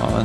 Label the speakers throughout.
Speaker 1: Ja,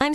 Speaker 2: I'm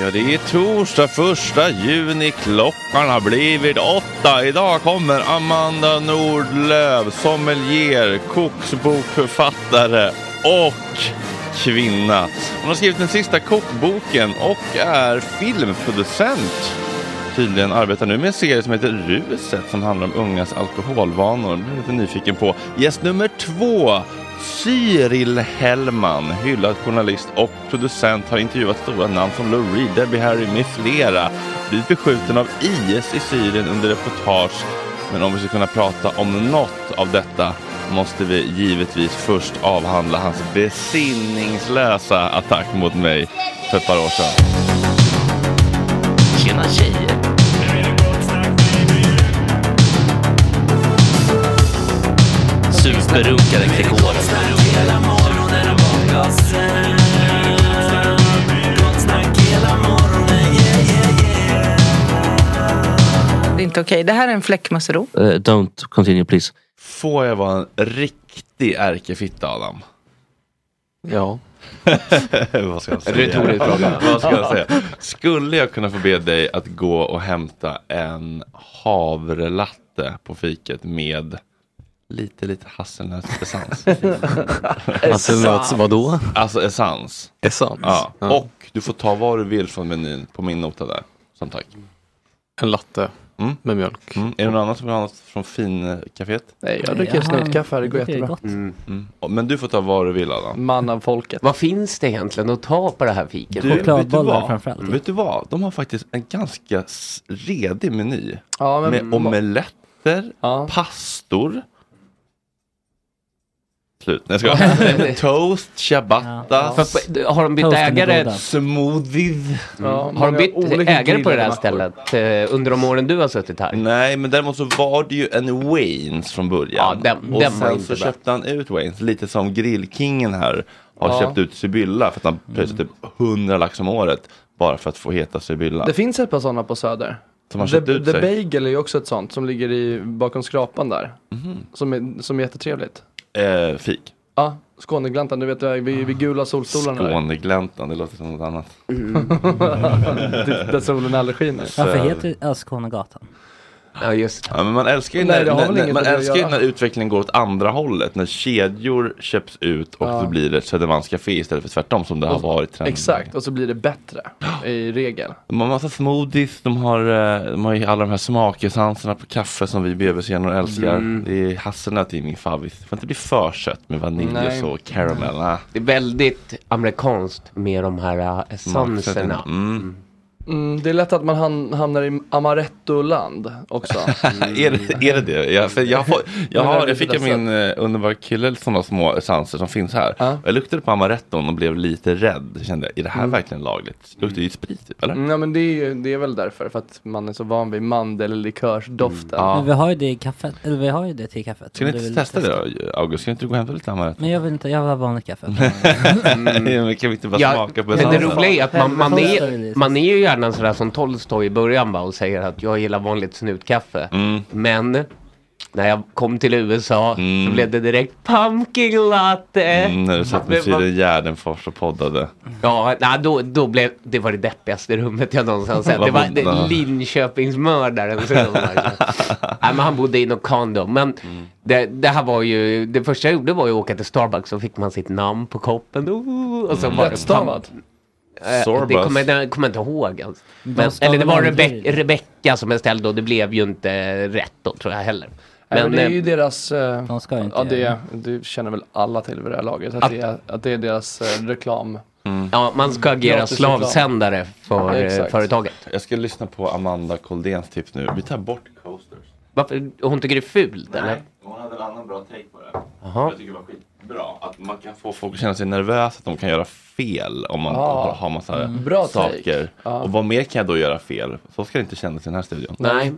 Speaker 1: Ja, det är torsdag första juni. Klockan har blivit åtta. Idag kommer Amanda Nordlöf, sommelier, kokbokförfattare och kvinna. Hon har skrivit den sista kokboken och är filmproducent. Tydligen arbetar nu med en serie som heter Ruset som handlar om ungas alkoholvanor. Det är jag lite nyfiken på. Gäst nummer två, Cyril Hellman, hyllad journalist och producent, har intervjuat stora namn som Lou Reed, Debbie Harry med flera. Blivit beskjuten av IS i Syrien under reportage Men om vi ska kunna prata om något av detta måste vi givetvis först avhandla hans besinningslösa attack mot mig för ett par år sedan.
Speaker 3: Tjena tjejer! Superrunkare Gregoren.
Speaker 4: Det är inte okej. Det här är en fläckmössero.
Speaker 3: Eh, don't continue please.
Speaker 1: Får jag vara en riktig ärkefitta Adam?
Speaker 5: Ja.
Speaker 1: Vad ska jag säga?
Speaker 5: Retorisk fråga.
Speaker 1: Vad ska jag säga? Skulle jag kunna få be dig att gå och hämta en havrelatte på fiket med lite, lite hasselnötsessens?
Speaker 5: Hasselnöts vadå?
Speaker 1: alltså essens.
Speaker 5: Essens?
Speaker 1: Ja. Och du får ta vad du vill från menyn på min nota där. Som tack.
Speaker 5: En latte med mjölk.
Speaker 1: Mm. Är det någon annan som vill ha något från finkaféet?
Speaker 6: Nej, jag dricker
Speaker 7: Jaha.
Speaker 6: snutkaffe, det går
Speaker 7: Det är
Speaker 6: jättebra.
Speaker 7: gott.
Speaker 1: Mm. Men du får ta vad du vill Adam.
Speaker 6: Man av folket.
Speaker 8: Mm. Vad finns det egentligen att ta på det här fiket?
Speaker 1: Du,
Speaker 7: Chokladbollar framförallt.
Speaker 1: vet du vad? De har faktiskt en ganska s- redig meny.
Speaker 6: Ja, men,
Speaker 1: Med omeletter,
Speaker 6: Ja.
Speaker 1: pastor. Slut, nej jag skojar. Toast, ciabatta,
Speaker 8: För, för- har de bytt
Speaker 7: Toasten är
Speaker 8: ägare,
Speaker 7: goda.
Speaker 1: smoothie.
Speaker 6: ja,
Speaker 8: Mm. har de
Speaker 6: Mm. många
Speaker 8: bytt
Speaker 6: olika
Speaker 8: ägare på det här
Speaker 6: grillade
Speaker 8: stället eh, under de åren du har suttit här?
Speaker 1: Nej, men däremot så var det ju en Waynes från början.
Speaker 8: Ja, den-
Speaker 1: och
Speaker 8: den var
Speaker 1: sen
Speaker 8: inte
Speaker 1: så
Speaker 8: bra.
Speaker 1: köpte han ut Waynes, lite som grillkingen här har
Speaker 6: Ja.
Speaker 1: köpt ut Sibylla för att
Speaker 8: Mm.
Speaker 1: han pröjsade typ 100 lax om året bara för att få heta Sibylla.
Speaker 6: Det finns ett par sådana på Söder.
Speaker 1: Som har
Speaker 6: The,
Speaker 1: köpt ut
Speaker 6: The
Speaker 1: sig.
Speaker 6: Bagel är ju också ett sånt som ligger i, bakom skrapan där.
Speaker 1: Mhm.
Speaker 6: Som, är, som är jättetrevligt.
Speaker 1: eh, fik.
Speaker 6: Ja, Skånegläntan, du vet vid,
Speaker 1: Ah,
Speaker 6: vid gula solstolarna där.
Speaker 1: Skånegläntan, det låter som något annat.
Speaker 6: Där Mm. solen aldrig skiner.
Speaker 1: Så-
Speaker 7: Varför heter det Öskånegatan?
Speaker 8: Ja, just det.
Speaker 1: Ja, men man älskar ju
Speaker 6: Nej,
Speaker 1: när,
Speaker 6: det har väl
Speaker 1: när, när,
Speaker 6: inget
Speaker 1: man
Speaker 6: med det att
Speaker 1: älskar ju
Speaker 6: göra.
Speaker 1: när utvecklingen går åt andra hållet. När kedjor köps ut och
Speaker 6: Ja.
Speaker 1: så blir det ett Södermalmscafé istället för tvärtom som det har
Speaker 6: Och-
Speaker 1: varit. trenden.
Speaker 6: Exakt, och så blir det bättre i regel.
Speaker 1: De har massa smoothies, de har, eh, de har ju alla de här smakesanserna på kaffe som vi bebisgener älskar.
Speaker 8: Mm.
Speaker 1: Det är hasselnöt i min favvis. Det får inte bli för sött med vanilj
Speaker 6: Nej.
Speaker 1: och så, caramel. ah.
Speaker 8: Mm. Det är väldigt amerikanskt med de här eh, essenserna.
Speaker 1: Mm.
Speaker 6: Mm, det är lätt att man ham- hamnar i amaretto-land också.
Speaker 1: är,
Speaker 8: Mm.
Speaker 1: det, är det det? Jag, för jag, får, jag,
Speaker 6: Men
Speaker 1: har,
Speaker 6: det är
Speaker 1: jag fick av
Speaker 6: lite
Speaker 1: min eh, underbara kille sådana små essenser som finns här.
Speaker 6: Ja.
Speaker 1: Jag luktade på amaretton och blev lite rädd. Kände, är det
Speaker 8: Mm.
Speaker 1: här verkligen lagligt? Det luktar ju sprit typ, eller?
Speaker 6: Mm, Ja men det är, ju, det är väl därför, för att man är så van vid mandel eller likörsdoften.
Speaker 1: Mm. Ja.
Speaker 7: Men vi har ju det i kaffet. Eller vi har ju det till kaffet.
Speaker 1: Ska
Speaker 7: om
Speaker 1: ni
Speaker 7: du
Speaker 1: inte
Speaker 7: vill
Speaker 1: testa det då, August? Ska inte du gå och hämta lite amaretto?
Speaker 7: Men jag vill inte, jag vill ha vanligt kaffe.
Speaker 1: Men kan vi inte bara
Speaker 8: Ja,
Speaker 1: smaka på
Speaker 8: men det
Speaker 1: essensen?
Speaker 8: roliga är att man, man,
Speaker 7: Helvete.
Speaker 8: är, man är ju gärna sådär som Tolstoj i början va, och säger att jag gillar vanligt snutkaffe.
Speaker 1: Mm.
Speaker 8: Men när jag kom till USA så blev det direkt pumpkin latte.
Speaker 1: Mm, när du satt med
Speaker 8: Men vad-
Speaker 1: Frida Gärdenfors och poddade.
Speaker 8: Ja, nej, då, då blev, det var det deppigaste rummet jag någonsin sett. Det
Speaker 1: Vad
Speaker 8: var
Speaker 1: bodde
Speaker 8: det-
Speaker 1: han?
Speaker 8: Linköpingsmördaren. som de var. liksom- nej, men han bodde i något kondo. Men
Speaker 1: Mm.
Speaker 8: det, det här var ju, det första jag gjorde var ju att åka till Starbucks så fick man sitt namn på koppen. Ooh, och så
Speaker 6: Mm.
Speaker 1: Mm.
Speaker 8: var det
Speaker 6: Rättstavad.
Speaker 8: Eh,
Speaker 1: Sorbus.
Speaker 8: Alltså, Det kommer jag kommer jag inte ihåg ens. Men,
Speaker 7: ska
Speaker 8: eller det
Speaker 7: väl
Speaker 8: var
Speaker 7: aldrig-
Speaker 8: Rebe- Rebecca som jag ställde och det blev ju inte rätt då tror jag heller.
Speaker 6: Men,
Speaker 8: Men,
Speaker 6: det är ju
Speaker 8: eh,
Speaker 6: deras, eh,
Speaker 7: De ska ju inte
Speaker 6: ja, det,
Speaker 7: göra
Speaker 6: det känner väl alla till vid det här laget, att,
Speaker 8: Att-
Speaker 6: det, är, att det är deras eh, reklam.
Speaker 1: Mm.
Speaker 6: Mm.
Speaker 8: ja, man ska agera
Speaker 6: Gratis reklam.
Speaker 8: slavsändare för eh,
Speaker 6: Exakt.
Speaker 8: företaget.
Speaker 1: Jag ska lyssna på Amanda Koldéns tips nu. Vi tar bort coasters.
Speaker 8: Varför, är hon tycker det är fult eller?
Speaker 1: Nej, hon hade en annan bra take på det. Jag tycker det var skitbra. Att man kan få folk att känna sig nervösa att de kan göra fel om man
Speaker 6: Ja. Mm.
Speaker 1: har massa
Speaker 6: Bra take.
Speaker 1: saker. Och vad mer kan jag då göra fel? Så ska det inte kännas i den här studion.
Speaker 8: Nej.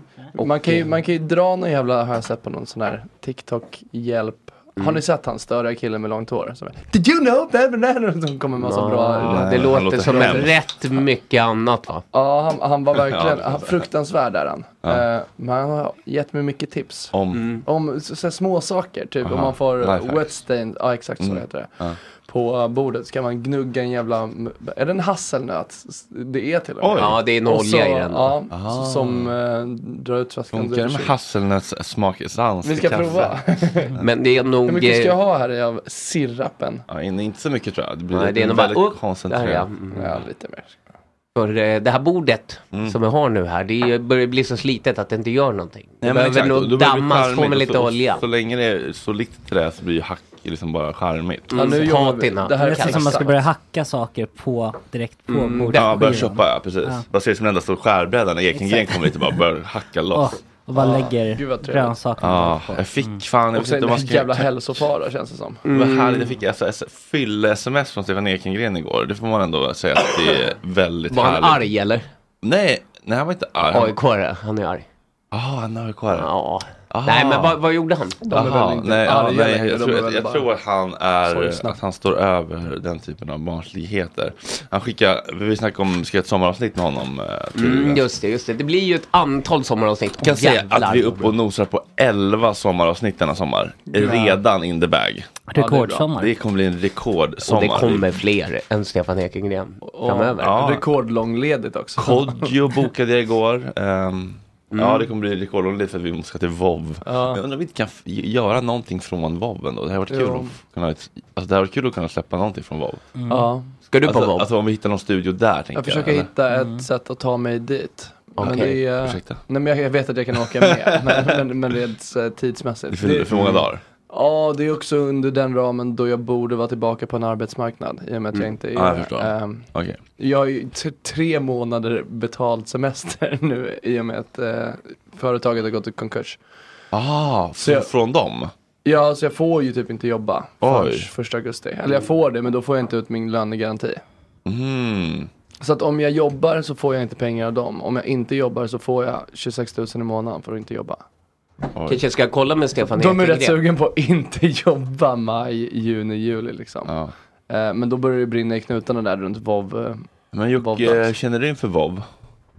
Speaker 6: Man kan, ju, man kan ju dra någon jävla, har jag sett på någon sån här TikTok-hjälp.
Speaker 8: Mm.
Speaker 6: Har ni sett han störiga killen med långt hår? Som är, Did you know that? Som kommer en massa bra...
Speaker 8: Ja,
Speaker 1: Nej,
Speaker 8: det
Speaker 1: han
Speaker 8: låter,
Speaker 1: låter
Speaker 8: som
Speaker 1: hemskt.
Speaker 8: rätt mycket annat va?
Speaker 6: Ja, han, han var verkligen
Speaker 1: Ja, det
Speaker 6: han, fruktansvärd där han. Eh, men han har gett mig mycket tips.
Speaker 1: Om
Speaker 8: Mm.
Speaker 6: Om så, så här små saker, typ om
Speaker 1: Aha,
Speaker 6: man får
Speaker 1: lifehacks. Mm.
Speaker 6: wet stain, ja exakt så heter det. På eh, bordet ska man gnugga en jävla, är det en hasselnöt? Det är till och med.
Speaker 1: Oj.
Speaker 8: Ja, det är en
Speaker 6: Och så,
Speaker 8: olja i den.
Speaker 6: Ja, så, som eh, drar ut flaskan.
Speaker 1: funkar det med hasselnötssmakessans
Speaker 6: Vi
Speaker 1: i
Speaker 6: ska
Speaker 1: kaffe?
Speaker 6: prova.
Speaker 8: Men det är
Speaker 6: Hur
Speaker 8: nog...
Speaker 6: mycket ska jag
Speaker 8: eh,
Speaker 6: ha här i av sirapen?
Speaker 1: Ja, in- inte så mycket tror jag. Det blir
Speaker 8: Nej, det är nog bara...
Speaker 1: väldigt
Speaker 8: Oh, där, ja.
Speaker 1: koncentrerat.
Speaker 8: Mm.
Speaker 6: Ja, lite mer.
Speaker 8: För eh, det här bordet
Speaker 1: Mm.
Speaker 8: som jag har nu här, det är- börjar bli så slitet att det inte gör någonting. Det
Speaker 1: Nej, men
Speaker 8: behöver
Speaker 1: exakt. Och då
Speaker 8: nog
Speaker 1: blir det
Speaker 8: dammas på
Speaker 1: charmigt
Speaker 8: med
Speaker 1: och
Speaker 8: lite
Speaker 1: så,
Speaker 8: olja.
Speaker 1: Så länge det är så likt till det så blir ju hack liksom bara charmigt.
Speaker 6: Ja, nu
Speaker 8: Mm,
Speaker 6: jobbar vi.
Speaker 8: patina.
Speaker 6: Det här
Speaker 7: Det
Speaker 6: är
Speaker 7: är nästan som man ska
Speaker 6: exakt.
Speaker 7: börja hacka saker på, direkt på
Speaker 8: Mm.
Speaker 7: bordet.
Speaker 1: Ja, börja shoppa, ja precis.
Speaker 7: Ja.
Speaker 1: Vad ser det som den enda stora skärbrädan när Ekengren kommer hit och bara börjar hacka loss.
Speaker 7: Åh, Och bara
Speaker 6: Ah,
Speaker 7: lägger
Speaker 6: gud vad trevligt.
Speaker 7: grönsaker.
Speaker 1: Ja, jag
Speaker 8: Mm.
Speaker 1: fick fan, jag
Speaker 6: Och
Speaker 1: vet
Speaker 6: sen
Speaker 1: inte om
Speaker 6: den
Speaker 1: man ska-
Speaker 6: jävla hälsofara känns det som.
Speaker 1: Vad härligt, jag fick alltså, alltså, fylle-sms från Stefan Ekengren igår. Det får man ändå säga att det är väldigt
Speaker 8: Var han
Speaker 1: härligt.
Speaker 8: arg eller?
Speaker 1: Nej, nej han var inte arg.
Speaker 8: AIK-are, han är arg.
Speaker 1: Ah, han är Ah. AIK-are?
Speaker 8: Ja. Nej, men vad, vad gjorde han?
Speaker 1: Jaha, nej, ja, nej, jag, tror, jag, jag tror att han är,
Speaker 8: Sorgsna.
Speaker 1: att han står över den typen av barnsligheter. Han skickar, vi snackade om, ska göra ett sommaravsnitt med honom. eh, till-
Speaker 8: Mm, just det, just det. Det blir ju ett antal sommaravsnitt.
Speaker 1: Jag kan
Speaker 8: Åh,
Speaker 1: säga
Speaker 8: jävlar.
Speaker 1: att vi är uppe och nosar på 11 sommaravsnitt denna sommar.
Speaker 8: Ja.
Speaker 1: Redan in the bag.
Speaker 8: Rekordsommar.
Speaker 1: Det kommer bli en rekordsommar.
Speaker 8: Och det kommer fler än Stefan Ekengren framöver.
Speaker 1: Ja.
Speaker 6: Rekordlångledigt också.
Speaker 1: Kodjo bokade jag igår. Ehm, Ja,
Speaker 6: Mm.
Speaker 1: det kommer bli rekordlångledigt för att vi ska till VOV.
Speaker 6: Ja.
Speaker 1: Jag undrar om vi inte kan f- göra någonting från VOV ändå. Det här har varit kul,
Speaker 6: Jo.
Speaker 1: att, kunna, alltså, det här var kul att kunna släppa någonting från VOV.
Speaker 6: Mm. Ja.
Speaker 1: Ska du på alltså, VOV? Alltså om vi hittar någon studio där tänker
Speaker 6: Jag försöker
Speaker 1: eller?
Speaker 6: hitta ett sätt att ta mig dit. Men
Speaker 1: Okej,
Speaker 6: det är,
Speaker 1: ursäkta.
Speaker 6: Nej men jag, jag vet att jag kan åka med, men, men, men rent så här tidsmässigt.
Speaker 1: Det är för- för många dagar.
Speaker 6: Ja, det är också under den ramen då jag borde vara tillbaka på en arbetsmarknad i och med att jag
Speaker 1: Mm.
Speaker 6: inte är
Speaker 1: Ja, jag förstår.
Speaker 6: ehm,
Speaker 1: Okej.
Speaker 6: Jag har ju t- tre månader betald semester nu i och med att eh, företaget har gått i konkurs.
Speaker 1: Ah,
Speaker 6: Så jag-
Speaker 1: från, från dem?
Speaker 6: Ja, så jag får ju typ inte jobba förrän
Speaker 1: Oj.
Speaker 6: första augusti. Eller jag får det, men då får jag inte ut min lönegaranti.
Speaker 1: Mm.
Speaker 6: Så att om jag jobbar så får jag inte pengar av dem. Om jag inte jobbar så får jag 26 000 i månaden för att inte jobba.
Speaker 8: Kanske jag ska kolla med Stefan
Speaker 6: De är
Speaker 8: Ekengren.
Speaker 6: rätt sugen på att inte jobba maj, juni, juli liksom. Eh, Men då börjar det brinna i knutarna där runt vov
Speaker 1: Men eh,
Speaker 6: Jocke,
Speaker 1: känner du inför vov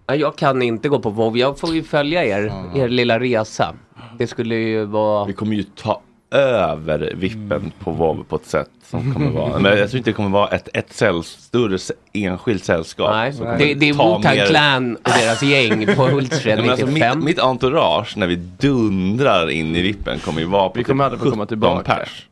Speaker 8: Ja, jag kan inte gå på WoW. Jag får ju följa er, er lilla resa. Det skulle ju vara...
Speaker 1: Vi kommer ju ta över vippen på VOV på ett sätt som kommer vara, men jag tror inte det kommer vara ett, ett säll, större s- enskilt sällskap.
Speaker 8: Nej,
Speaker 1: som kommer
Speaker 8: det, det är
Speaker 1: ta
Speaker 8: Wu-Tang
Speaker 1: mer-
Speaker 8: Clan och deras gäng på
Speaker 1: Nej,
Speaker 8: Hultsfred
Speaker 1: men alltså
Speaker 8: 95.
Speaker 1: mitt, mitt entourage när vi dundrar in i vippen kommer ju vara på
Speaker 6: Vi kommer aldrig få komma
Speaker 1: 17
Speaker 6: tillbaka.
Speaker 1: Pers.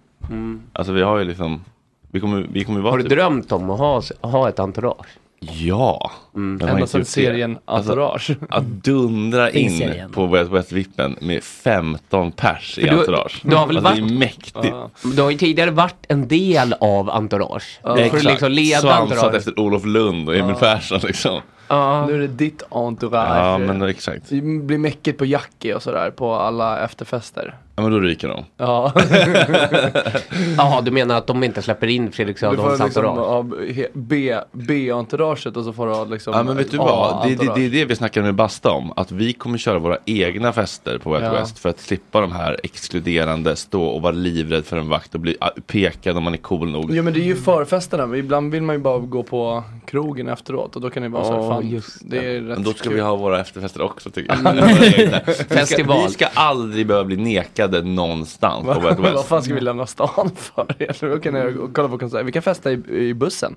Speaker 1: Alltså vi har ju liksom, vi kommer, vi kommer ju vara
Speaker 8: Har du
Speaker 1: typ-
Speaker 8: drömt om att ha, ha ett entourage? Mm.
Speaker 1: Ja. men man har
Speaker 6: Ända
Speaker 1: inte
Speaker 6: sedan
Speaker 1: gjort det.
Speaker 6: serien Entourage.
Speaker 1: Alltså, att dundra
Speaker 6: Finns
Speaker 1: in
Speaker 6: serien.
Speaker 1: på West West-vippen med 15 pers
Speaker 8: För
Speaker 1: i
Speaker 8: du-
Speaker 1: entourage.
Speaker 8: du har väl
Speaker 1: alltså, Det är
Speaker 8: varit-
Speaker 1: mäktigt.
Speaker 8: Du har ju tidigare varit en del av entourage.
Speaker 1: Ja,
Speaker 8: Du får
Speaker 1: exakt.
Speaker 8: liksom leda
Speaker 1: Svansat
Speaker 8: entourage.
Speaker 1: efter Olof Lund och Emil Persson liksom.
Speaker 6: Nu är det ditt entourage.
Speaker 1: Ja, men exakt.
Speaker 6: Det blir mäckigt på Jackie och sådär på alla efterfester.
Speaker 1: Ja, men då ryker de.
Speaker 6: Ja.
Speaker 8: Jaha, du menar att de inte släpper in Fredrik
Speaker 6: Du får
Speaker 8: Söderholms
Speaker 6: liksom
Speaker 8: entourage?
Speaker 6: ha B- B- B-entouraget och så får du ha liksom
Speaker 1: Ja men vet du
Speaker 6: A-
Speaker 1: vad, det, det, det är
Speaker 6: entourage.
Speaker 1: det vi snackade med Basta om. Att vi kommer köra våra egna fester på Wild
Speaker 6: Ja.
Speaker 1: West för att slippa de här exkluderande, stå och vara livrädd för en vakt och bli ah, pekad om man är cool nog.
Speaker 6: Jo men det är ju förfesterna, men ibland vill man ju bara gå på krogen efteråt och då kan det vara såhär,
Speaker 1: Ja,
Speaker 6: fan,
Speaker 1: just
Speaker 6: det. är rätt
Speaker 1: Men då ska
Speaker 6: kul.
Speaker 1: vi ha våra efterfester också tycker jag.
Speaker 6: Mm.
Speaker 1: Vi ska-
Speaker 6: Festival.
Speaker 1: Vi ska aldrig behöva bli nekade någonstans på Wild
Speaker 6: Vad
Speaker 1: West.
Speaker 6: fan ska vi lämna stan för? Eller då kan jag kolla på konsert, vi kan festa i, i bussen.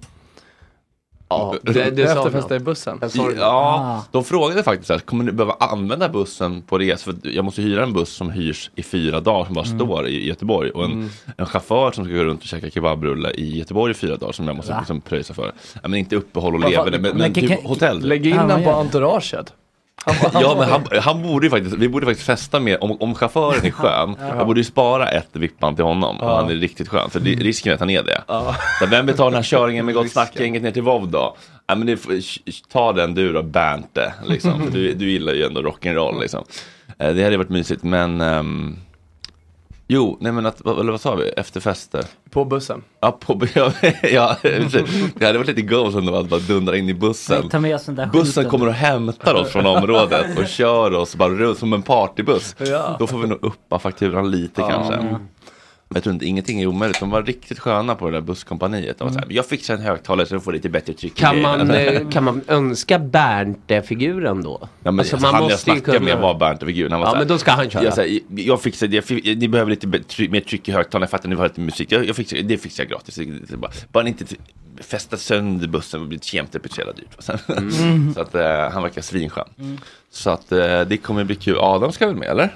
Speaker 8: Ja,
Speaker 6: det- det sa Efterfesta något. i bussen. Ah. Jag sa det.
Speaker 1: Ja, de frågade faktiskt så här, kommer du behöva använda bussen på res? För jag måste hyra en buss som hyrs i fyra dagar som bara
Speaker 6: Mm.
Speaker 1: står i Göteborg och en,
Speaker 6: Mm.
Speaker 1: en chaufför som ska gå runt och käka kebabrulle i Göteborg i fyra dagar som jag måste
Speaker 6: Va?
Speaker 1: liksom pröjsa för. Ja, men inte uppehåll och
Speaker 6: Vad fan,
Speaker 1: leverne, men, men
Speaker 6: lägg-
Speaker 1: typ
Speaker 6: kan-
Speaker 1: hotell.
Speaker 6: Lägg in honom på entouraget.
Speaker 1: Ja men han, han borde ju faktiskt, vi borde faktiskt festa med, om, om chauffören är skön,
Speaker 6: Ja.
Speaker 1: jag borde ju spara ett vippan till honom om
Speaker 6: Ja. Mm.
Speaker 1: han är riktigt skön, för det, risken är att han är det.
Speaker 6: Ja.
Speaker 1: Så vem betalar den här köringen med gott snack-gänget ner till Vov då? Ja men det, får- sh- sh- ta den du då Bernte, liksom. för du, du gillar ju ändå rock'n'roll liksom. Eh, Det hade varit mysigt men ehm, Jo, nej men att, vad, eller vad sa vi, efterfester?
Speaker 6: På bussen.
Speaker 1: Ja, på, ja, ja, precis. det hade varit lite goals ändå att bara dundra in i bussen.
Speaker 7: Ta med oss den där
Speaker 1: Bussen
Speaker 7: skylten.
Speaker 1: kommer och hämtar oss från området och kör oss bara runt som en partybuss.
Speaker 6: Ja.
Speaker 1: Då får vi nog uppa fakturan lite
Speaker 6: Ja.
Speaker 1: kanske.
Speaker 6: Mm.
Speaker 1: Jag tror inte ingenting är omöjligt. De var riktigt sköna på det där busskompaniet. De var så här, jag fixar en högtalare så du får lite bättre tryck. i
Speaker 8: Mm. Kan
Speaker 1: grejerna."
Speaker 8: man,
Speaker 1: Alltså,
Speaker 8: eh, kan man önska Bernt-figuren då?
Speaker 1: Ja, men,
Speaker 8: Alltså,
Speaker 1: alltså, han jag
Speaker 8: ju
Speaker 1: snackade med
Speaker 8: kunna-
Speaker 1: var Bernt Figur. Han var
Speaker 8: Ja,
Speaker 1: så här,
Speaker 8: men då ska han köra.
Speaker 1: Jag, så här, jag fixar det, jag, fi- ni behöver lite bä- try, mer tryck i högtalarna, jag fattar ni har lite musik. Jag, jag fixar, det fixar jag gratis. Det är Bara, bara ni inte t- fästa sönder bussen och blir jämnt så jävla dyrt. Och sen-
Speaker 8: Mm.
Speaker 1: så att eh, han verkar svinskön. Så att eh, det kommer bli kul. Adam ska väl med eller?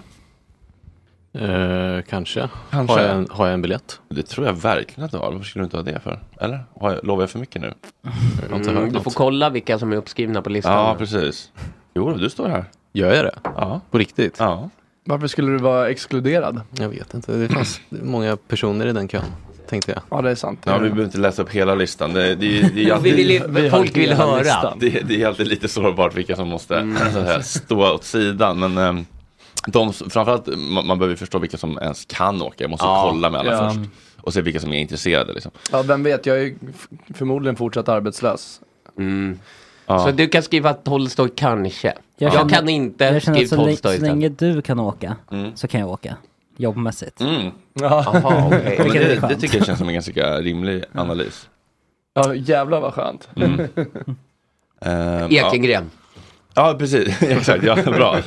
Speaker 1: kanske.
Speaker 9: Har jag en-
Speaker 1: biljett? Det tror jag verkligen att du har. Varför skulle du inte ha det för? Eller? Har jag, lovar jag för mycket nu? Jag har inte hört
Speaker 8: Mm, du
Speaker 1: något.
Speaker 8: får kolla vilka som är uppskrivna på listan.
Speaker 1: Ja, precis. Jo, du står här.
Speaker 9: Gör jag det?
Speaker 1: Ja.
Speaker 9: På riktigt?
Speaker 1: Ja.
Speaker 6: Varför skulle du vara exkluderad?
Speaker 9: Jag vet inte. Det fanns många personer i den kön, tänkte jag.
Speaker 6: Ja, det är sant.
Speaker 1: Ja, vi behöver inte läsa upp hela listan. Det, det, det, det,
Speaker 8: Vi vill ju- Vi har folk vill hela höra. Mm. listan.
Speaker 1: Det, det är alltid lite sårbart vilka som måste så att säga, stå åt sidan. Men, ehm, De, som- framförallt, man, man behöver ju förstå vilka som ens kan åka. Jag måste
Speaker 6: Ja.
Speaker 1: kolla med alla
Speaker 6: Ja.
Speaker 1: först. Och se vilka som är intresserade. Liksom.
Speaker 6: Ja, vem vet, jag är ju f- förmodligen fortsatt arbetslös.
Speaker 8: Mm. Så du kan skriva Tolstoj kanske. Jag,
Speaker 7: känner-
Speaker 8: kan inte
Speaker 7: jag känner
Speaker 8: skriva
Speaker 7: att så, länge,
Speaker 8: Tolstoj
Speaker 7: så
Speaker 8: istället.
Speaker 7: länge du kan åka så kan jag åka. Jobbmässigt.
Speaker 1: Mm.
Speaker 6: Jaha, okej.
Speaker 1: Ja, men
Speaker 7: Vilket är
Speaker 1: det,
Speaker 7: skönt.
Speaker 1: det tycker jag känns som en ganska rimlig analys.
Speaker 6: Ja, jävlar vad skönt.
Speaker 1: Mm. Ehm, ja.
Speaker 6: Ekengren.
Speaker 1: Ja, precis. Exakt, ja, bra.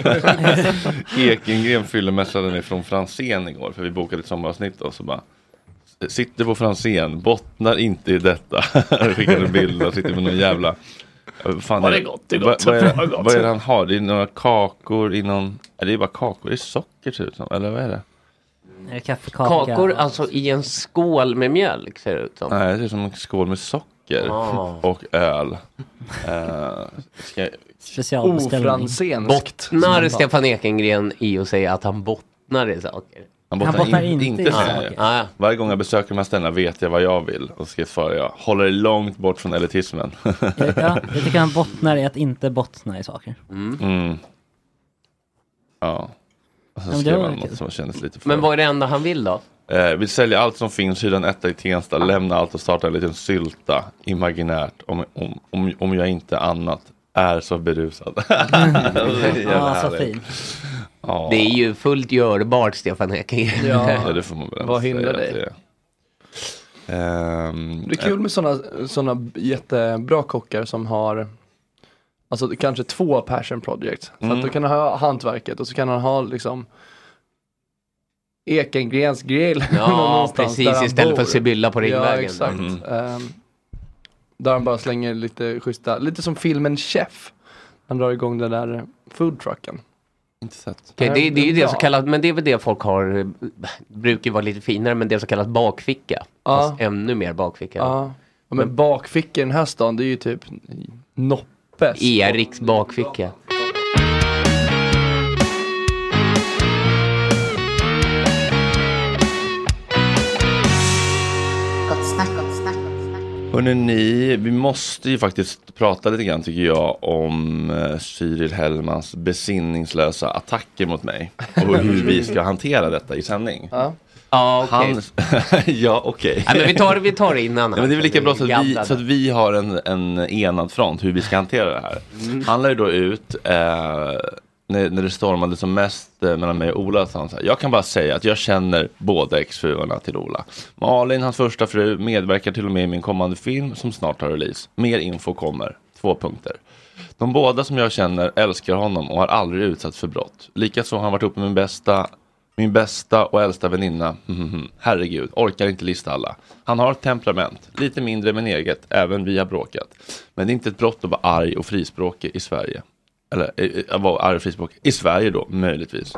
Speaker 1: Ekengren fyllemässade mig från Franzén igår, för vi bokade ett sommaravsnitt och så bara Sitter på Franzén, bottnar inte i detta. Skickade en bild och sitter med någon jävla vad Fan,
Speaker 6: Var
Speaker 1: är
Speaker 6: det gott? Det är
Speaker 1: vad,
Speaker 6: gott.
Speaker 1: vad, är,
Speaker 6: Var det gott?
Speaker 1: vad är det han har? Det är några kakor i någon... Nej, Det är bara kakor, det är socker ser det ut som. Eller vad är det?
Speaker 7: Kaffekaka.
Speaker 8: Kakor alltså i en skål med mjölk ser det ut som.
Speaker 1: Nej, det är som en skål med socker
Speaker 8: Ah.
Speaker 1: och öl. Eh, ska jag-
Speaker 7: Specialbeställning.
Speaker 8: Bottnar Stefan Ekengren i att säga att han bottnar i saker?
Speaker 1: Han bottnar, in, inte, i saker. Varje gång jag besöker de här ställena vet jag vad jag vill. Och så ska jag svara jag. Håller dig långt bort från elitismen.
Speaker 7: Ja, jag tycker han bottnar i att inte bottna i saker.
Speaker 1: mm. Ja. Och
Speaker 7: Ja,
Speaker 1: sen
Speaker 7: men det
Speaker 1: skrev
Speaker 7: var
Speaker 1: han
Speaker 7: väl kul.
Speaker 1: något som kändes lite för...
Speaker 8: Men vad är det enda han vill då?
Speaker 1: Eh, vill sälja allt som finns, hyra en etta i Tensta, lämna allt och starta en liten sylta. Imaginärt. Om, om, om, om jag inte annat är så berusad. Det är jävla
Speaker 8: Mm. Ja, så
Speaker 1: härligt.
Speaker 8: fint.
Speaker 1: Ja.
Speaker 8: Det är ju fullt görbart Stefan Ekengren.
Speaker 6: Ja.
Speaker 1: Ja, det får man väl
Speaker 6: Vad
Speaker 1: ändå
Speaker 6: hindrar
Speaker 1: säga att
Speaker 6: dig?
Speaker 1: det är. Ehm,
Speaker 6: Det är kul med sådana såna jättebra kockar som har Alltså kanske två passion projects. Så
Speaker 1: Mm.
Speaker 6: att då kan han ha hantverket och så kan han ha liksom Ekengrens grill.
Speaker 8: Ja,
Speaker 6: någonstans
Speaker 8: precis,
Speaker 6: där han
Speaker 8: istället för
Speaker 6: bor.
Speaker 8: Sibylla på
Speaker 6: Ja,
Speaker 8: Ringvägen.
Speaker 6: exakt.
Speaker 8: Mm.
Speaker 6: Ehm, där han bara slänger lite schyssta, lite som filmen Chef. Han drar igång den där Ehm, foodtrucken.
Speaker 1: Inte sett.
Speaker 8: Okej, det, det är ju
Speaker 6: Eh,
Speaker 8: det så kallat, men det är väl det folk har, eh, brukar ju vara lite finare, men det är så kallat bakficka. Fast ännu mer bakficka.
Speaker 6: Ja. Ja, men bakficka i den här stan, det är ju typ Noppes.
Speaker 8: Eriks bakficka.
Speaker 10: Gott snack, gott snack.
Speaker 1: Hörrni, ni, vi måste ju faktiskt prata lite grann tycker jag om eh, Cyril Hellmans besinningslösa attacker mot mig och hur vi ska hantera detta i sändning.
Speaker 6: Ja,
Speaker 8: ja okej.
Speaker 1: Han... ja, okej.
Speaker 8: Nej, men vi tar, vi tar det innan.
Speaker 1: Ja, men det är väl lika bra så att, vi,
Speaker 8: Gaddade.
Speaker 1: så att vi har en, en enad front hur vi ska hantera det här.
Speaker 8: Mm.
Speaker 1: Han lade ju då ut, eh, när, när det stormade som mest eh, mellan mig och Ola, så han så här, jag kan bara säga att jag känner båda exfruarna till Ola. Malin, hans första fru, medverkar till och med i min kommande film som snart har release. Mer info kommer, två punkter. De båda som jag känner älskar honom och har aldrig utsatts för brott. Likaså har han varit ihop med min bästa, min bästa och äldsta väninna. Mhm. Herregud, orkar inte lista alla. Han har ett temperament, lite mindre men eget, även vi har bråkat. Men det är inte ett brott att vara arg och frispråkig i Sverige. Eller eh, att vara arg och frispråkig i Sverige då, möjligtvis.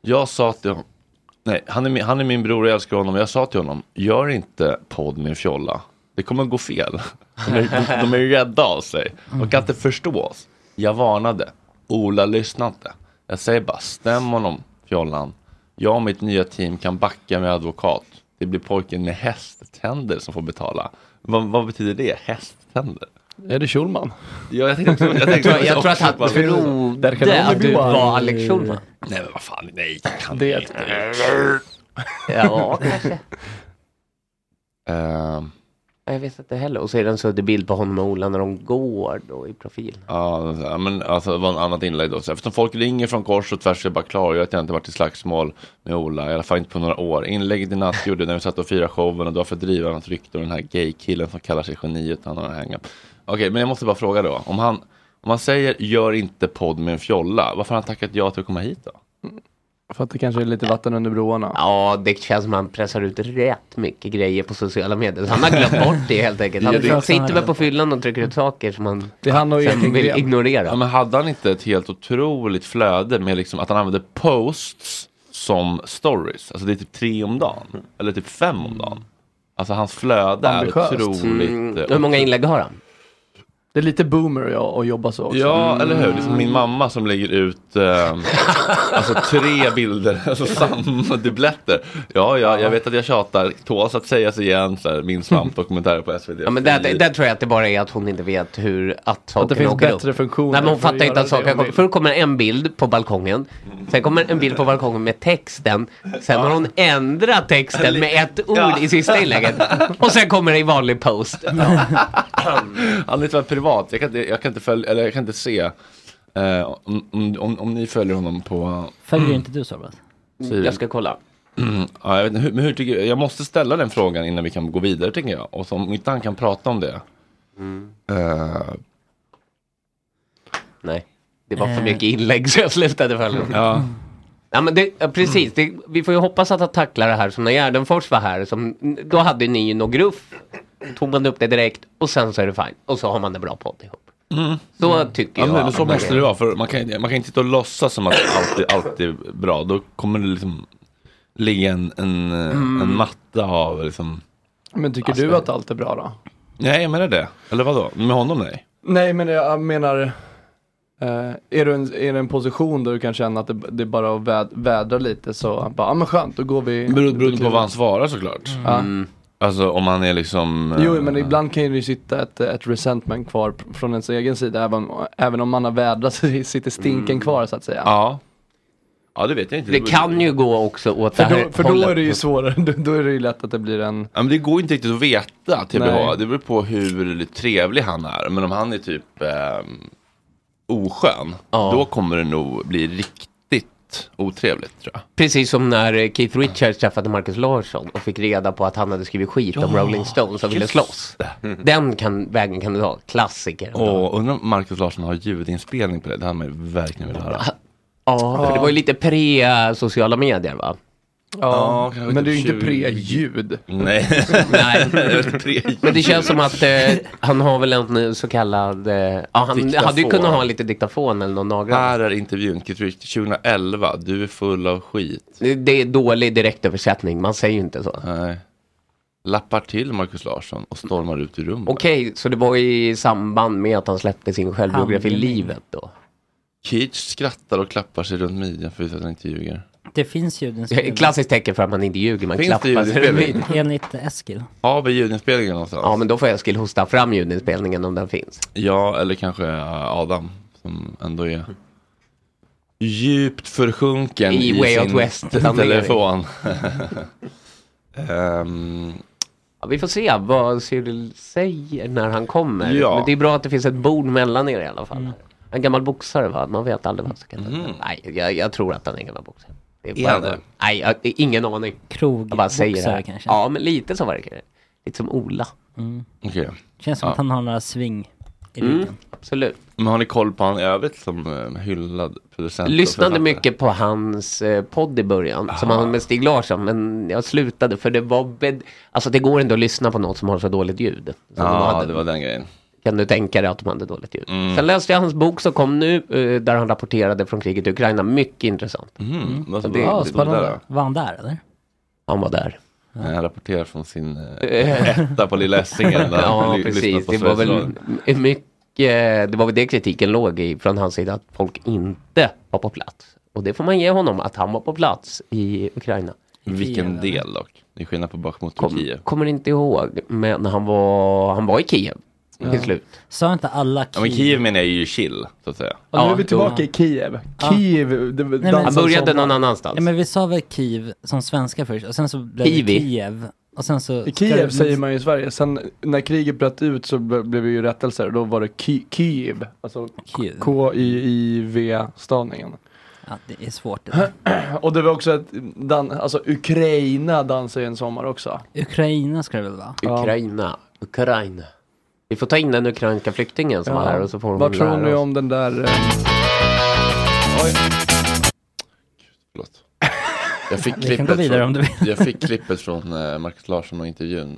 Speaker 1: Jag sa till honom, nej, han är, min, han är min bror och jag älskar honom. Jag sa till honom, gör inte podd med en fjolla. Det kommer gå fel. De är, de, de är rädda av sig. De kan inte förstå oss. Jag varnade. Ola lyssnade inte. Jag säger bara, stäm honom, fjollan. Jag och mitt nya team kan backa med advokat. Det blir pojken med hästtänder som får betala. Vad, vad betyder det? Hästtänder?
Speaker 6: Är det Schulman?
Speaker 1: Ja, jag tänkte också- jag tänkte
Speaker 8: Jag tror- jag
Speaker 1: också
Speaker 8: tror att han
Speaker 1: bara-
Speaker 8: trodde Där kan det att bli du var bara- Alex Schulman.
Speaker 1: Nej men vad fan, nej jag kan
Speaker 6: Det-
Speaker 1: inte.
Speaker 8: Ja, kanske.
Speaker 1: Ehm,
Speaker 8: Ja, Jag vet inte heller. Och så är det en suddig bild på honom och Ola när de går då i profil.
Speaker 1: Ja, ja, men alltså, det var ett annat inlägg då. Så, Eftersom folk ringer från kors och tvärs så jag bara klargör att jag inte varit i slagsmål med Ola, i alla fall inte på några år. Inlägget i natt gjorde när vi satt och firade showen och då för att driva något rykte om den här gay-killen som kallar sig geniet, han har en hang-up. Okej, men jag måste bara fråga då. Om han, om han säger gör inte podd med en fjolla, varför har han tackat ja till att komma hit då?
Speaker 6: För att det kanske är lite vatten under broarna.
Speaker 8: Ja, det känns som han pressar ut rätt mycket grejer på sociala medier. Så han har glömt bort det helt enkelt. Han
Speaker 1: Ja, det-
Speaker 8: han sitter väl på fyllan och trycker ut saker som han
Speaker 6: Mm. Det är han och
Speaker 8: sen
Speaker 6: Ekengren.
Speaker 8: vill ignorera.
Speaker 1: Ja, men hade han inte ett helt otroligt flöde med liksom att han använde posts som stories? Alltså det är typ tre om dagen, eller typ fem om dagen. Alltså hans flöde är otroligt...
Speaker 8: Mm. Hur många inlägg har han?
Speaker 6: Det är lite boomer och jag att jobba så också.
Speaker 1: Ja, eller hur? Det är som min mamma som lägger ut eh, alltså tre bilder, alltså samma dubbletter. Ja, ja, jag vet att jag tjatar. Tåls att sägas igen, så här, min svampdokumentär på SVT.
Speaker 8: Ja, men där, där tror jag att det bara är att hon inte vet hur att saker
Speaker 6: finns
Speaker 8: åker
Speaker 6: bättre
Speaker 8: upp.
Speaker 6: funktioner
Speaker 8: Nej, men hon
Speaker 6: för att
Speaker 8: fattar inte
Speaker 6: göra
Speaker 8: att saker
Speaker 6: det
Speaker 8: åker
Speaker 6: hon
Speaker 8: upp. Förr kommer en bild på balkongen. Sen kommer en bild på balkongen med texten. Sen har hon ändrat texten med ett ord
Speaker 1: Ja.
Speaker 8: i sista inlägget. Och sen kommer det i vanlig post.
Speaker 1: Han är tyvärr privat. Jag kan inte, jag kan inte, följa, eller jag kan inte se. eh, om, om, om, om ni följer honom på...
Speaker 7: Följer inte du Sorbet?
Speaker 1: Syren.
Speaker 7: Jag ska
Speaker 8: kolla.
Speaker 11: Mm.
Speaker 1: ja, jag, vet inte, hur, men hur tycker, jag måste ställa den frågan innan vi kan gå vidare tänker jag. Och så, om inte han kan prata om det. eh,
Speaker 8: Nej, det
Speaker 7: Eh.
Speaker 8: var för
Speaker 1: Eh.
Speaker 8: mycket inlägg så jag slutade följa dem.
Speaker 1: Ja.
Speaker 8: Ja men det, ja, precis, det, vi får ju hoppas att han tacklar det här som när Gärdenfors var här. Som, då hade ni ju något gruff, tog man upp det direkt och sen så är det fint. Och så har man en bra podd ihop. Så tycker
Speaker 1: Mm. Ja,
Speaker 8: jag.
Speaker 1: men så
Speaker 8: att man
Speaker 1: måste
Speaker 8: är.
Speaker 1: det vara. För man kan, man kan inte sitta och låtsas som att allt är, allt är bra. Då kommer det liksom ligga en, en, eh,
Speaker 6: Mm.
Speaker 1: en matta av liksom.
Speaker 6: Men tycker
Speaker 8: Alltså-
Speaker 6: du att allt är bra då?
Speaker 1: Nej, jag menar det. Eller vadå? Med honom nej.
Speaker 6: Nej, men jag menar, eh, är, du en, är du en position där du kan känna att det, det är bara att väd, vädra lite så, han bara, ja ah, men skönt, då går vi.
Speaker 1: Bero- Beroende på vad han svarar såklart.
Speaker 8: Mm.
Speaker 6: Ja.
Speaker 1: Alltså om han är liksom. eh,
Speaker 6: Jo, men ibland kan ju sitta ett, ett resentment kvar p- från ens egen sida, även, även om man har vädrat så sitter stinken kvar så att säga.
Speaker 1: Ja. Ja, det vet jag inte.
Speaker 8: Det kan ju gå också åt det
Speaker 6: För
Speaker 8: här
Speaker 6: då, för då är
Speaker 8: hållet.
Speaker 6: det ju svårare, då, då är det ju lätt att det blir en...
Speaker 1: Ja, men det går inte riktigt att veta TBH.
Speaker 6: Nej.
Speaker 1: Det beror på hur trevlig han är. Men om han är typ eh, oskön. Då kommer det nog bli riktigt otrevligt tror jag.
Speaker 8: Precis som när eh, Keith Richards träffade Marcus Larsson och fick reda på att han hade skrivit skit om
Speaker 1: Ja,
Speaker 8: Rolling Stones och ville
Speaker 1: just Mm.
Speaker 8: slåss. Den kan, vägen kan du ta, klassiker.
Speaker 1: Och undrar om Marcus Larsson har ljudinspelning på det. Det hade man ju verkligen velat höra.
Speaker 8: Ja, för det var ju lite pre-sociala medier va?
Speaker 6: Ja,
Speaker 1: kanske
Speaker 6: men
Speaker 1: typ
Speaker 6: det är ju inte
Speaker 1: 20.
Speaker 6: pre-ljud.
Speaker 1: Nej.
Speaker 8: Nej.
Speaker 1: Det är ett pre-
Speaker 8: Men det känns som att eh, han har väl en eh, så kallad... Eh, ja, han hade ju kunnat ha en lite diktafon eller någon nagel.
Speaker 1: Här är intervjun, Keith Richards, 2011. Du är full av skit.
Speaker 8: Det, det är dålig direktöversättning, man säger ju inte så.
Speaker 1: Nej. Lappar till Marcus Larsson och stormar ut ur rummet.
Speaker 8: Okej, så det var i samband med att han släppte sin självbiografi
Speaker 1: Handling.
Speaker 8: Livet då?
Speaker 1: Keith skrattar och klappar sig runt midjan för att visa att han inte ljuger.
Speaker 7: Det finns ju
Speaker 8: Det är ett Klassiskt tecken för att man inte ljuger, man
Speaker 1: Finns det
Speaker 8: klappar sig
Speaker 1: ljudinspelning?
Speaker 8: runt.
Speaker 7: Enligt Eskil.
Speaker 1: Har vi ljudinspelningen någonstans?
Speaker 8: Ja, men då får Eskil hosta fram ljudinspelningen om den finns.
Speaker 1: Ja, eller kanske eh, Adam som ändå är djupt försjunken
Speaker 8: I
Speaker 1: i,
Speaker 8: Way Out
Speaker 1: sin
Speaker 8: West.
Speaker 1: telefon. Ehm,
Speaker 8: Ja, vi får se vad Cyril säger när han kommer.
Speaker 1: Ja.
Speaker 8: Men det är bra att det finns ett bord mellan er i alla
Speaker 7: Mm.
Speaker 8: fall. En gammal boxare va? Man vet aldrig vad som kan hända. Nej, jag, jag tror att han är en gammal boxare. Det
Speaker 7: Är
Speaker 8: bara-
Speaker 7: han det?
Speaker 8: Nej, jag, det är ingen aning.
Speaker 7: Krog,
Speaker 8: jag bara säger det
Speaker 7: boxare
Speaker 8: här.
Speaker 7: kanske?
Speaker 8: Ja, men lite så verkar det. Lite som Ola.
Speaker 7: Mm.
Speaker 1: Okej.
Speaker 7: Känns som
Speaker 1: Ja.
Speaker 7: att han har några sving i
Speaker 8: Mm.
Speaker 7: ryggen.
Speaker 8: Absolut.
Speaker 1: Men har ni koll på han i övrigt som eh, hyllad producent? och
Speaker 8: Lyssnade
Speaker 1: författare? Ah.
Speaker 8: mycket på hans eh, podd i början, som han hade med Stig Larsson, men jag slutade för det var... Bed... Alltså det går inte att lyssna på något som har så dåligt ljud. Som de
Speaker 1: Ja,
Speaker 8: hade.
Speaker 1: det var den grejen.
Speaker 8: Kan du tänka dig att de hade dåligt ljud?
Speaker 1: Mm.
Speaker 8: Sen läste jag hans bok som kom nu, eh, där han rapporterade från kriget i Ukraina. Mycket intressant.
Speaker 1: Mm. Vad
Speaker 8: Så
Speaker 1: som
Speaker 8: det-
Speaker 1: var-
Speaker 8: Ja,
Speaker 1: vad som var
Speaker 8: spännande.
Speaker 1: där då?
Speaker 7: Var han där eller?
Speaker 8: Han var där.
Speaker 1: Nej, Han rapporterar från sin eh,
Speaker 8: Eh.
Speaker 1: etta på Lilla Essingen. där
Speaker 8: ja,
Speaker 1: han ly- lyssnar
Speaker 8: precis.
Speaker 1: på
Speaker 8: Det var
Speaker 1: Sveriges
Speaker 8: väl
Speaker 1: Radio.
Speaker 8: m- mycket, det var väl det kritiken låg i från hans sida, att folk inte var på plats. Och det får man ge honom, att han var på plats i Ukraina.
Speaker 1: Vilken del dock. Det är skillnad på Bachmut och Kiev.
Speaker 8: Kommer inte ihåg, men han var, han var i Kiev till slut.
Speaker 7: Sa inte alla
Speaker 1: Ja, men Kiev menar jag är ju chill, så att säga.
Speaker 6: Och nu
Speaker 8: Ja,
Speaker 6: är vi tillbaka
Speaker 7: då-
Speaker 6: i Kiev.
Speaker 7: Ja.
Speaker 6: Kiev, det,
Speaker 7: men-
Speaker 6: dansen
Speaker 7: Han började
Speaker 6: som-
Speaker 8: någon annanstans.
Speaker 7: Ja, men vi sa väl Kiev som svenska först och sen så blev det
Speaker 6: Kiwi.
Speaker 7: Kiev. Och sen så...
Speaker 6: I Kiev säger man ju i Sverige. Sen när kriget bröt ut så ble- blev det ju rättelser. Då var det Ki- Kiev. Alltså
Speaker 7: Kiev.
Speaker 6: K-I-I-V-stavningen.
Speaker 7: Ja, det är svårt det där.
Speaker 6: Och det var också ett, dan- alltså Ukraina dansar ju en sommar också.
Speaker 7: Ukraina ska det väl vara?
Speaker 8: Ukraina, Ukraina. Vi får ta in den ukrainska flyktingen som var här och så får hon
Speaker 6: Vad tror
Speaker 8: lära
Speaker 6: ni
Speaker 8: oss.
Speaker 6: om den där... eh,
Speaker 1: Jag fick,
Speaker 7: Vi kan
Speaker 1: klippet
Speaker 7: gå vidare
Speaker 1: från,
Speaker 7: om du vill.
Speaker 1: jag fick klippet från eh, Marcus Larsson och intervjun.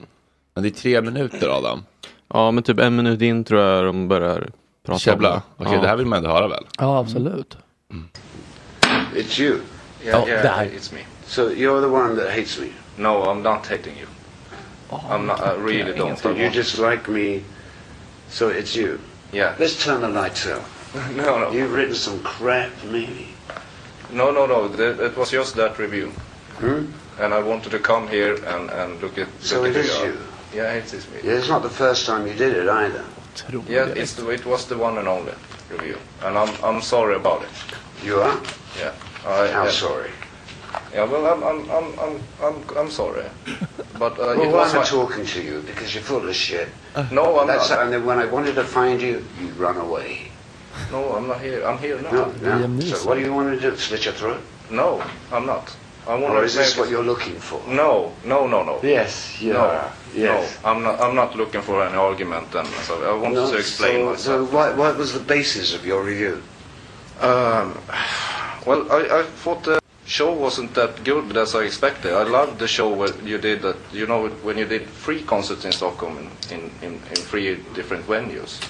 Speaker 1: Men det är tre minuter Adam.
Speaker 9: Ja, men typ en minut in tror jag de börjar prata om
Speaker 1: Käbbla.
Speaker 9: det.
Speaker 1: Okej, det här vill man ändå höra väl?
Speaker 6: Ja, absolut.
Speaker 10: It's you.
Speaker 8: Yeah, Oh, yeah, that-
Speaker 10: it's me. So you're the one that hates me. No, I'm not hating
Speaker 8: Oh,
Speaker 10: you. I'm not. I really don't. You just like me, so it's you. Yeah. Let's turn the lights out.
Speaker 12: No, no.
Speaker 10: You've written some crap, maybe.
Speaker 12: No, no, no. The, it was just that review. And I wanted to come here and, and look at.
Speaker 10: hmm? So
Speaker 12: look
Speaker 10: it
Speaker 12: at
Speaker 10: is
Speaker 12: the-
Speaker 10: you.
Speaker 12: Yeah, it is me.
Speaker 10: Yeah, it's not the first time you did it either.
Speaker 12: Yeah, it's the, it was the one and only review, and I'm I'm sorry about it.
Speaker 10: You are?
Speaker 12: Yeah. I,
Speaker 10: How
Speaker 12: yeah.
Speaker 10: sorry?
Speaker 12: Yeah, well, I'm I'm I'm I'm I'm, I'm sorry, but uh,
Speaker 10: well,
Speaker 12: it
Speaker 10: why
Speaker 12: was
Speaker 10: am I
Speaker 12: my-
Speaker 10: talking to you? Because you're full of shit.
Speaker 12: No, I'm
Speaker 10: That's
Speaker 12: not.
Speaker 10: and then when I wanted to find you, you run away.
Speaker 12: No, I'm not here. I'm here now.
Speaker 10: No, no. So what do you want to do? Slit your throat?
Speaker 12: No, I'm not. I want
Speaker 10: Or
Speaker 12: to
Speaker 10: is this
Speaker 12: make-
Speaker 10: what you're looking for?
Speaker 12: No, no, no, no.
Speaker 10: Yes, you
Speaker 12: no,
Speaker 10: are. Yes.
Speaker 12: No, I'm not. I'm not looking for any argument. Then, so I want
Speaker 10: No,
Speaker 12: to explain
Speaker 10: so,
Speaker 12: myself.
Speaker 10: So what, what was the basis of your review?
Speaker 12: Um, well, I, I thought the show wasn't that good as I expected. I loved the show where you did that. You know, when you did three concerts in Stockholm in, in, in, in three different venues,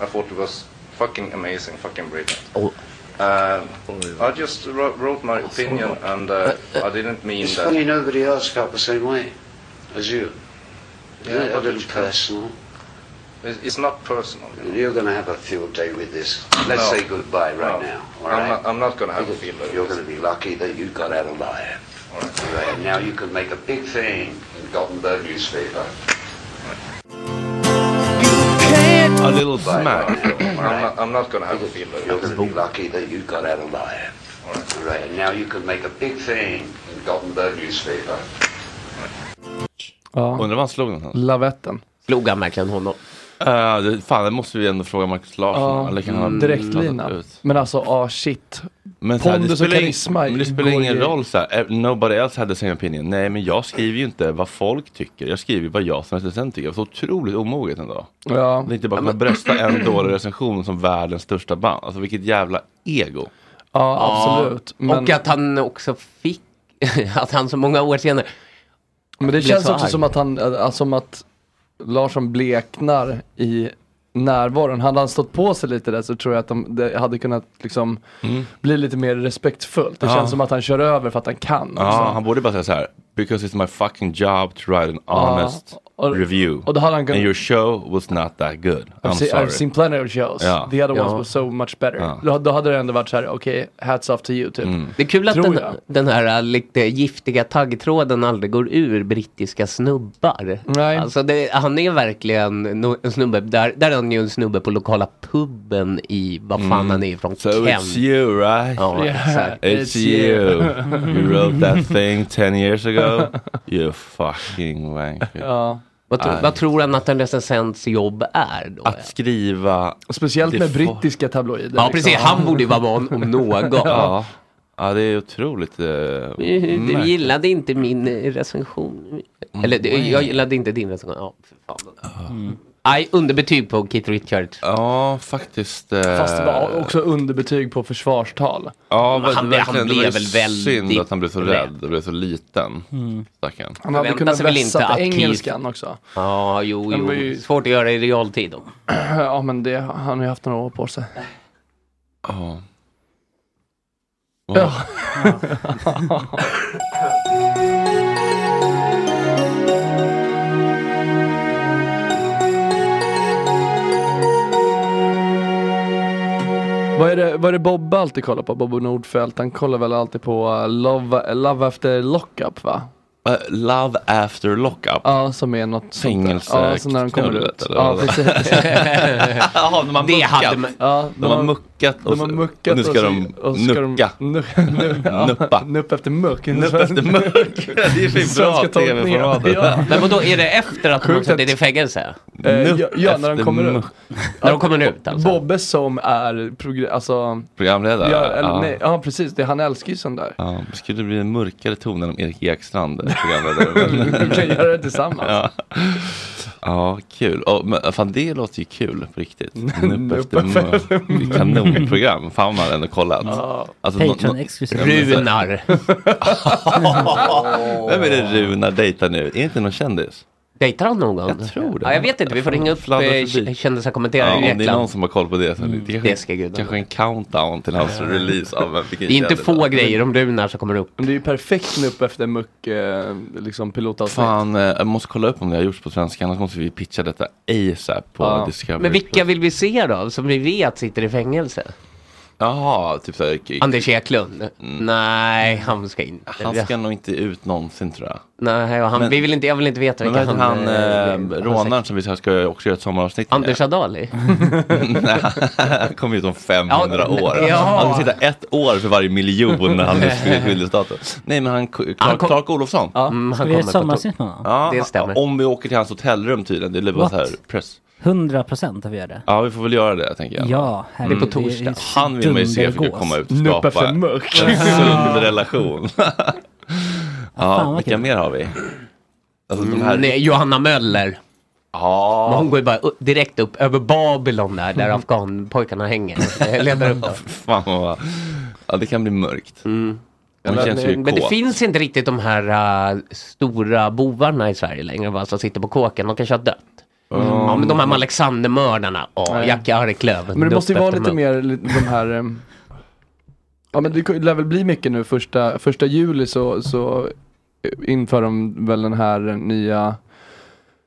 Speaker 12: I thought it was fucking amazing, fucking brilliant.
Speaker 3: Oh.
Speaker 12: Um, I just wrote, wrote my opinion, and uh, I didn't mean
Speaker 10: It's
Speaker 12: that.
Speaker 10: funny nobody else felt the same way as you. Isn't
Speaker 12: Yeah,
Speaker 10: it a
Speaker 12: but
Speaker 10: little
Speaker 12: it's-
Speaker 10: personal.
Speaker 12: It's it's not personal.
Speaker 10: You're going to have a field day with this. Let's
Speaker 12: No.
Speaker 10: say goodbye
Speaker 12: No.
Speaker 10: right now.
Speaker 12: I'm not- I'm not going to have a field day.
Speaker 10: You're going to be lucky that you got out alive.
Speaker 12: All right.
Speaker 10: And now you can make a big thing in Gothenburg newspaper.
Speaker 1: A little
Speaker 10: Bye.
Speaker 1: smack.
Speaker 10: All right.
Speaker 12: I'm not, I'm not going to have a field day.
Speaker 10: You're going to be lucky that you got out alive.
Speaker 12: All right.
Speaker 10: All right. And now you can make a big thing in Gothenburg newspaper.
Speaker 6: Ja.
Speaker 1: Undrar var han slog någonstans?
Speaker 6: Lavetten.
Speaker 8: Slog han verkligen honom?
Speaker 1: Eh, det, fan, det måste vi ändå fråga Marcus Larsson.
Speaker 6: Ja,
Speaker 1: eller kan
Speaker 7: Mm.
Speaker 8: Mm.
Speaker 1: han
Speaker 6: direktlina.
Speaker 1: blandat ut?
Speaker 6: Men alltså, ah shit.
Speaker 1: Men så här, det
Speaker 6: Pondus och
Speaker 1: spelar, ing-
Speaker 6: karisma.
Speaker 1: men det spelar
Speaker 6: går
Speaker 1: ingen
Speaker 6: i-
Speaker 1: roll så här. eh, nobody else had the same opinion. Nej men jag skriver ju inte vad folk tycker, jag skriver vad jag som recensent tycker. Så otroligt omoget ändå.
Speaker 6: Ja.
Speaker 1: Det är inte bara att kunna brösta en dålig recension som världens största band. Alltså vilket jävla ego.
Speaker 6: Ja,
Speaker 8: Och att han också fick, att han så många år senare.
Speaker 6: Men det
Speaker 8: blev
Speaker 6: känns
Speaker 8: så
Speaker 6: också
Speaker 8: arg.
Speaker 6: som att han, äh, som att Larsson bleknar i närvaron. Hade han stått på sig lite där så tror jag att de, det hade kunnat liksom
Speaker 1: Mm.
Speaker 6: bli lite mer respektfullt. Det
Speaker 1: Ja.
Speaker 6: känns som att han kör över för att han kan.
Speaker 1: Ja,
Speaker 6: också.
Speaker 1: han borde bara säga så här. Because it's my fucking job to write an honest
Speaker 6: och-
Speaker 1: review.
Speaker 6: och då hade han kunnat-
Speaker 1: And your show was not that good. I'm
Speaker 6: I've, seen,
Speaker 1: sorry.
Speaker 6: I've seen plenty of shows.
Speaker 1: Ja.
Speaker 6: The other ones
Speaker 1: Ja.
Speaker 6: were so much better.
Speaker 1: Ja.
Speaker 6: Då, då hade det ändå varit så här, okej, hats off to you typ.
Speaker 1: Mm.
Speaker 8: Det är kul att
Speaker 6: Tror
Speaker 8: den,
Speaker 6: jag.
Speaker 8: den här äh, lite giftiga taggtråden aldrig går ur brittiska snubbar.
Speaker 6: Nej.
Speaker 8: Alltså det, han är verkligen no, en snubbe, där, där är han ju en snubbe på lokala puben i, vad fan
Speaker 1: Mm.
Speaker 8: han är ifrån,
Speaker 1: So it's you right?
Speaker 8: Ja, Yeah, exakt.
Speaker 1: It's
Speaker 8: it's
Speaker 1: you.
Speaker 8: you.
Speaker 1: you wrote that thing 10 years ago. You fucking wanker.
Speaker 6: Ja.
Speaker 8: Vad, tro,
Speaker 1: Nej.
Speaker 8: vad tror han att en recensents jobb är då?
Speaker 1: Att skriva...
Speaker 6: Speciellt med
Speaker 1: Det får-
Speaker 6: brittiska tabloider. liksom.
Speaker 8: Ja precis, han borde ju vara van om någon.
Speaker 1: Ja. ja, det är otroligt eh,
Speaker 8: Du
Speaker 1: märkligt.
Speaker 8: gillade inte min eh, recension.
Speaker 1: Mm.
Speaker 8: Eller det- jag gillade inte din recension. Ja, för fan.
Speaker 6: Mm.
Speaker 8: Nej, underbetyg på Keith Richards.
Speaker 1: Ja, faktiskt. eh,
Speaker 6: Fast det var också underbetyg på försvarstal.
Speaker 1: Ja,
Speaker 8: Han
Speaker 1: men
Speaker 8: blev-
Speaker 1: verkligen,
Speaker 8: han
Speaker 1: det var
Speaker 8: blev
Speaker 1: ju
Speaker 8: väl väldigt
Speaker 1: synd att han blev så
Speaker 8: rädd. Mm.
Speaker 1: rädd och blev så liten. Stackarn.
Speaker 6: Han hade
Speaker 8: Förväntar
Speaker 6: kunnat
Speaker 8: sig väl inte
Speaker 6: vässa
Speaker 8: att
Speaker 6: engelskan också.
Speaker 8: Ja, jo,
Speaker 6: Den
Speaker 8: jo.
Speaker 6: var ju-
Speaker 8: Svårt att göra i realtid då.
Speaker 6: ja men det, han har ju haft några år på sig.
Speaker 1: Ja.
Speaker 6: Ja. Vad är, det, vad är det Bobbe alltid kollar på? Bobbe Nordfeldt, han kollar väl alltid på eh, Love, Love After Lockup va?
Speaker 1: Eh, love after lockup.
Speaker 6: Ja, som är något sånt där.
Speaker 1: Fängelse-
Speaker 6: Ja, så när de kommer ut.
Speaker 1: knullet, eller
Speaker 6: Ja,
Speaker 1: vad?
Speaker 6: precis.
Speaker 1: Jaha, de har
Speaker 6: Det
Speaker 1: muckat.
Speaker 6: hade man- Ja,
Speaker 1: de, har muckat och,
Speaker 6: de har
Speaker 1: så-
Speaker 6: muckat
Speaker 1: och nu ska
Speaker 6: och så-
Speaker 1: de
Speaker 6: och så ska de-
Speaker 1: nucka. Nuppa.
Speaker 6: Nupp efter muck.
Speaker 1: Nupp efter muck. Det är ju bra
Speaker 6: Svenska tolkningen.
Speaker 1: tv-format.
Speaker 6: Ja.
Speaker 8: Men vadå, är det efter att de har
Speaker 6: Sjukt
Speaker 8: suttit i
Speaker 6: att-
Speaker 8: fängelse?
Speaker 6: Eh, ja, ja, när de kommer ut.
Speaker 8: När de kommer ut alltså?
Speaker 6: Bobbe som är progr- alltså,
Speaker 1: Programledare?
Speaker 6: ja, eller,
Speaker 1: ja.
Speaker 6: Nej, ja, precis. Det, han älskar ju sånt där.
Speaker 1: Ja, det skulle bli en mörkare ton om Erik Ekstrand är programledare. men-
Speaker 6: Vi kan göra det tillsammans.
Speaker 1: Ja, ja kul. Och, men, fan, det låter ju kul på riktigt. Nupp efter mupp. Det är Kanonprogram. Fan vad man ändå kollat. Alltså,
Speaker 6: Ja.
Speaker 1: nå-
Speaker 7: Patreon
Speaker 1: nå-
Speaker 7: exklusivt.
Speaker 8: Runar.
Speaker 1: Vem är det Runar dejtar nu? Är inte någon kändis?
Speaker 8: Dejtar han någon? Jag
Speaker 1: tror det.
Speaker 8: Ja, jag vet inte, vi får ringa upp
Speaker 1: fladdrar
Speaker 8: eh,
Speaker 1: förbi.
Speaker 8: k- kändisar kommenterar
Speaker 1: Ja,
Speaker 8: i
Speaker 1: om det är någon
Speaker 8: Grekland.
Speaker 1: som har koll på det. Så
Speaker 8: Mm.
Speaker 1: det kanske, det ska kanske en countdown till hans
Speaker 8: Ja.
Speaker 1: release av en vilken
Speaker 8: Det är inte
Speaker 1: kändis.
Speaker 8: få grejer om Runar som kommer upp.
Speaker 6: Men det är ju perfekt nu upp efter muck, eh, liksom pilotavsnitt.
Speaker 1: Fan, eh, jag måste kolla upp om det har gjorts på svenska. Annars måste vi pitcha detta ASAP på
Speaker 8: Ja.
Speaker 1: Discovery.
Speaker 8: Men vilka vill vi se då, som vi vet sitter i fängelse?
Speaker 1: Jaha, typ såhär.
Speaker 8: Anders Eklund? Nej, han ska inte.
Speaker 1: Mm. Han ska nog inte ut någonsin tror jag.
Speaker 8: Nej, och han,
Speaker 1: Men-
Speaker 8: vi vill inte, jag vill inte veta
Speaker 1: Men
Speaker 8: vilka
Speaker 1: vad heter han,
Speaker 8: eh,
Speaker 1: eh, rånaren som vi ska- ska också göra ett sommaravsnitt med?
Speaker 8: Anders Adali?
Speaker 1: Nej, han kommer ut om 500
Speaker 8: Ja,
Speaker 1: år.
Speaker 8: ja.
Speaker 1: Han kommer sitta ett år för varje miljon när han är skyldig- skyldig staten. Nej, men han, Clark, Clark Olofsson.
Speaker 7: Ja. Mm, han Ska vi göra kommer ett på sommaravsnitt med honom?
Speaker 1: Ja,
Speaker 7: Det stämmer.
Speaker 1: Om vi åker till hans hotellrum tydligen. Det är bara
Speaker 7: What?
Speaker 1: så här press.
Speaker 7: 100 procent att vi gör det.
Speaker 1: Ja, vi får väl göra det tänker jag.
Speaker 7: Ja, herregud,
Speaker 1: Mm.
Speaker 7: Det är på torsdag.
Speaker 1: Han vill man ju se fick
Speaker 7: dundergås.
Speaker 1: komma ut
Speaker 7: Nupp
Speaker 1: och skapa
Speaker 7: efter
Speaker 1: en
Speaker 7: mörk.
Speaker 1: sund relation.
Speaker 8: fan,
Speaker 1: ja,
Speaker 8: vad
Speaker 1: vilka
Speaker 8: kul.
Speaker 1: mer har vi? Alltså, de här...
Speaker 8: Mm, Nej, Johanna Möller.
Speaker 1: Ja. Mm.
Speaker 8: Hon går ju bara upp, direkt upp över Babylon där, där afghanpojkarna hänger. Eh, Letar upp dem. Mm.
Speaker 1: Fan vad... Ja, det kan bli mörkt. Hon
Speaker 8: Men,
Speaker 1: känns ju
Speaker 8: men det
Speaker 1: kåt.
Speaker 8: finns inte riktigt de här äh, stora bovarna i Sverige längre, va, som sitter på kåken. De kanske har dött.
Speaker 6: Mm.
Speaker 8: Ja, men de här med Alexandermördarna. Ja,
Speaker 6: Nej.
Speaker 8: Jackie Arklöv.
Speaker 6: Men det måste ju
Speaker 8: Dupp
Speaker 6: vara
Speaker 8: efter
Speaker 6: lite
Speaker 8: mun.
Speaker 6: mer li- de här ehm, Ja men det lär väl bli mycket nu första, första juli så, så eh, inför de väl den här eh, nya,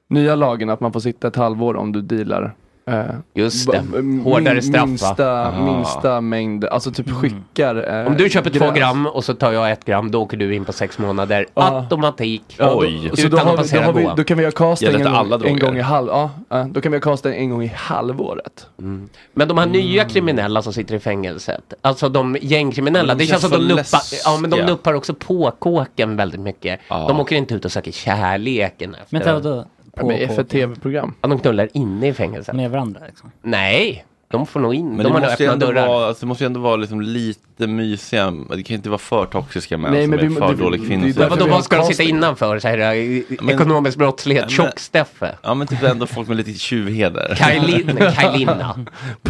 Speaker 6: nya lagen att man får sitta ett halvår om du dealar eh,
Speaker 8: Just
Speaker 6: ba-
Speaker 8: det. Hårdare straff, va?
Speaker 6: minsta,
Speaker 8: Ah.
Speaker 6: minsta mängd, alltså typ
Speaker 7: Mm.
Speaker 6: skickar eh,
Speaker 8: Om du köper två
Speaker 6: gräs.
Speaker 8: gram och så tar jag ett gram, då åker du in på sex månader. Automatik.
Speaker 6: Ja, då- Så
Speaker 8: Utan
Speaker 6: då, har
Speaker 8: att
Speaker 6: vi, då,
Speaker 8: passera
Speaker 6: har vi,
Speaker 8: boa.
Speaker 6: då kan vi göra casting
Speaker 8: Gäller
Speaker 6: en,
Speaker 8: inte alla
Speaker 6: gång- en
Speaker 8: droger?
Speaker 6: gång i halv, ja, eh, då kan vi göra casting en gång i halvåret.
Speaker 8: Mm. Men de här nya kriminella som sitter i fängelset, alltså de gängkriminella,
Speaker 6: Men de
Speaker 8: det känns som
Speaker 6: känns
Speaker 8: att de
Speaker 6: så
Speaker 8: nuppar, ja, men de
Speaker 6: läskiga.
Speaker 8: nuppar också på kåken väldigt mycket. De åker inte ut och söker kärleken efter.
Speaker 7: Vänta, vadå?
Speaker 8: Ja, men
Speaker 7: På
Speaker 8: är för
Speaker 7: kåken?
Speaker 6: tv-program.
Speaker 8: Ja, de knullar inne i fängelset.
Speaker 7: Med varandra liksom.
Speaker 8: Nej, de får nog in,
Speaker 1: Men
Speaker 8: de
Speaker 1: det,
Speaker 8: har nog
Speaker 1: måste ju
Speaker 8: öppna
Speaker 1: ändå
Speaker 8: dörrar.
Speaker 1: vara, alltså, det måste ju ändå vara liksom lite mysiga, det kan ju inte vara för toxiska män
Speaker 8: Nej,
Speaker 1: som
Speaker 8: men vi
Speaker 1: är
Speaker 8: må-
Speaker 1: för
Speaker 8: det-
Speaker 1: dåliga
Speaker 8: det-
Speaker 1: kvinnor.
Speaker 8: det är därför Men vadå, vi har vad ska de sitta casting. innanför? Så här, eh, ekonomisk brottslighet, tjock-Steffe.
Speaker 1: Ja men typ ändå folk med lite tjuvheder.
Speaker 8: Kaj Lin- Kaj Linna.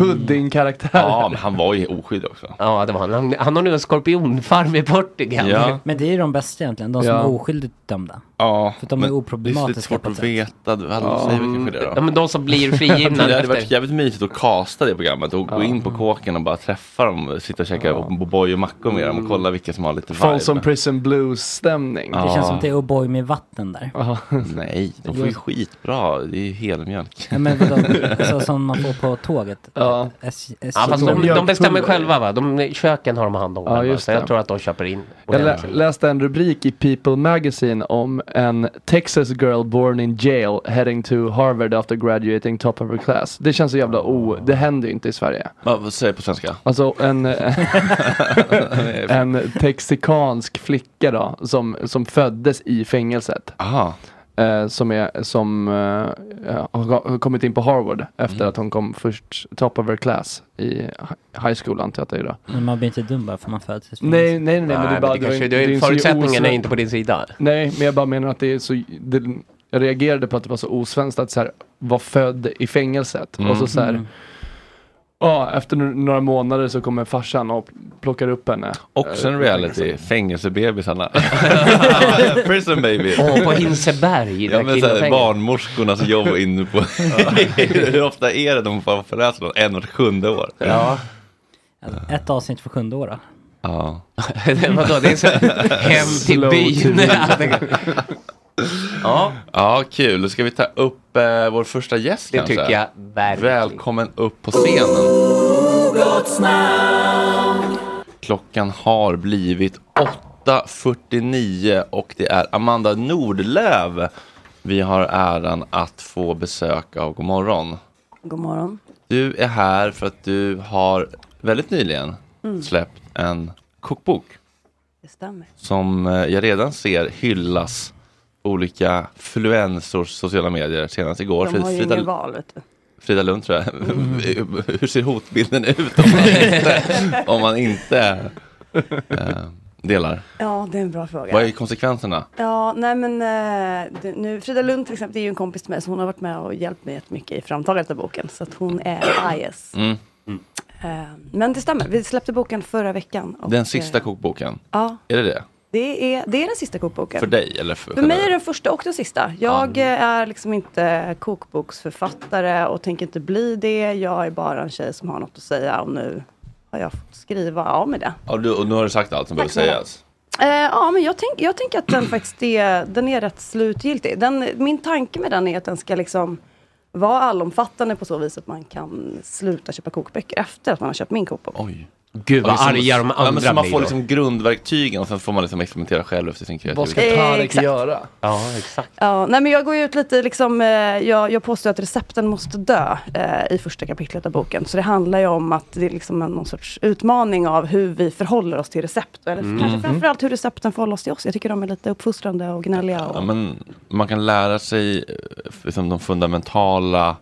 Speaker 6: Puddingkaraktär.
Speaker 1: Ja men han var ju oskyldig också.
Speaker 8: Ja, det var han. han. Han har nu en skorpionfarm i Portugal.
Speaker 1: Ja.
Speaker 7: Men det är ju de bästa egentligen, de som
Speaker 8: Ja.
Speaker 7: är oskyldigt dömda.
Speaker 1: Ja,
Speaker 7: För att de är
Speaker 1: men
Speaker 7: oproblematiska
Speaker 1: Det är så lite
Speaker 7: på ett
Speaker 1: svårt att
Speaker 7: sätt.
Speaker 1: veta. Du hade
Speaker 7: Ja.
Speaker 1: säger väl kanske det då.
Speaker 8: Ja, men de som blir frigivna
Speaker 1: det hade
Speaker 8: efter-
Speaker 1: varit jävligt mysigt att kasta det programmet och gå in på kåken och bara träffa dem, sitta och käka O'boy och mackor med dem och
Speaker 8: Mm.
Speaker 1: kolla vilka som har lite vibe.
Speaker 6: Fan som prison blues stämning.
Speaker 7: Det känns som det är O'boy med vatten där.
Speaker 1: Nej, de får ju skitbra. Det är ju helmjölk.
Speaker 7: Ja, men vadå, alltså, som man får på tåget.
Speaker 6: Ja.
Speaker 7: S, S,
Speaker 8: Ja, fast de, de bestämmer själva va? De, köken har de hand om
Speaker 6: Ja,
Speaker 8: själva.
Speaker 6: just
Speaker 8: Så jag
Speaker 6: det.
Speaker 8: tror att de köper in.
Speaker 6: Jag lä
Speaker 8: ordentligt.
Speaker 6: läste en rubrik i People Magazine om en Texas girl born in jail heading to Harvard after graduating top of her class. Det känns så jävla o... Det händer ju inte i Sverige.
Speaker 1: Vad vad säger jag på svenska?
Speaker 6: Alltså en, eh, en texikansk flicka då som, som föddes i fängelset. Eh, som är, som eh, har har kommit in på Harvard efter
Speaker 1: Mm.
Speaker 6: att hon kom först top of her class i hi- high school antar jag att det är då.
Speaker 7: Men man blir inte dum bara för man föds i
Speaker 6: Nej, nej, nej, men det är bara- det var
Speaker 8: kanske-
Speaker 6: inte-
Speaker 8: det är-
Speaker 6: det är en så
Speaker 8: Förutsättningen är
Speaker 6: osnö-
Speaker 8: inte på din sida.
Speaker 6: Nej, men jag bara menar att det är så, det, jag reagerade på att det var så osvenskt att så här, vara född i fängelset.
Speaker 1: Mm.
Speaker 6: Och så så här,
Speaker 1: Mm.
Speaker 6: ja, efter n- några månader så kommer farsan och plockar upp henne.
Speaker 1: Också en
Speaker 6: Eh,
Speaker 1: reality, fängelsebebisarna. Prison baby.
Speaker 8: Åh, på Hinseberg, där
Speaker 1: Ja, men så här,
Speaker 8: kvinnofängelse.
Speaker 1: barnmorskornas jobb inne på... Hur ofta är det de får förläsa någon? En vart sjunde år.
Speaker 7: Ja. Ett avsnitt för sjunde år då.
Speaker 1: Ja.
Speaker 8: Vadå, det är så hem till
Speaker 7: Slow to
Speaker 8: byn. ja,
Speaker 1: Ja, kul. Ska vi ta upp eh, vår första gäst
Speaker 8: Det
Speaker 1: kanske?
Speaker 8: tycker jag verkligen.
Speaker 1: Välkommen upp på scenen. Klockan har blivit 8.49 och det är Amanda Nordlöv. Vi har äran att få besök av Godmorgon.
Speaker 11: God morgon.
Speaker 1: Du är här för att du har väldigt nyligen
Speaker 11: Mm.
Speaker 1: släppt en kokbok
Speaker 11: Det stämmer.
Speaker 1: som eh, jag redan ser hyllas på olika fluensors sociala medier. Senast igår.
Speaker 11: De har ju
Speaker 1: Frida-
Speaker 11: inget val, vet du.
Speaker 1: Frida Lund tror jag. Hur ser hotbilden ut om man inte, om man inte eh, delar?
Speaker 11: Ja, det är en bra fråga.
Speaker 1: Vad är konsekvenserna?
Speaker 11: Ja, nej men eh, det, nu, Frida Lund till exempel, det är ju en kompis till mig, så hon har varit med och hjälpt mig jättemycket i framtagandet av boken, så att hon är IS.
Speaker 1: Mm.
Speaker 11: Eh, men det stämmer, vi släppte boken förra veckan. och,
Speaker 1: Den sista
Speaker 11: eh,
Speaker 1: kokboken.
Speaker 11: Ja.
Speaker 1: Är det det?
Speaker 11: Det är, det är den sista kokboken.
Speaker 1: För dig eller för,
Speaker 11: För mig är det den första och den sista. Jag eh, är liksom inte kokboksförfattare och tänker inte bli det. Jag är bara en tjej som har något att säga och nu har jag fått skriva av med det.
Speaker 1: Ja, du, och nu har du sagt allt som behöver
Speaker 11: snälla.
Speaker 1: sägas.
Speaker 11: Eh, ja, men jag, tänk, jag tänker att den faktiskt är, den är rätt slutgiltig. Den, min tanke med den är att den ska liksom vara allomfattande på så vis att man kan sluta köpa kokböcker efter att man har köpt min kokbok.
Speaker 1: Oj.
Speaker 8: Gud, vad arga de
Speaker 1: ja, men
Speaker 8: andra
Speaker 1: Så man
Speaker 8: blir
Speaker 1: får
Speaker 8: då.
Speaker 1: liksom grundverktygen och sen får man liksom experimentera själv efter sin kreativitet.
Speaker 11: ska Eh, Tarek exakt.
Speaker 6: göra?
Speaker 8: Ja, exakt.
Speaker 11: Ja, nej men jag går ju ut lite liksom, eh, jag, jag påstår att recepten måste dö eh, i första kapitlet av boken. Så det handlar ju om att det är liksom en, någon sorts utmaning av hur vi förhåller oss till recept. Eller
Speaker 1: Mm.
Speaker 11: kanske
Speaker 1: Mhm.
Speaker 11: framförallt hur recepten förhåller oss till oss. Jag tycker de är lite uppfostrande och gnälliga. Och,
Speaker 1: Ja, men man kan lära sig eh, liksom, de fundamentala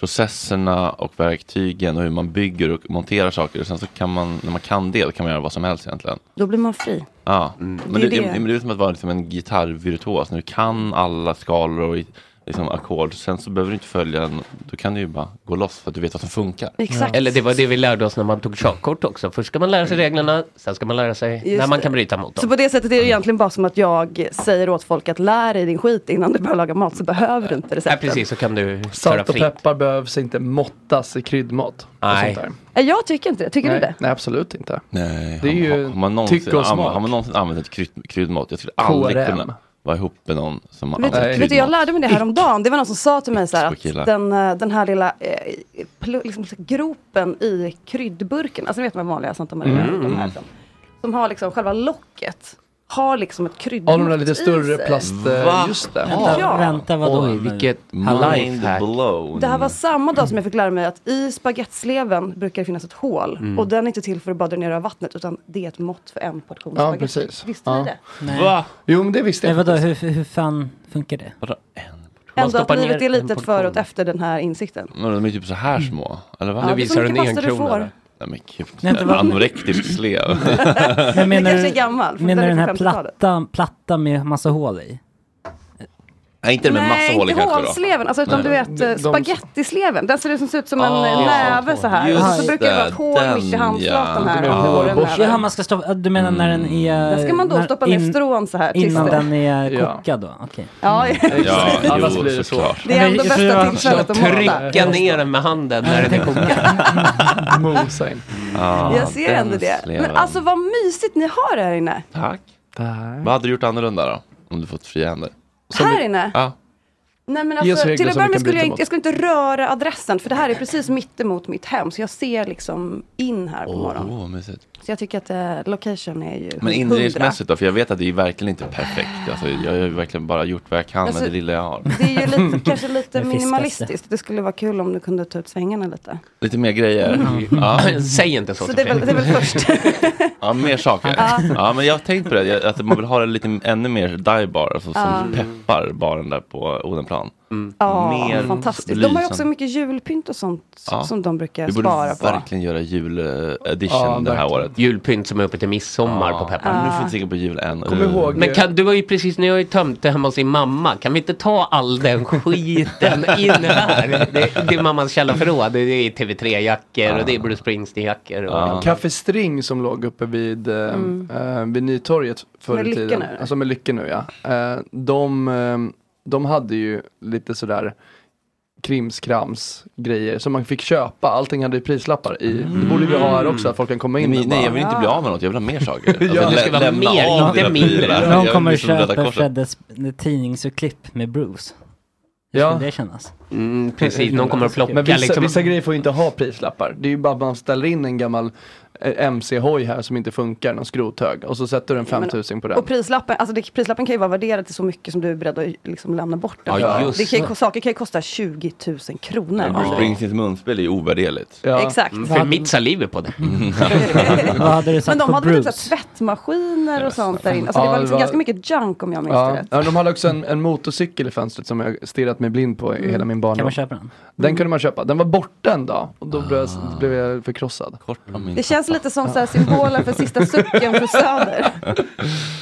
Speaker 1: processerna och verktygen och hur man bygger och monterar saker. Och sen så kan man, när man kan det, då kan man göra vad som helst egentligen.
Speaker 11: Då blir man fri.
Speaker 1: Ja, men
Speaker 11: Det
Speaker 1: det,
Speaker 11: är
Speaker 1: det,
Speaker 11: det.
Speaker 1: men det är som att vara liksom en gitarrvirtuos. När du kan alla skalor och i- liksom ackord. Sen så behöver du inte följa en. Då kan du ju bara gå loss för att du vet vad som funkar.
Speaker 11: Exakt.
Speaker 8: Eller det var det vi lärde oss när man tog körkort också. Först ska man lära sig
Speaker 6: Mm.
Speaker 8: reglerna, sen ska man lära sig
Speaker 11: Just
Speaker 8: när man
Speaker 11: det.
Speaker 8: kan bryta mot
Speaker 11: Så
Speaker 8: dem. Mm.
Speaker 11: på det sättet är det egentligen bara som att jag säger åt folk att lär dig din skit innan du börjar laga mat så behöver du inte
Speaker 8: Nej,
Speaker 11: recepten.
Speaker 8: precis, så kan du köra
Speaker 6: Salt och
Speaker 8: fritt.
Speaker 6: peppar behövs inte måttas i kryddmat. och
Speaker 8: Nej.
Speaker 6: sånt där.
Speaker 11: Nej, Jag tycker inte det. Tycker
Speaker 6: Nej,
Speaker 11: du det?
Speaker 6: Nej, absolut inte.
Speaker 1: Nej,
Speaker 6: Det är
Speaker 1: har-
Speaker 6: ju
Speaker 1: har man någonsin,
Speaker 6: tycke och
Speaker 1: använt-
Speaker 6: smak.
Speaker 1: Har man någonsin använt ett krydd, kryddmått? Jag skulle aldrig
Speaker 6: KRM.
Speaker 1: kunna vara ihop med någon som har
Speaker 11: Vet,
Speaker 1: använt
Speaker 11: vet du,
Speaker 1: kryddmått.
Speaker 11: jag lärde mig det här om dagen. Det var någon som sa till mig så här
Speaker 1: Två killar.
Speaker 11: att den, eh, den här lilla eh, pl- liksom, så här gropen i kryddburken, alltså ni vet de här vanliga Santa Maria,
Speaker 6: Mm.
Speaker 11: de här som, som har liksom själva locket, har liksom ett kryddmått
Speaker 6: Ja, de där lite
Speaker 11: i
Speaker 6: större
Speaker 11: sig.
Speaker 6: plast... eh,
Speaker 11: Va?
Speaker 6: Just det.
Speaker 11: Vänta, Ja. vänta, vadå
Speaker 8: Oj, nu? vilket lifehack.
Speaker 1: blown.
Speaker 11: Det här var samma dag som jag fick lära mig att i spagettleven brukar det finnas ett hål
Speaker 6: Mm.
Speaker 11: och den är inte till för att bara dränera vattnet utan det är ett mått för en portion
Speaker 6: Ja,
Speaker 11: spagetti.
Speaker 6: precis.
Speaker 11: Visste
Speaker 6: Ja.
Speaker 11: ni det?
Speaker 7: Nej.
Speaker 6: Va? Jo, men det visste
Speaker 7: Men
Speaker 6: jag
Speaker 7: Eh, vadå,
Speaker 6: faktiskt.
Speaker 7: hur, hur fan funkar det? Man
Speaker 11: Ändå att
Speaker 7: stoppar
Speaker 11: livet
Speaker 7: ner
Speaker 11: är
Speaker 7: en
Speaker 11: litet
Speaker 7: portion.
Speaker 11: före och efter den här insikten.
Speaker 1: Men de är typ så här små. Eller vad?
Speaker 11: Ja, Nu det är så visar du mycket en pasta du enkrona, får. eller?
Speaker 1: Nej men gud.
Speaker 7: Nej, inte vad-
Speaker 1: Anorektisk slev.
Speaker 7: Men menar du,
Speaker 11: kanske är gammal, för
Speaker 7: menar
Speaker 11: den
Speaker 7: du
Speaker 11: är
Speaker 7: den här
Speaker 11: från 50-talet.
Speaker 7: platta, platta med massa hål i?
Speaker 1: Nej, inte med massa hål i
Speaker 11: inte
Speaker 1: kanske då.
Speaker 11: hålsleven, alltså, utan
Speaker 1: Nej.
Speaker 11: du vet eh,
Speaker 1: De- de-
Speaker 11: spagettisleven. Den ser ut som, ser ut som en
Speaker 1: Ah,
Speaker 11: eh, näve så här.
Speaker 1: just
Speaker 11: Och så brukar det vara ett
Speaker 1: det,
Speaker 11: hål
Speaker 1: den,
Speaker 11: mitt i handflatan
Speaker 1: ja. Lite
Speaker 11: här.
Speaker 1: mer
Speaker 11: och den
Speaker 1: hårborste.
Speaker 11: näven.
Speaker 7: Jaha, man ska stoppa, du menar när den är...
Speaker 11: Den ska man då
Speaker 7: när-
Speaker 11: stoppa ner strån så här tills
Speaker 7: Innan
Speaker 11: det-
Speaker 7: den är
Speaker 11: Ja.
Speaker 7: kokad då? Mm. Okej.
Speaker 11: Ja,
Speaker 1: Ja,
Speaker 7: Exakt.
Speaker 1: jo,
Speaker 7: Annars blir det så.
Speaker 1: såklart.
Speaker 11: Det är ändå bästa tillfället att måla.
Speaker 8: Trycka ner den med handen när den är kokad.
Speaker 6: Mosa in.
Speaker 1: Ja,
Speaker 11: Jag ser
Speaker 1: den
Speaker 11: ändå det.
Speaker 1: sleven.
Speaker 11: Men alltså vad mysigt ni har här inne.
Speaker 1: Tack. Vad hade du gjort annorlunda då? Om du fått fria händer?
Speaker 11: Här inne?
Speaker 1: Ja.
Speaker 11: Nej men
Speaker 1: Ge oss
Speaker 11: alltså,
Speaker 1: regler
Speaker 11: till att
Speaker 1: som
Speaker 11: börja
Speaker 1: vi
Speaker 11: med
Speaker 1: kan
Speaker 11: skulle
Speaker 1: bryta
Speaker 11: jag, inte,
Speaker 1: mot.
Speaker 11: jag skulle inte röra adressen för det här är precis mitt emot mitt hem så jag ser liksom in här på
Speaker 1: Åh,
Speaker 11: morgonen.
Speaker 1: oh, mysigt.
Speaker 11: Så jag tycker att eh, location är ju
Speaker 1: Men
Speaker 11: 100.
Speaker 1: inredningsmässigt då? För jag vet att det är verkligen inte perfekt. Alltså, jag har ju verkligen bara gjort vad jag kan
Speaker 11: Alltså,
Speaker 1: med det lilla jag har.
Speaker 11: Det är ju lite, kanske lite
Speaker 1: Nu fiskas det.
Speaker 11: minimalistiskt. Det skulle vara kul om du kunde ta ut svängarna lite.
Speaker 1: Lite mer grejer.
Speaker 8: Mm. Säg inte
Speaker 11: Så det är väl, det är väl först.
Speaker 1: Ja, mer saker.
Speaker 11: Ja.
Speaker 1: ja, men jag har tänkt på det. Jag- Att man vill ha det lite ännu mer dive bar, alltså, som
Speaker 11: Ja. Mm.
Speaker 1: peppar baren där på Odenplan.
Speaker 11: Ja,
Speaker 1: Mer
Speaker 11: fantastiskt. De har ju också
Speaker 1: lysande.
Speaker 11: mycket julpynt och sånt
Speaker 1: Ja.
Speaker 11: som de brukar
Speaker 1: Vi borde
Speaker 11: spara på.
Speaker 1: verkligen göra jul-edition
Speaker 8: Ja,
Speaker 1: det här
Speaker 8: verkligen.
Speaker 1: året.
Speaker 8: Julpynt som är uppe till midsommar på peppar.
Speaker 1: Nu får vi inte tänka på jul än.
Speaker 8: Kom ihåg- Men kan, du var ju precis, ni har ju tömt det hemma hos din mamma. Kan vi inte ta all den skiten in här? Det, det är mammas källarförråd. Det är TV3-jackor och det är Bruce Springsteen-jackor. och-
Speaker 6: Café String som låg uppe vid, eh,
Speaker 8: Mm.
Speaker 6: eh, vid Nytorget förr
Speaker 8: Med
Speaker 6: i
Speaker 8: Lycke
Speaker 6: tiden.
Speaker 8: nu, eller?
Speaker 6: Alltså med Lycke nu ja. Eh, de, eh, de hade ju lite sådär krimskrams grejer som man fick köpa. Allting hade ju prislappar i. Det borde vi ha här också att folk kan komma in
Speaker 1: Nej,
Speaker 6: och
Speaker 1: nej,
Speaker 6: bara-
Speaker 1: jag vill inte bli av med något. Jag vill ha mer saker. Alltså,
Speaker 6: Ja. Det ska
Speaker 1: lä-
Speaker 6: vara
Speaker 1: lämna
Speaker 6: mer,
Speaker 1: av
Speaker 6: inte
Speaker 1: dina
Speaker 6: mindre.
Speaker 1: prylar.
Speaker 6: Någon
Speaker 1: Jag
Speaker 7: De
Speaker 1: är
Speaker 7: kommer
Speaker 1: precis som Röda
Speaker 7: köpa
Speaker 1: Korset.
Speaker 7: Freddes tidningsurklipp med Bruce. Hur
Speaker 6: Ja.
Speaker 7: skulle det kännas?
Speaker 8: Mm, precis, någon kommer att plocka
Speaker 6: Men vissa,
Speaker 8: liksom.
Speaker 6: vissa grejer får ju inte ha prislappar. Det är ju bara att man ställer in en gammal eh, MC-hoj här som inte funkar, någon skrothög. Och så sätter du en
Speaker 11: men-
Speaker 6: 5000 på den.
Speaker 11: Och prislappen, alltså det, prislappen kan ju vara värderad till så mycket som du är beredd att liksom lämna bort. den
Speaker 6: Ja,
Speaker 11: för.
Speaker 6: just
Speaker 11: det kan ju,
Speaker 6: det.
Speaker 11: saker kan ju kosta 20 000 kronor. Alltså.
Speaker 1: Men Bruce Springsteens munspel är ju ovärderligt.
Speaker 11: Ja. Exakt. Mm, för mitt
Speaker 8: saliv är på det.
Speaker 11: Men de hade typ så här tvättmaskiner och sånt där inne. Alltså det
Speaker 6: Ja,
Speaker 11: var
Speaker 6: det
Speaker 11: liksom
Speaker 6: var-
Speaker 11: ganska mycket junk om jag minns det
Speaker 6: Ja.
Speaker 11: rätt. Mm.
Speaker 6: ja, de hade också en, en motorcykel i fönstret som jag stirrat mig blind på i hela min min barndom.
Speaker 7: Kan man köpa den?
Speaker 6: Den kunde man köpa. Den var borta en dag och då
Speaker 1: Ah.
Speaker 6: blev, jag, blev jag förkrossad.
Speaker 11: Det känns lite som så här symbolen för sista sucken för Söder.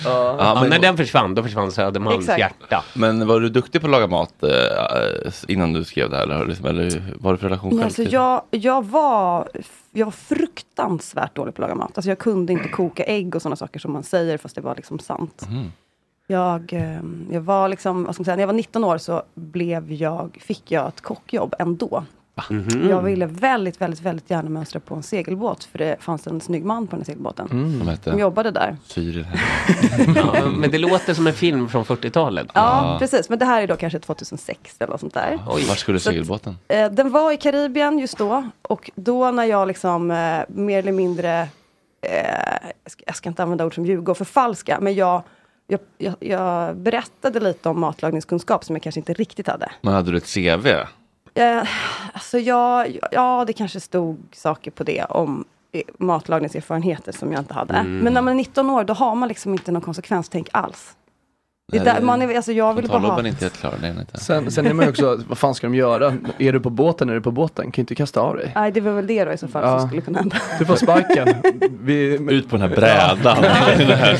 Speaker 8: Ja,
Speaker 1: men-
Speaker 8: när den försvann, då försvann Södermalms
Speaker 11: Exakt.
Speaker 8: hjärta.
Speaker 1: Men var du duktig på att laga mat eh, innan du skrev det här? Eller, har du liksom, eller var det för relation
Speaker 11: Nej,
Speaker 1: själv?
Speaker 11: alltså
Speaker 1: till-
Speaker 11: jag, jag, var, jag var fruktansvärt dålig på att laga mat. Alltså jag kunde inte koka ägg och sådana saker som man säger, fast det var liksom sant.
Speaker 1: Mm,
Speaker 11: Jag, eh, jag var liksom, vad ska man säga, när jag var 19 år så blev jag, fick jag ett kockjobb ändå.
Speaker 1: Mm.
Speaker 11: Jag ville väldigt, väldigt, väldigt gärna mönstra på en segelbåt, för det fanns en snygg man på den här segelbåten.
Speaker 8: Mm.
Speaker 1: Som hette?
Speaker 11: Som jobbade där.
Speaker 1: Cyril.
Speaker 8: Ja, men- men det låter som en film från 40-talet.
Speaker 11: Ja, precis. Men det här är då kanske 2006 eller något sånt där.
Speaker 1: Oj, Ah. vart skulle
Speaker 11: Så att-
Speaker 1: segelbåten?
Speaker 11: Eh, den var i Karibien just då. Och då när jag liksom eh, mer eller mindre, eh, jag, ska, jag ska inte använda ord som ljuga och förfalska, men jag, jag, jag, jag berättade lite om matlagningskunskap som jag kanske inte riktigt hade.
Speaker 1: Men hade du ett CV?
Speaker 11: Eh, alltså jag, ja, det kanske stod saker på det om eh, matlagningserfarenheter som jag inte hade.
Speaker 1: Mm.
Speaker 11: Men när man är 19 år, då har man liksom inte någon konsekvenstänk alls. Det är
Speaker 6: Nej,
Speaker 11: där,
Speaker 6: det-
Speaker 11: man är, alltså jag ville bara ha...
Speaker 1: Kontrollobben är inte helt klar. Det är den inte.
Speaker 6: Sen, sen är man ju också, vad fan ska de göra? Är du på båten, är du på båten? Kan ju inte kasta av dig.
Speaker 11: Nej, det var väl det då i så fall
Speaker 6: Ja.
Speaker 11: som skulle kunna hända.
Speaker 6: Du får sparken. Ut
Speaker 1: på den här brädan. Det här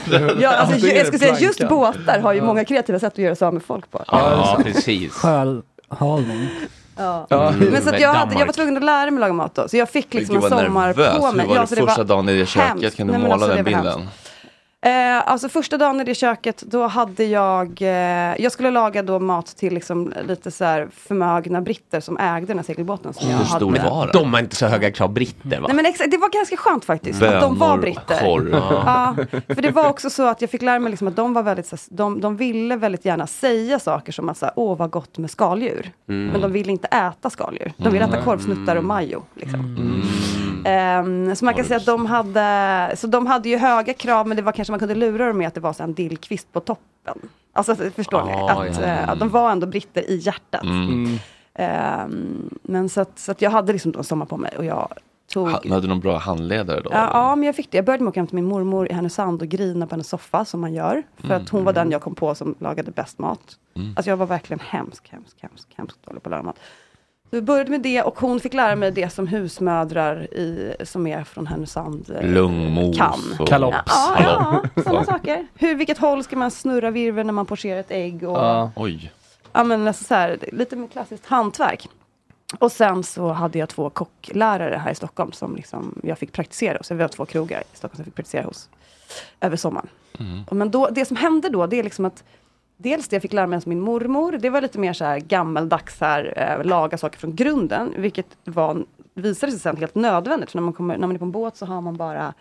Speaker 1: svärdet.
Speaker 11: Ja, alltså,
Speaker 6: Antingen är
Speaker 11: jag
Speaker 6: det
Speaker 11: skulle säga just
Speaker 6: plankan.
Speaker 11: båtar har ju många kreativa sätt att göra sig av med folk på.
Speaker 8: Ja, precis.
Speaker 7: Skölhalning.
Speaker 11: Ja.
Speaker 1: Ja.
Speaker 11: Men så att
Speaker 1: Mm,
Speaker 11: jag,
Speaker 1: Danmark.
Speaker 11: hade, jag var tvungen att lära mig laga mat då. Så jag fick liksom en
Speaker 1: Gud, vad
Speaker 11: sommar
Speaker 1: nervös.
Speaker 11: på mig.
Speaker 1: Hur var det
Speaker 11: så
Speaker 1: första dagen i det köket?
Speaker 11: hemskt.
Speaker 1: Kan du
Speaker 11: Nej, men
Speaker 1: måla
Speaker 11: alltså, det
Speaker 1: den
Speaker 11: var
Speaker 1: bilden?
Speaker 11: hemskt. Eh, alltså första dagen i det köket, då hade jag, eh, jag skulle laga då mat till liksom lite så här förmögna britter som ägde den här segelbåten som jag
Speaker 8: Hur
Speaker 11: hade.
Speaker 8: stor var den? De har inte så höga krav, britter va?
Speaker 11: Nej men exakt, det var ganska skönt faktiskt. att de var
Speaker 8: Bönor,
Speaker 11: britter.
Speaker 8: korv.
Speaker 11: Ja, för det var också så att jag fick lära mig liksom att de var väldigt, så här- de, de ville väldigt gärna säga saker som att så här, åh vad gott med skaldjur.
Speaker 13: Mm.
Speaker 11: Men de ville inte äta skaldjur. De ville äta
Speaker 13: Mm.
Speaker 11: korvsnuttar och majo. Liksom. Ehm, så man kan säga att de hade, så de hade ju höga krav men det var kanske man kunde lura dem med att det var så här en dillkvist på toppen. Alltså förstår ni?
Speaker 13: Ah,
Speaker 11: Att,
Speaker 13: ja.
Speaker 11: eh, att de var ändå britter i hjärtat.
Speaker 1: Mm.
Speaker 11: Ehm, men så att, så att jag hade liksom då en sommar på mig och jag tog...
Speaker 1: Ha- Hade du någon bra handledare då?
Speaker 11: Ja, ja, men jag fick det. Jag började med att åka hem till min mormor i Härnösand och grina på hennes soffa, som man gör. För
Speaker 1: Mm,
Speaker 11: att hon var den jag kom på som lagade bäst mat.
Speaker 13: Mm.
Speaker 11: Alltså jag var verkligen hemsk, hemsk, hemsk, hemskt dålig på att laga mat. Så vi började med det och hon fick lära mig det som husmödrar i, som är från Härnösand eh,
Speaker 1: Lungmos
Speaker 11: kan.
Speaker 1: och- Kalops.
Speaker 11: Ja, ja, ja sådana
Speaker 1: Hallå.
Speaker 11: saker. Hur, vilket håll ska man snurra virveln när man pocherar ett ägg? Och,
Speaker 1: Ja. Oj.
Speaker 11: Ja, men alltså så här, lite mer klassiskt hantverk. Och sen så hade jag två kocklärare här i Stockholm som liksom jag fick praktisera hos. Vi har två krogar i Stockholm som jag fick praktisera hos över sommaren.
Speaker 13: Mm.
Speaker 11: Och Men då, det som hände då, det är liksom att dels det jag fick lära mig av min mormor, det var lite mer så här gammeldags här, eh, laga saker från grunden, vilket var, visade sig sen helt nödvändigt. För när man, kommer, när man är på en båt så har man bara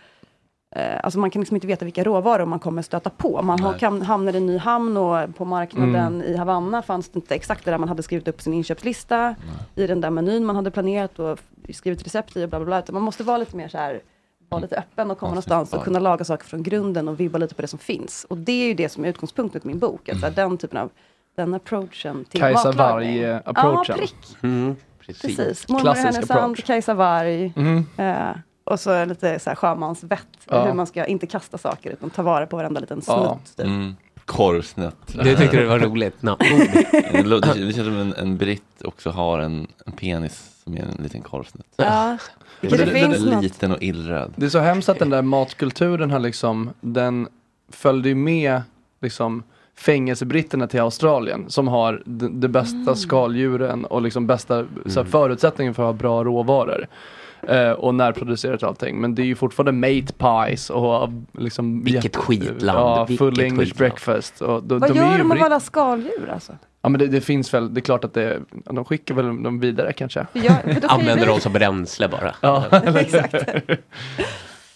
Speaker 11: Eh, alltså man kan liksom inte veta vilka råvaror man kommer stöta på. Man har,
Speaker 13: Nej.
Speaker 11: kan, hamnar i en ny hamn och på marknaden
Speaker 13: Mm.
Speaker 11: i Havanna fanns det inte exakt det där man hade skrivit upp sin inköpslista. I den där menyn man hade planerat och f- skrivit recept i och bla bla bla. Utan man måste vara lite mer så här, vara lite öppen och komma någonstans och kunna laga saker från grunden och vibba lite på det som finns. Och det är ju det som är utgångspunkten för min bok. Alltså den typen av, den approachen till
Speaker 6: Mm. Kajsa eh,
Speaker 11: matlagning.
Speaker 6: Warg-approachen.
Speaker 11: Ja, prick.
Speaker 8: Mm,
Speaker 11: Precis. Mormor i Härnösand, Kajsa Warg.
Speaker 6: Mm.
Speaker 11: Eh, och så lite så här sjömansvett.
Speaker 1: Ja.
Speaker 11: Hur man ska inte kasta saker utan ta vara på varenda liten snutt.
Speaker 1: Mm. Korvsnutt.
Speaker 8: Det tyckte du var roligt. No.
Speaker 1: Det lå- det känns som en, en britt också har en, en penis som är en liten korvsnutt.
Speaker 11: Ja.
Speaker 1: Det
Speaker 6: Vilket
Speaker 1: är
Speaker 6: det finns något.
Speaker 1: liten och illröd.
Speaker 6: Det är så hemskt att den där matkulturen har liksom, den följde ju med liksom fängelsebritterna till Australien som har d- de bästa
Speaker 9: Mm.
Speaker 6: skaldjuren och liksom bästa så här,
Speaker 9: Mm.
Speaker 6: förutsättningen för att ha bra råvaror. Eh, och närproducerat allting. Men det är ju fortfarande mate pies och liksom
Speaker 8: Vilket
Speaker 6: jätte-
Speaker 8: skitland,
Speaker 6: Ja,
Speaker 8: vilket
Speaker 6: full English
Speaker 8: skitland.
Speaker 6: breakfast. Och de,
Speaker 11: Vad
Speaker 6: de är
Speaker 11: gör
Speaker 6: ju
Speaker 11: de av
Speaker 6: britt-
Speaker 11: alla skaldjur alltså?
Speaker 6: Ja men det, det finns väl, det är klart att det, de skickar väl dem vidare kanske.
Speaker 11: Jag, för då kan ju
Speaker 8: Använder
Speaker 11: vi-
Speaker 8: dem som bränsle bara.
Speaker 6: Ja,
Speaker 11: Exakt.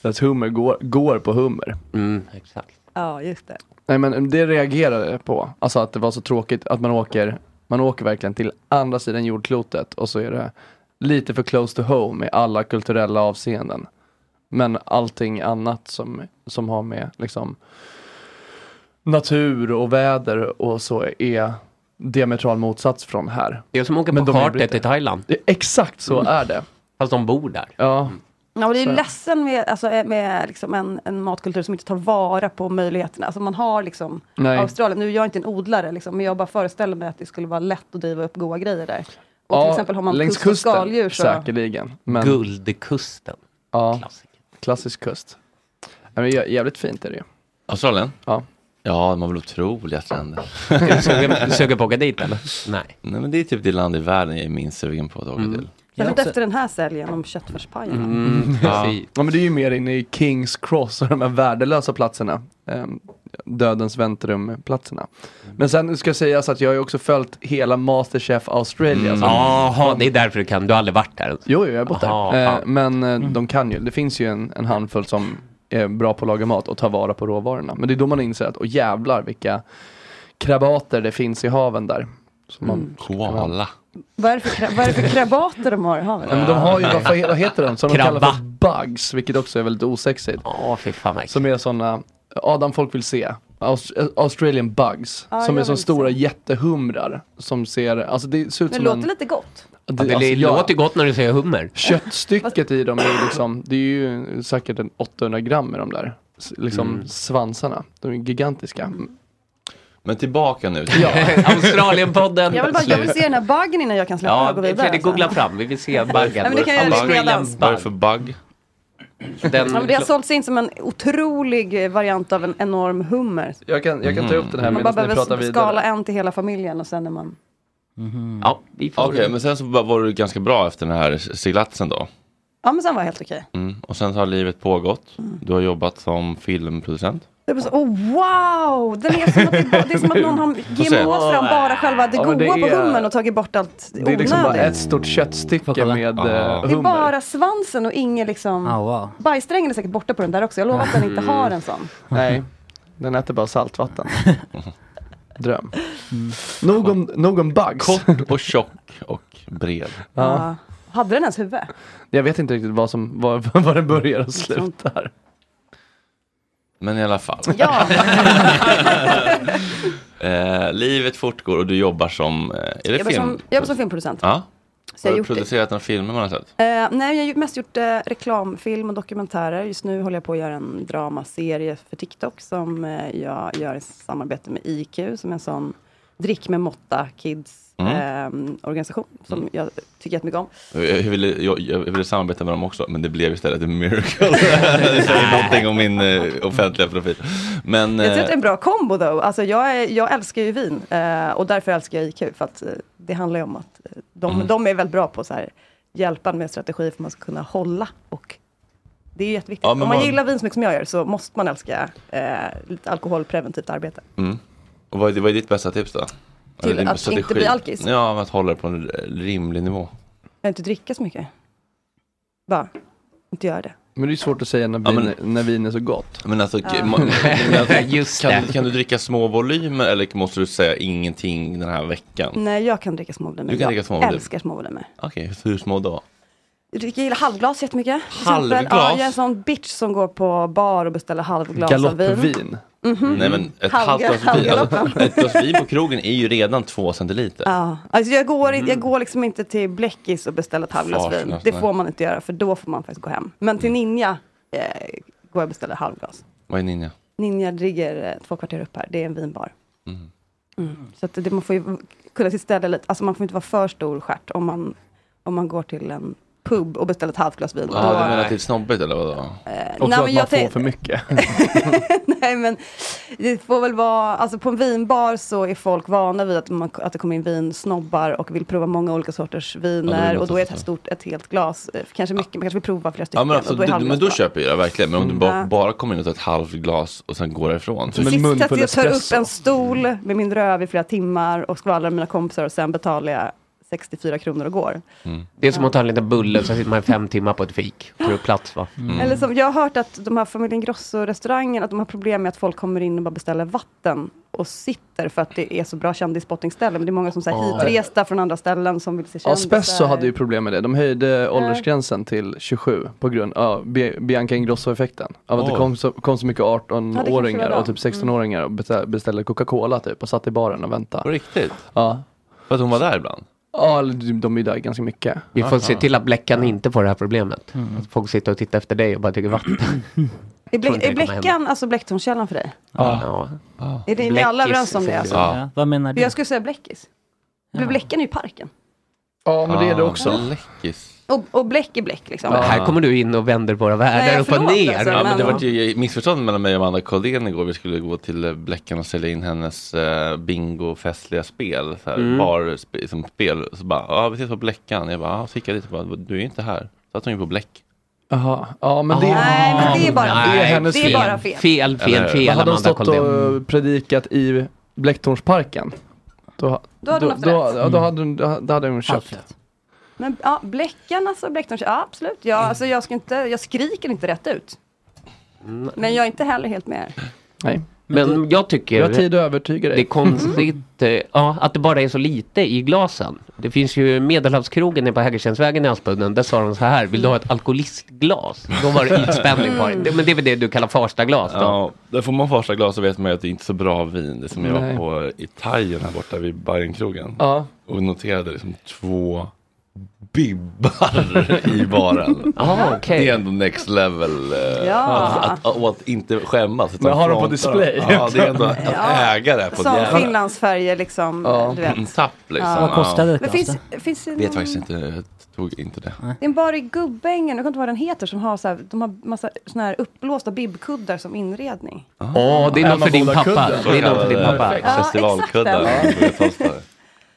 Speaker 6: Så att hummer går, går på hummer.
Speaker 8: Mm, exakt.
Speaker 11: Ja, just det.
Speaker 6: Nej men det reagerade jag på, alltså att det var så tråkigt att man åker, man åker verkligen till andra sidan jordklotet och så är det lite för close to home i alla kulturella avseenden. Men allting annat som, som har med liksom natur och väder och så är diametral motsats från här.
Speaker 8: Det är som åker
Speaker 6: Men
Speaker 8: på
Speaker 6: de är
Speaker 8: charter
Speaker 6: britter.
Speaker 8: till Thailand.
Speaker 6: Exakt så är det.
Speaker 8: Fast de bor där.
Speaker 6: Ja,
Speaker 11: Ja, och det är
Speaker 6: Så-
Speaker 11: ledsen med, alltså, med liksom en, en matkultur som inte tar vara på möjligheterna. Alltså man har liksom
Speaker 6: Nej.
Speaker 11: Australien, nu är jag inte en odlare, liksom, men jag bara föreställer mig att det skulle vara lätt att driva upp goda grejer där. Och till exempel har man
Speaker 6: längs
Speaker 11: puss och
Speaker 6: kusten,
Speaker 11: skaldjur. Så,
Speaker 6: Säkerligen. Men...
Speaker 8: Guldkusten.
Speaker 6: Ja, klassisk kust. Nej, men jä- jävligt fint är det ju.
Speaker 1: Australien?
Speaker 6: Ja.
Speaker 1: Ja, de har väl otroliga stränder.
Speaker 8: Är du sugen- sugen på att åka dit eller? Mm. Nej.
Speaker 1: Nej, men det är typ det land i världen jag är minst sugen på att åka till.
Speaker 11: Särskilt efter den här säljen om köttfärspajen.
Speaker 6: Mm. ja.
Speaker 1: precis.
Speaker 6: ja, men det är ju mer inne i Kings Cross och de här värdelösa platserna. Ehm, dödens väntrum-platserna. Men sen ska sägas att jag har ju också följt hela Masterchef Australia.
Speaker 8: Mm.
Speaker 6: så-
Speaker 8: Jaha, det är därför du kan. Du har aldrig varit där.
Speaker 6: Jo, jo, jag har bott där.
Speaker 8: Aha,
Speaker 6: Eh,
Speaker 8: fan.
Speaker 6: men eh, de kan ju. Det finns ju en, en handfull som är bra på att laga mat och ta vara på råvarorna. Men det är då man inser att, åh jävlar vilka krabater det finns i haven där. Som man
Speaker 1: Koala.
Speaker 11: Vad är det för kra- vad är det för krabater de har i havet?
Speaker 6: Nej, men de har ju, vad, fan- vad heter de? Som de kallar
Speaker 8: Krabba.
Speaker 6: för bugs, vilket också är väldigt osexigt.
Speaker 8: Ja, fy fan
Speaker 6: Som är sådana, Adam folk vill se. Aus- Australian bugs,
Speaker 11: Ja,
Speaker 6: som är
Speaker 11: jag
Speaker 6: som
Speaker 11: vill
Speaker 6: stora jättehumrar. Som ser, alltså det ser ut
Speaker 11: Det
Speaker 6: som
Speaker 11: låter
Speaker 6: en...
Speaker 11: lite gott.
Speaker 8: Ja, det låter gott när du säger hummer.
Speaker 6: Köttstycket i dem är ju liksom, det är ju säkert en 800 gram i de där. S- Liksom
Speaker 1: Mm.
Speaker 6: svansarna, de är gigantiska.
Speaker 1: Men tillbaka nu.
Speaker 6: Ja.
Speaker 8: Australienpodden.
Speaker 11: Jag vill, bara, jag vill se den här baggen innan jag kan släppa den
Speaker 8: Ja,
Speaker 11: och gå vidare.
Speaker 8: Fredrik,
Speaker 11: alltså.
Speaker 8: googla fram. Vi vill se baggen.
Speaker 11: men det kan jag göra redan.
Speaker 1: Vad är det för bugg?
Speaker 8: Den,
Speaker 11: Ja, men det har sålts in som en otrolig eh, variant av en enorm hummer.
Speaker 6: Jag kan, jag kan ta upp den här
Speaker 11: Man bara
Speaker 6: medan ni
Speaker 11: behöver
Speaker 6: pratar
Speaker 11: skala
Speaker 6: vidare.
Speaker 11: en till hela familjen och sen är man...
Speaker 8: Ja,
Speaker 1: Mm-hmm. Okej, men sen så var var du ganska bra efter den här seglatsen då.
Speaker 11: Ja men sen var det helt okej.
Speaker 1: Mm. Och sen så har livet pågått.
Speaker 11: Mm.
Speaker 1: Du har jobbat som filmproducent.
Speaker 11: Det var så, oh, wow! Den är som att det, är bara- det är som att någon har
Speaker 1: Får se.
Speaker 11: GMOat fram bara själva det
Speaker 6: Ja,
Speaker 11: goda
Speaker 6: men det
Speaker 11: på
Speaker 6: är-
Speaker 11: hummern och tagit bort allt
Speaker 6: Det är
Speaker 11: onödigt.
Speaker 6: liksom bara ett stort köttstycke med eh,
Speaker 11: Det är
Speaker 6: hummer.
Speaker 11: bara svansen och ingen liksom...
Speaker 6: Ah, wow.
Speaker 11: Bajssträngen är säkert borta på den där också. Jag lovar att den inte
Speaker 6: Mm.
Speaker 11: har en sån.
Speaker 6: Nej, den äter bara saltvatten. Dröm. Mm. Nog om, nog om bugs.
Speaker 1: Kort och tjock och bred.
Speaker 6: Ja.
Speaker 11: Hade den ens huvud?
Speaker 6: Jag vet inte riktigt vad som, var, var det börjar och slutar.
Speaker 1: Men i alla fall.
Speaker 11: Ja.
Speaker 1: eh, livet fortgår och du jobbar som, eh, är det
Speaker 11: Jag jobbar
Speaker 1: film?
Speaker 11: som- jag jobbar som filmproducent.
Speaker 1: Ja.
Speaker 11: Så jag
Speaker 1: har
Speaker 11: har
Speaker 1: du
Speaker 11: gjort det.
Speaker 1: producerat några filmer man har sett?
Speaker 11: Eh, nej, jag har ju mest gjort eh, reklamfilm och dokumentärer. Just nu håller jag på att göra en dramaserie för TikTok som eh, jag gör i samarbete med IQ, som är en sån drick med måtta kids
Speaker 1: Mm.
Speaker 11: ehm, organisation som jag tycker jättemycket om.
Speaker 1: Jag Eh, jag ville, jag, jag ville samarbeta med dem också, men det blev istället en miracle. det säger någonting om min eh, offentliga profil. Men,
Speaker 11: Jag tror att det är
Speaker 1: eh,
Speaker 11: en bra kombo though. Alltså, jag, är, jag älskar ju vin eh, och därför älskar jag IQ för att eh, det handlar ju om att eh, de,
Speaker 1: Mm.
Speaker 11: de är väldigt bra på så här, hjälpa en med strategier för att man ska kunna hålla och det är ju jätteviktigt.
Speaker 1: Ja,
Speaker 11: om
Speaker 1: men
Speaker 11: man
Speaker 1: vad-
Speaker 11: gillar vin så mycket som jag gör så måste man älska eh, lite alkoholpreventivt arbete.
Speaker 1: mm. och vad, är, vad är ditt bästa tips då?
Speaker 11: Till
Speaker 1: Eller din
Speaker 11: att inte bli alkis?
Speaker 1: Ja, men att hålla det på en rimlig nivå.
Speaker 11: Jag inte dricka så mycket. Bara, inte göra det.
Speaker 6: Men det är svårt att säga när
Speaker 1: Ja,
Speaker 6: vin,
Speaker 1: men-
Speaker 6: när vin är så gott.
Speaker 1: Men alltså,
Speaker 11: Ja.
Speaker 1: ma- men alltså
Speaker 8: Just
Speaker 1: kan,
Speaker 8: det.
Speaker 1: du- kan du dricka små volymer eller måste du säga ingenting den här veckan?
Speaker 11: Nej, jag kan dricka små volymer.
Speaker 1: Mm. Du kan
Speaker 11: Jag
Speaker 1: dricka små volymer.
Speaker 11: älskar små volymer.
Speaker 1: Okej, hur små då?
Speaker 11: Jag dricker- jag gillar halvglas jättemycket. till exempel.
Speaker 1: Halvglas?
Speaker 11: Ja, jag är en sån bitch som går på bar och beställer halvglas av vin.
Speaker 6: Galoppvin.
Speaker 11: Mhm.
Speaker 1: Nej men ett
Speaker 11: Halv-
Speaker 1: halvt glas vin, alltså,
Speaker 11: halvgaloppen.
Speaker 1: ett glas vin på krogen är ju redan två centiliter.
Speaker 11: Ja, alltså jag går,
Speaker 1: Mm-hmm.
Speaker 11: i- jag går liksom inte till Bläckis och beställer ett halvglas
Speaker 1: Fasen,
Speaker 11: vin.
Speaker 1: alltså,
Speaker 11: Det
Speaker 1: nej.
Speaker 11: får man inte göra, för då får man faktiskt gå hem. Men
Speaker 1: Mm.
Speaker 11: till Ninja eh, går jag och beställer halvglas.
Speaker 1: Vad är ninja?
Speaker 11: Ninja ligger eh, två kvarter upp här, det är en vinbar.
Speaker 1: Mm.
Speaker 11: Mm. Så att det, man får ju kunna sitt ställe lite, alltså man får inte vara för stor stjärt om man, om man går till en pub och beställer ett halvt glas vin.
Speaker 1: Ja,
Speaker 11: Då-
Speaker 1: Ah, du menar att det är snobbigt eller vadå?
Speaker 11: Och Eh, nej, så att men jag man får tänk- för
Speaker 6: mycket.
Speaker 11: Nej men det får väl vara, alltså på en vinbar så är folk vana vid att, man, att det kommer in vinsnobbar och vill prova många olika sorters
Speaker 1: Ja, det
Speaker 11: viner
Speaker 1: låter
Speaker 11: och då är
Speaker 1: så.
Speaker 11: ett stort, ett helt glas, eh, kanske mycket, man kanske vill prova flera stycken.
Speaker 1: Ja men, alltså,
Speaker 11: och då är
Speaker 1: då, men
Speaker 11: halvglas
Speaker 1: då
Speaker 11: bra.
Speaker 1: köper jag det verkligen. Men om du bara,
Speaker 11: Ja.
Speaker 1: bara kommer in och tar ett halvt glas och sen går därifrån.
Speaker 11: Till sist sätter jag tar upp en stol med min röv i flera timmar och skvallrar med mina kompisar och sen betalar jag 64 kronor och går.
Speaker 8: Det är som att ta en liten bulle och sen sitter man i fem timmar på ett fik. Får du plats va?
Speaker 11: Eller som, jag har hört att de här familjen Grosso-restaurangen, att de har problem med att folk kommer in och bara beställer vatten och sitter för att det är så bra kändisspottingställe. Men det är många som säger
Speaker 6: Ja.
Speaker 11: hitresta från andra ställen som vill se
Speaker 6: Ja,
Speaker 11: kändisar.
Speaker 6: Spesso hade ju problem med det. De höjde åldersgränsen till 27 på grund av Bi- Bianca Ingrosso-effekten. Av att det
Speaker 1: Oj.
Speaker 6: kom så, kom så mycket
Speaker 11: Ja, det kanske
Speaker 6: 18-åringar
Speaker 11: var Mm.
Speaker 6: och typ
Speaker 11: dem.
Speaker 6: 16-åringar och bestä- beställde Coca-Cola typ och satt i baren och väntade.
Speaker 1: På riktigt?
Speaker 6: Ja.
Speaker 1: För att hon var där ibland?
Speaker 6: Ja, eller de- de är ju där ganska mycket.
Speaker 8: Vi får se till att Bleckan inte får det här problemet.
Speaker 6: Mm.
Speaker 8: Att folk sitter och tittar efter dig och bara dricker vatten.
Speaker 11: Är,
Speaker 8: Tror
Speaker 11: Blä-
Speaker 8: inte
Speaker 11: är
Speaker 8: det kommer
Speaker 11: Bleckan alltså Blecktornskällan för dig?
Speaker 8: Ja.
Speaker 11: Är det, ni alla överens om det? Alltså?
Speaker 7: Ja. Vad menar
Speaker 11: För
Speaker 7: du?
Speaker 11: Jag skulle säga Bläckis. För Bläckan är ju parken.
Speaker 6: Ja,
Speaker 7: men det är det också.
Speaker 1: Läckis.
Speaker 11: Och, och Bläck är Bläck liksom.
Speaker 8: Men Här kommer du in och vänder våra världar
Speaker 11: Nej,
Speaker 8: upp och
Speaker 11: förlåt,
Speaker 8: ner.
Speaker 11: alltså,
Speaker 1: Ja, men det var ju missförstånd mellan mig och Amanda Colldén igår. Vi skulle gå till eh, Bleckan och sälja in hennes eh, bingofestliga spel. Så här,
Speaker 8: Mm.
Speaker 1: bar, sp- som spel. Så bara, ja vi ses på Bleckan. Jag bara, ja, så gick jag dit och bara, du är inte här. Så att hon ju på Bläck.
Speaker 6: Jaha, ja men det...
Speaker 11: Nej, men det är bara
Speaker 6: Det är
Speaker 11: fel.
Speaker 6: hennes
Speaker 11: Det är bara fel.
Speaker 8: Fel, fel,
Speaker 6: Eller hur?
Speaker 8: fel,
Speaker 6: Men Hade de
Speaker 8: Amanda
Speaker 6: stått och predikat i Blecktornsparken, då,
Speaker 11: Då hade de haft
Speaker 6: då,
Speaker 11: rätt.
Speaker 6: ja, då, hade, hon- då hade hon köpt.
Speaker 11: Men ja, Bläckan alltså, Blecktornskällan. Ja, absolut. Ja, alltså, jag, ska inte, jag skriker inte rätt ut.
Speaker 8: Mm.
Speaker 11: Men jag är inte heller helt med er.
Speaker 6: Nej.
Speaker 8: Men, jag tycker...
Speaker 6: Vi har tid att övertyga dig.
Speaker 8: Det är konstigt eh, ja, att det bara är så lite i glasen. Det finns ju Medelhavskrogen nere på Hägerstensvägen i Aspudden. Där sa de så här, vill du ha ett alkoholistglas? Då var det ytspänning på det. Men det är väl det du kallar Farstaglas då?
Speaker 1: Ja, där får man första glas så vet man ju att det inte är så bra vin. Det är som jag
Speaker 8: Nej.
Speaker 1: var på i Thaien här borta vid Bajenkrogen.
Speaker 6: Ja.
Speaker 1: Och noterade liksom två bibbar i baren.
Speaker 8: Ah, okej.
Speaker 1: Det är ändå next level. eh,
Speaker 11: Ja.
Speaker 1: att, att, och att inte skämmas. utan
Speaker 6: Men har de på
Speaker 1: fronta.
Speaker 6: display?
Speaker 1: Ja, det är ändå att äga det på ett
Speaker 11: Som
Speaker 1: jävla-
Speaker 11: Finlandsfärger liksom. Du vet.
Speaker 1: Tapp liksom.
Speaker 11: Ja. Vad kostade det? Men finns-
Speaker 1: det?
Speaker 11: finns det
Speaker 1: Vet
Speaker 11: någon-
Speaker 1: faktiskt inte. Jag tog inte det.
Speaker 11: Det är en bar i Gubbängen, jag kommer inte ihåg vad den heter, som har så här, de har massa såna här uppblåsta bibkuddar som inredning.
Speaker 1: Ah.
Speaker 8: Åh, det är något för din pappa. Det är något för din pappa.
Speaker 1: Festivalkuddar.
Speaker 11: Ja,
Speaker 1: Ja, exakt den.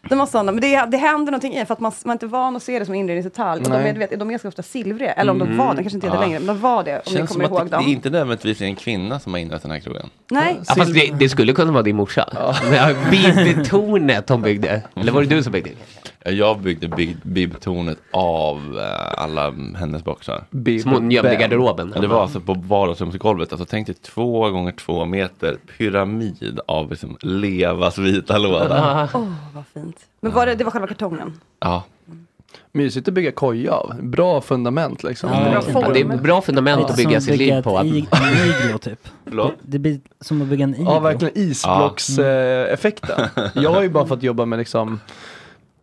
Speaker 11: De har sådana, men det, det händer någonting i för att man, man är inte van att se det som en inredningsdetalj. Och de,
Speaker 1: Nej.
Speaker 11: är, du vet, de är ganska ofta silvriga, eller om de
Speaker 1: Mm.
Speaker 11: var det, kanske inte är det
Speaker 1: Ja.
Speaker 11: längre, men de var det om ni
Speaker 1: Känns som
Speaker 11: kommer ihåg
Speaker 1: att det, det
Speaker 11: dem.
Speaker 1: är inte nödvändigtvis är en kvinna som har inrett den här krogen.
Speaker 11: Nej.
Speaker 8: Ja, fast Alltså, det, det skulle kunna vara din morsa. Ja. Bibeltornet hon byggde. Eller var det du som byggde?
Speaker 1: Ja, Jag byggde bi- bibtornet av eh, alla hennes boxar.
Speaker 8: Bib- Som hon gömde i garderoben.
Speaker 1: Ja, det var alltså på vardagsrumsgolvet. Alltså tänk dig två gånger två meter pyramid av liksom Levas vita låda.
Speaker 11: Åh, vad fint. Men var det, det var själva kartongen?
Speaker 1: Ja.
Speaker 6: Mysigt att bygga koja av. Bra fundament liksom.
Speaker 8: Ja, det är ett bra fundament
Speaker 7: Lite
Speaker 8: att bygga
Speaker 7: som
Speaker 8: sitt
Speaker 7: bygga
Speaker 8: liv
Speaker 7: ett
Speaker 8: på. Att...
Speaker 7: ig- en iglo typ.
Speaker 1: Förlåt?
Speaker 7: Det blir som att bygga en iglo.
Speaker 6: Ja, verkligen isblockseffekten.
Speaker 7: Mm.
Speaker 6: Jag har ju bara fått jobba med liksom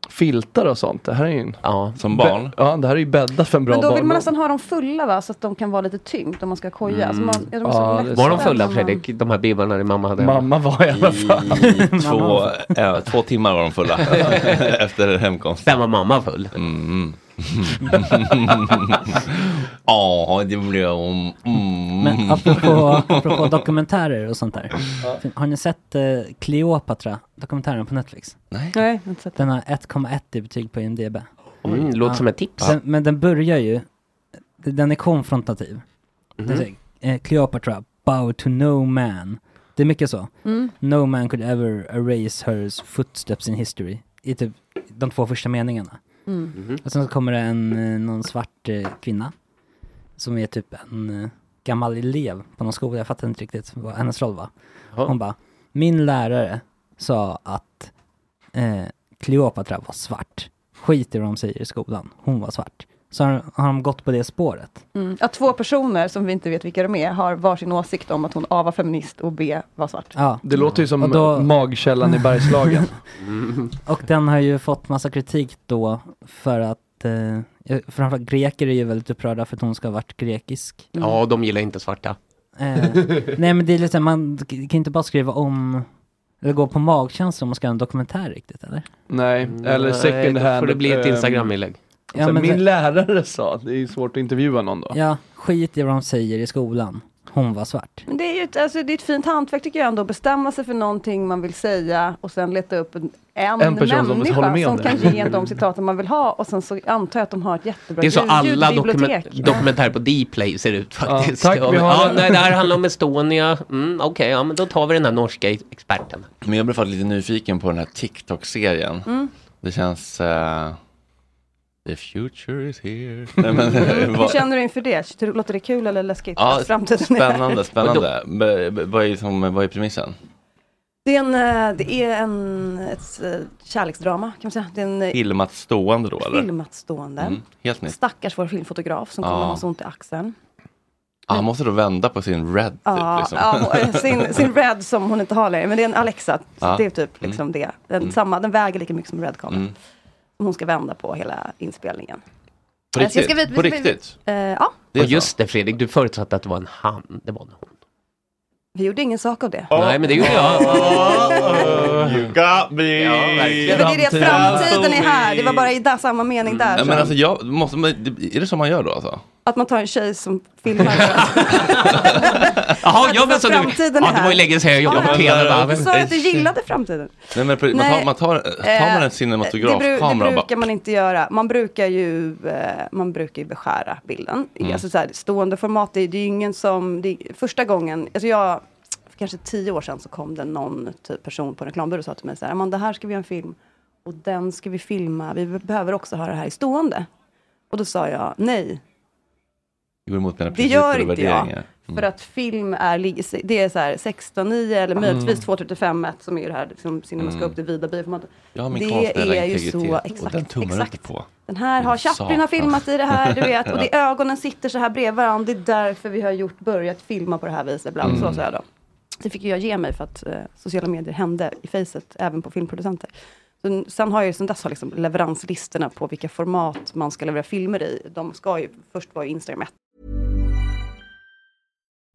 Speaker 6: filtar och sånt. Det här är ju en...
Speaker 1: Som barn.
Speaker 6: Bä- Ja, det här är ju bäddat för en bra
Speaker 11: Men då vill
Speaker 6: barndom.
Speaker 11: man nästan ha dem fulla va, så att de kan vara lite tyngd om man ska koja. Så man, är de så lätta
Speaker 8: var de
Speaker 11: när
Speaker 8: fulla
Speaker 11: man-
Speaker 8: Fredrik, de här bibbarna din mamma hade?
Speaker 6: Mamma var i alla fall.
Speaker 1: Två, eh, två timmar var de fulla efter hemkomst.
Speaker 8: Sen var mamma full.
Speaker 1: Mm. Ja, det blev hon. Mm.
Speaker 7: Men apropå, apropå dokumentärer och sånt där. Har ni sett eh, Cleopatra, dokumentären på Netflix?
Speaker 1: Nej.
Speaker 11: Nej, inte sett
Speaker 7: Den har 1,1 i betyg på IMDB.
Speaker 8: Oj, Mm, det låter som ett tips.
Speaker 7: Den, men den börjar ju, den är konfrontativ. Den
Speaker 1: Mm-hmm.
Speaker 8: Mhm.
Speaker 7: säger, eh, Cleopatra, bow to no man. Det är mycket så.
Speaker 13: Mm.
Speaker 7: No man could ever erase hers footsteps in history. I typ de två första meningarna.
Speaker 13: Mm.
Speaker 7: Och sen så kommer det en, eh, någon svart eh, kvinna. Som är typ en eh, gammal elev på någon skola. Jag fattar inte riktigt vad hennes roll var. Hon bara, min lärare sa att eh, Kleopatra var svart. Skit i vad de säger i skolan. Hon var svart. Så har, har de gått på det spåret.
Speaker 11: Mm. Att två personer som vi inte vet vilka de är har varsin åsikt om att hon A var feminist och B var svart.
Speaker 7: Ja.
Speaker 6: Det låter ju som
Speaker 7: Och då-
Speaker 6: magkällan i Bergslagen.
Speaker 7: Och den har ju fått massa kritik då för att eh, ja, framförallt greker är ju väldigt upprörda för att hon ska ha varit grekisk.
Speaker 11: Mm.
Speaker 8: Ja, de gillar inte svarta.
Speaker 7: Eh, nej men det är lite, man k- kan inte bara skriva om, eller gå på magkänsla om man ska göra en dokumentär riktigt eller?
Speaker 6: Nej, eller
Speaker 8: Nej,
Speaker 6: second
Speaker 8: då
Speaker 6: hand.
Speaker 8: får det bli ett
Speaker 6: ehm,
Speaker 8: Instagram-inlägg.
Speaker 6: så här,
Speaker 7: Ja, men
Speaker 6: min
Speaker 7: det-
Speaker 6: lärare sa, det är ju svårt att intervjua någon då.
Speaker 7: Ja, skit i vad de säger i skolan. Hon var svart.
Speaker 11: Men det är ju ett, alltså, det är ett fint hantverk tycker jag ändå, att bestämma sig för någonting man vill säga och sen leta upp en, en,
Speaker 6: En person som
Speaker 11: människa
Speaker 6: håller
Speaker 11: som,
Speaker 6: med om
Speaker 11: kan
Speaker 6: det.
Speaker 11: ge en de citaten man vill ha och sen så antar jag att de har ett jättebra
Speaker 8: Det är så
Speaker 11: ljud-
Speaker 8: alla dokumen-
Speaker 11: ljudbibliotek.
Speaker 8: dokumentärer på Dplay ser ut faktiskt.
Speaker 6: tack, vi har-
Speaker 8: ja, nej, det här handlar om Estonia. Mm, Okej, ja, men då tar vi den här norska experten.
Speaker 1: Men jag blev faktiskt lite nyfiken på den här TikTok-serien.
Speaker 8: Mm.
Speaker 1: Det känns... eh, the future is here. Nej, men, vad-
Speaker 11: Hur känner du inför det? Tycker du- Låter det kul eller läskigt?
Speaker 1: ja,
Speaker 11: Att framtiden är här?
Speaker 1: spännande, spännande. B- b- Vad är, som, vad är premissen?
Speaker 11: Det är en, eh, det är en ett eh, kärleksdrama kan man säga. Det är en eh,
Speaker 1: Filmat stående då eller?
Speaker 11: filmat stående.
Speaker 1: Mm, helt nytt.
Speaker 11: Stackars vår filmfotograf som kommer
Speaker 1: Ja.
Speaker 11: att ha så ont i axeln.
Speaker 1: Ah, han måste då vända på sin red typ.
Speaker 11: Ja,
Speaker 1: liksom.
Speaker 11: ja, och, eh, sin, sin Red som hon inte har längre, men det är en Alexa. Så
Speaker 1: Ja.
Speaker 8: Mm.
Speaker 11: Det är typ liksom det. Den, samma, den väger lika mycket som Redcon.
Speaker 1: Mm.
Speaker 11: hon ska vända på hela inspelningen.
Speaker 8: På
Speaker 11: Eh, så jag
Speaker 8: riktigt?
Speaker 11: vi-
Speaker 8: På
Speaker 11: vi-
Speaker 8: riktigt?
Speaker 11: Eh, ja,
Speaker 8: Och just det Fredrik, du förutsatte att det var en han. Det var en hon.
Speaker 11: vi gjorde ingen sak av det.
Speaker 8: Nej men det gjorde jag.
Speaker 1: You got me!
Speaker 8: Ja,
Speaker 11: Ja,
Speaker 8: verkligen.
Speaker 11: men det är det att framtiden är här, det var bara i där, samma
Speaker 8: Mm.
Speaker 11: mening där.
Speaker 1: Nej,
Speaker 11: som-
Speaker 1: men alltså, jag måste, men det- är det så man gör då alltså?
Speaker 11: Att man tar en tjej som filmar.
Speaker 8: Jaha, jag menar så Alltså, du...
Speaker 11: Framtiden är
Speaker 8: Ja, det var
Speaker 11: här.
Speaker 8: ju länge sedan jag
Speaker 11: Ja,
Speaker 8: jobbade på
Speaker 1: men-
Speaker 8: tv. va?
Speaker 11: Du sa att du gillade framtiden.
Speaker 1: Nej, men man
Speaker 11: Nej,
Speaker 1: tar, man tar, tar man en
Speaker 11: Eh, det, bru-
Speaker 1: cinematografkamera
Speaker 11: det
Speaker 1: och bara...
Speaker 11: brukar man inte göra. Man brukar ju, eh, man brukar ju beskära bilden.
Speaker 1: Mm.
Speaker 11: Alltså så här, stående format, det, det är ju ingen som... Det, är- första gången, alltså jag, för kanske tio år sedan så kom det någon typ person på en reklambyrå och sa till mig så här, "Amanda, det här ska vi göra en film och den ska vi filma, vi behöver också ha det här i stående. Och då sa jag nej,
Speaker 1: Det går emot mina
Speaker 11: det
Speaker 1: principer
Speaker 11: gör
Speaker 1: och
Speaker 11: inte jag.
Speaker 1: värderingar. Mm.
Speaker 11: För att film är, lig- det är så här 16.9 eller möjligtvis 2.35 som är ju det här liksom, cinemascope,
Speaker 1: Mm.
Speaker 11: det vida bioformatet.
Speaker 1: Jag har min
Speaker 11: det
Speaker 1: konstnärliga
Speaker 11: är ju
Speaker 1: integritet
Speaker 11: så,
Speaker 1: och
Speaker 11: exakt,
Speaker 1: den tummar du
Speaker 11: exakt.
Speaker 1: inte på.
Speaker 11: Den här har
Speaker 1: Satan.
Speaker 11: Chaplin har filmat i det här, du vet. Och det,
Speaker 1: Ja.
Speaker 11: ögonen sitter så här bredvid varandra. Det är därför vi har gjort, börjat filma på det här viset ibland.
Speaker 1: Mm.
Speaker 11: Så sa jag då. Det fick ju jag ge mig för att eh, sociala medier hände i facet, även på filmproducenter. Så, n- sen har jag ju sen dess har liksom leveranslistorna på vilka format man ska leverera filmer i. De ska ju, först var ju Instagram ett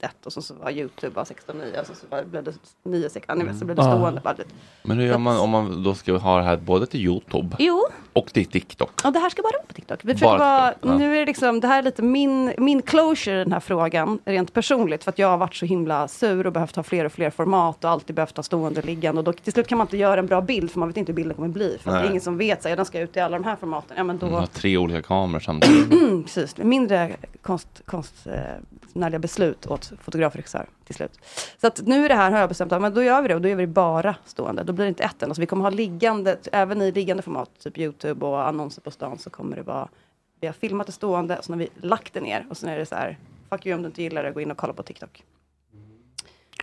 Speaker 11: ett och så, så var Youtube var 16.9 och så, så var, blev det 9.16, ni vet, så blev det
Speaker 1: Mm.
Speaker 11: stående. Bara, det-
Speaker 1: Men hur gör man om man då ska ha det här både till Youtube
Speaker 11: Jo,
Speaker 1: och till TikTok?
Speaker 11: och det här ska bara upp på TikTok. Vi
Speaker 1: Bara
Speaker 11: försöker vara,
Speaker 1: TikTok, ja.
Speaker 11: nu är det liksom, det här är lite min, min closure i den här frågan, rent personligt, för att jag har varit så himla sur och behövt ha fler och fler format och alltid behövt ha stående och liggande. Och då, till slut kan man inte göra en bra bild, för man vet inte hur bilden kommer bli. För att det
Speaker 1: Nej. Mm,
Speaker 11: är ingen som vet, så här, den ska ut i alla de här formaten. Ja, men då,
Speaker 1: Man har tre olika kameror samtidigt.
Speaker 6: Mm.
Speaker 11: Mm, precis, mindre konst, konstnärliga beslut åt fotografer och regissörer till slut. Så att nu är det här, har jag bestämt, att men då gör vi det och då gör vi det bara stående. Då blir det inte ett än. Alltså vi kommer ha liggande, även i liggande format, typ YouTube och annonser på stan, så kommer det vara, vi har filmat det stående, och sen har vi lagt det ner och sen är det så här, fuck you om du inte gillar det, gå in och kolla på TikTok.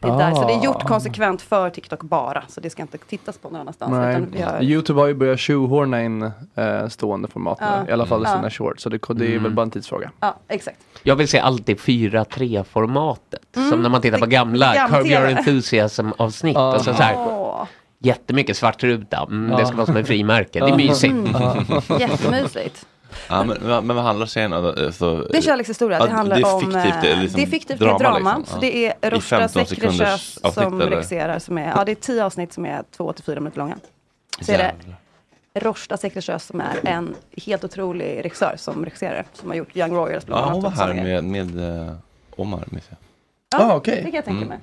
Speaker 11: Det är där, så det är gjort
Speaker 6: Ah.
Speaker 11: konsekvent för TikTok bara, så det ska inte tittas på någon annanstans.
Speaker 6: Nej.
Speaker 11: utan vi har-
Speaker 6: Youtube har ju börjat tjohorna in eh, stående format nu,
Speaker 11: Ja.
Speaker 6: i alla fall i
Speaker 11: Ja.
Speaker 6: sina shorts. Så det, det är väl bara en tidsfråga.
Speaker 11: Ja, exakt.
Speaker 8: Jag vill se alltid 4-3-formatet.
Speaker 11: Mm,
Speaker 8: Som när man tittar på
Speaker 11: det-
Speaker 8: gamla
Speaker 11: gamla
Speaker 8: Curb Your
Speaker 11: TV.
Speaker 8: Enthusiasm-avsnitt. Och så, så här,
Speaker 11: Åh.
Speaker 8: jättemycket svartruta. Mm,
Speaker 1: Ja.
Speaker 8: Det ska vara som en frimärke. Det är mysigt.
Speaker 11: Mm. Jättemysigt.
Speaker 1: Ja, men, men vad handlar serien om? då? Så-
Speaker 11: Det är en kärlekshistoria.
Speaker 1: Ja,
Speaker 11: det handlar
Speaker 1: det är
Speaker 11: om...
Speaker 1: fiktivt,
Speaker 11: eh,
Speaker 1: det är liksom
Speaker 11: det är fiktivt,
Speaker 1: drama
Speaker 11: det är drama.
Speaker 1: liksom.
Speaker 11: Så
Speaker 1: Ja.
Speaker 11: det är
Speaker 1: I
Speaker 11: Roshda
Speaker 1: 15 sekunders
Speaker 11: Sekretchers
Speaker 1: avsnitt,
Speaker 11: som
Speaker 1: eller?
Speaker 11: regisserar. Som är, ja, det är tio avsnitt som är två till fyra minuter långa. Så är det Roshda Sekretchers som är en helt otrolig regissör som regisserar. Som har gjort Young Royals bland
Speaker 1: Ja,
Speaker 11: annat.
Speaker 1: hon var
Speaker 11: och sådana
Speaker 1: här
Speaker 11: grejer.
Speaker 1: med, med eh, Omar. minns jag.
Speaker 11: Ja,
Speaker 6: ah, okej.
Speaker 11: Det kan jag
Speaker 1: Mm.
Speaker 11: tänka mig.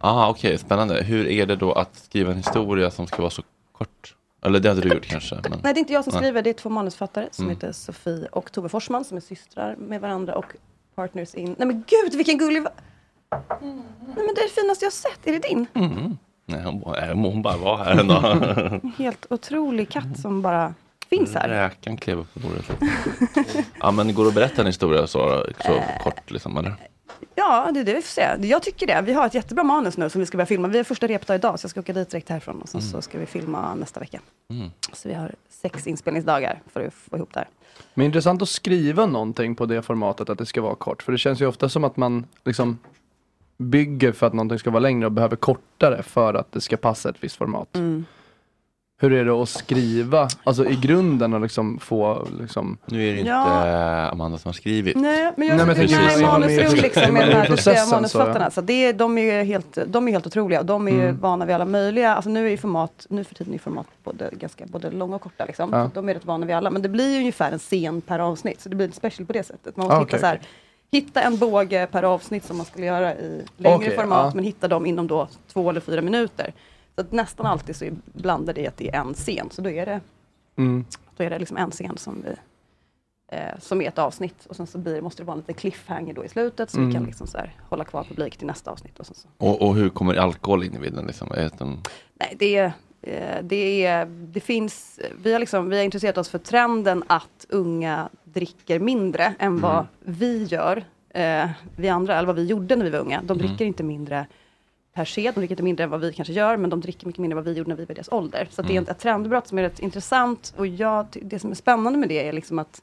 Speaker 1: Ah, Okej, spännande. Hur är det då att skriva en historia som ska vara så kort? Eller det hade du gjort kanske? Men...
Speaker 11: Nej, det är inte jag som
Speaker 1: Nej.
Speaker 11: skriver. Det är två manusförfattare som
Speaker 1: Mm.
Speaker 11: heter Sofie och Tove Forsman som är systrar med varandra och partners in... Nej men gud, vilken gullig... va- Nej men det är det finaste jag har sett. Är det din?
Speaker 1: Mm. Nej, hon, bara- nej, hon bara var här en dag.
Speaker 11: En helt otrolig katt som bara finns här.
Speaker 1: Räkan klev upp på bordet. ja, men går det att berätta en historia så, så kort liksom? Eller?
Speaker 11: Ja, det är det vi får se. Jag tycker det. Vi har ett jättebra manus nu som vi ska börja filma. Vi har första repdag idag, så jag ska åka dit direkt härifrån och sen
Speaker 6: Mm.
Speaker 11: så ska vi filma nästa vecka.
Speaker 6: Mm.
Speaker 11: Så vi har sex inspelningsdagar för att få ihop det här.
Speaker 6: Men intressant att skriva någonting på det formatet att det ska vara kort. För det känns ju ofta som att man liksom bygger för att någonting ska vara längre och behöver kortare för att det ska passa ett visst format. Hur är det att skriva, alltså i grunden och liksom få liksom...
Speaker 1: Nu är det
Speaker 11: inte Ja.
Speaker 1: eh, Amanda som har skrivit.
Speaker 11: Nej, men jag Nej, tycker
Speaker 1: Precis
Speaker 11: det är
Speaker 1: som-
Speaker 11: manusrol liksom med de här processen, manusförfattarna.
Speaker 6: så.
Speaker 11: Så det, är- de är ju helt, de är helt otroliga och de är ju
Speaker 6: Mm.
Speaker 11: vana vid alla möjliga. Alltså nu är ju format, nu för tiden är ju format både, ganska, både långa och korta liksom.
Speaker 6: Ja.
Speaker 11: Så de är rätt vana vid alla. Men det blir ju ungefär en scen per avsnitt, så det blir en special på det sättet. Man måste
Speaker 6: Ah,
Speaker 11: hitta
Speaker 6: okej,
Speaker 11: så här, hitta en båge per avsnitt som man skulle göra i längre
Speaker 6: Okej,
Speaker 11: format,
Speaker 6: ja.
Speaker 11: men hitta dem inom då två eller fyra minuter. Så att nästan alltid så är- blandar det i att det är en scen, så då är det
Speaker 6: Mm.
Speaker 11: då är det liksom en scen som, vi, eh, som är ett avsnitt och sen så blir, måste det vara en liten cliffhanger då i slutet så vi
Speaker 1: Mm.
Speaker 11: kan liksom så här, hålla kvar publik till nästa avsnitt. Och sen så.
Speaker 1: Och, och hur kommer alkohol in i bilden? Liksom? Är det en...
Speaker 11: Nej, det, är- eh, det, är, det finns, vi har, liksom, vi har intresserat oss för trenden att unga dricker mindre än
Speaker 14: Mm.
Speaker 11: vad vi gör, eh, vi andra, eller vad vi gjorde när vi var unga. De
Speaker 14: Mm.
Speaker 11: dricker inte mindre per se, de dricker inte mindre än vad vi kanske gör, men de dricker mycket mindre än vad vi gjorde när vi var i deras ålder. Så att det är
Speaker 14: Mm.
Speaker 11: ett, ett trendbrott som är rätt intressant och jag, ty- det som är spännande med det är liksom att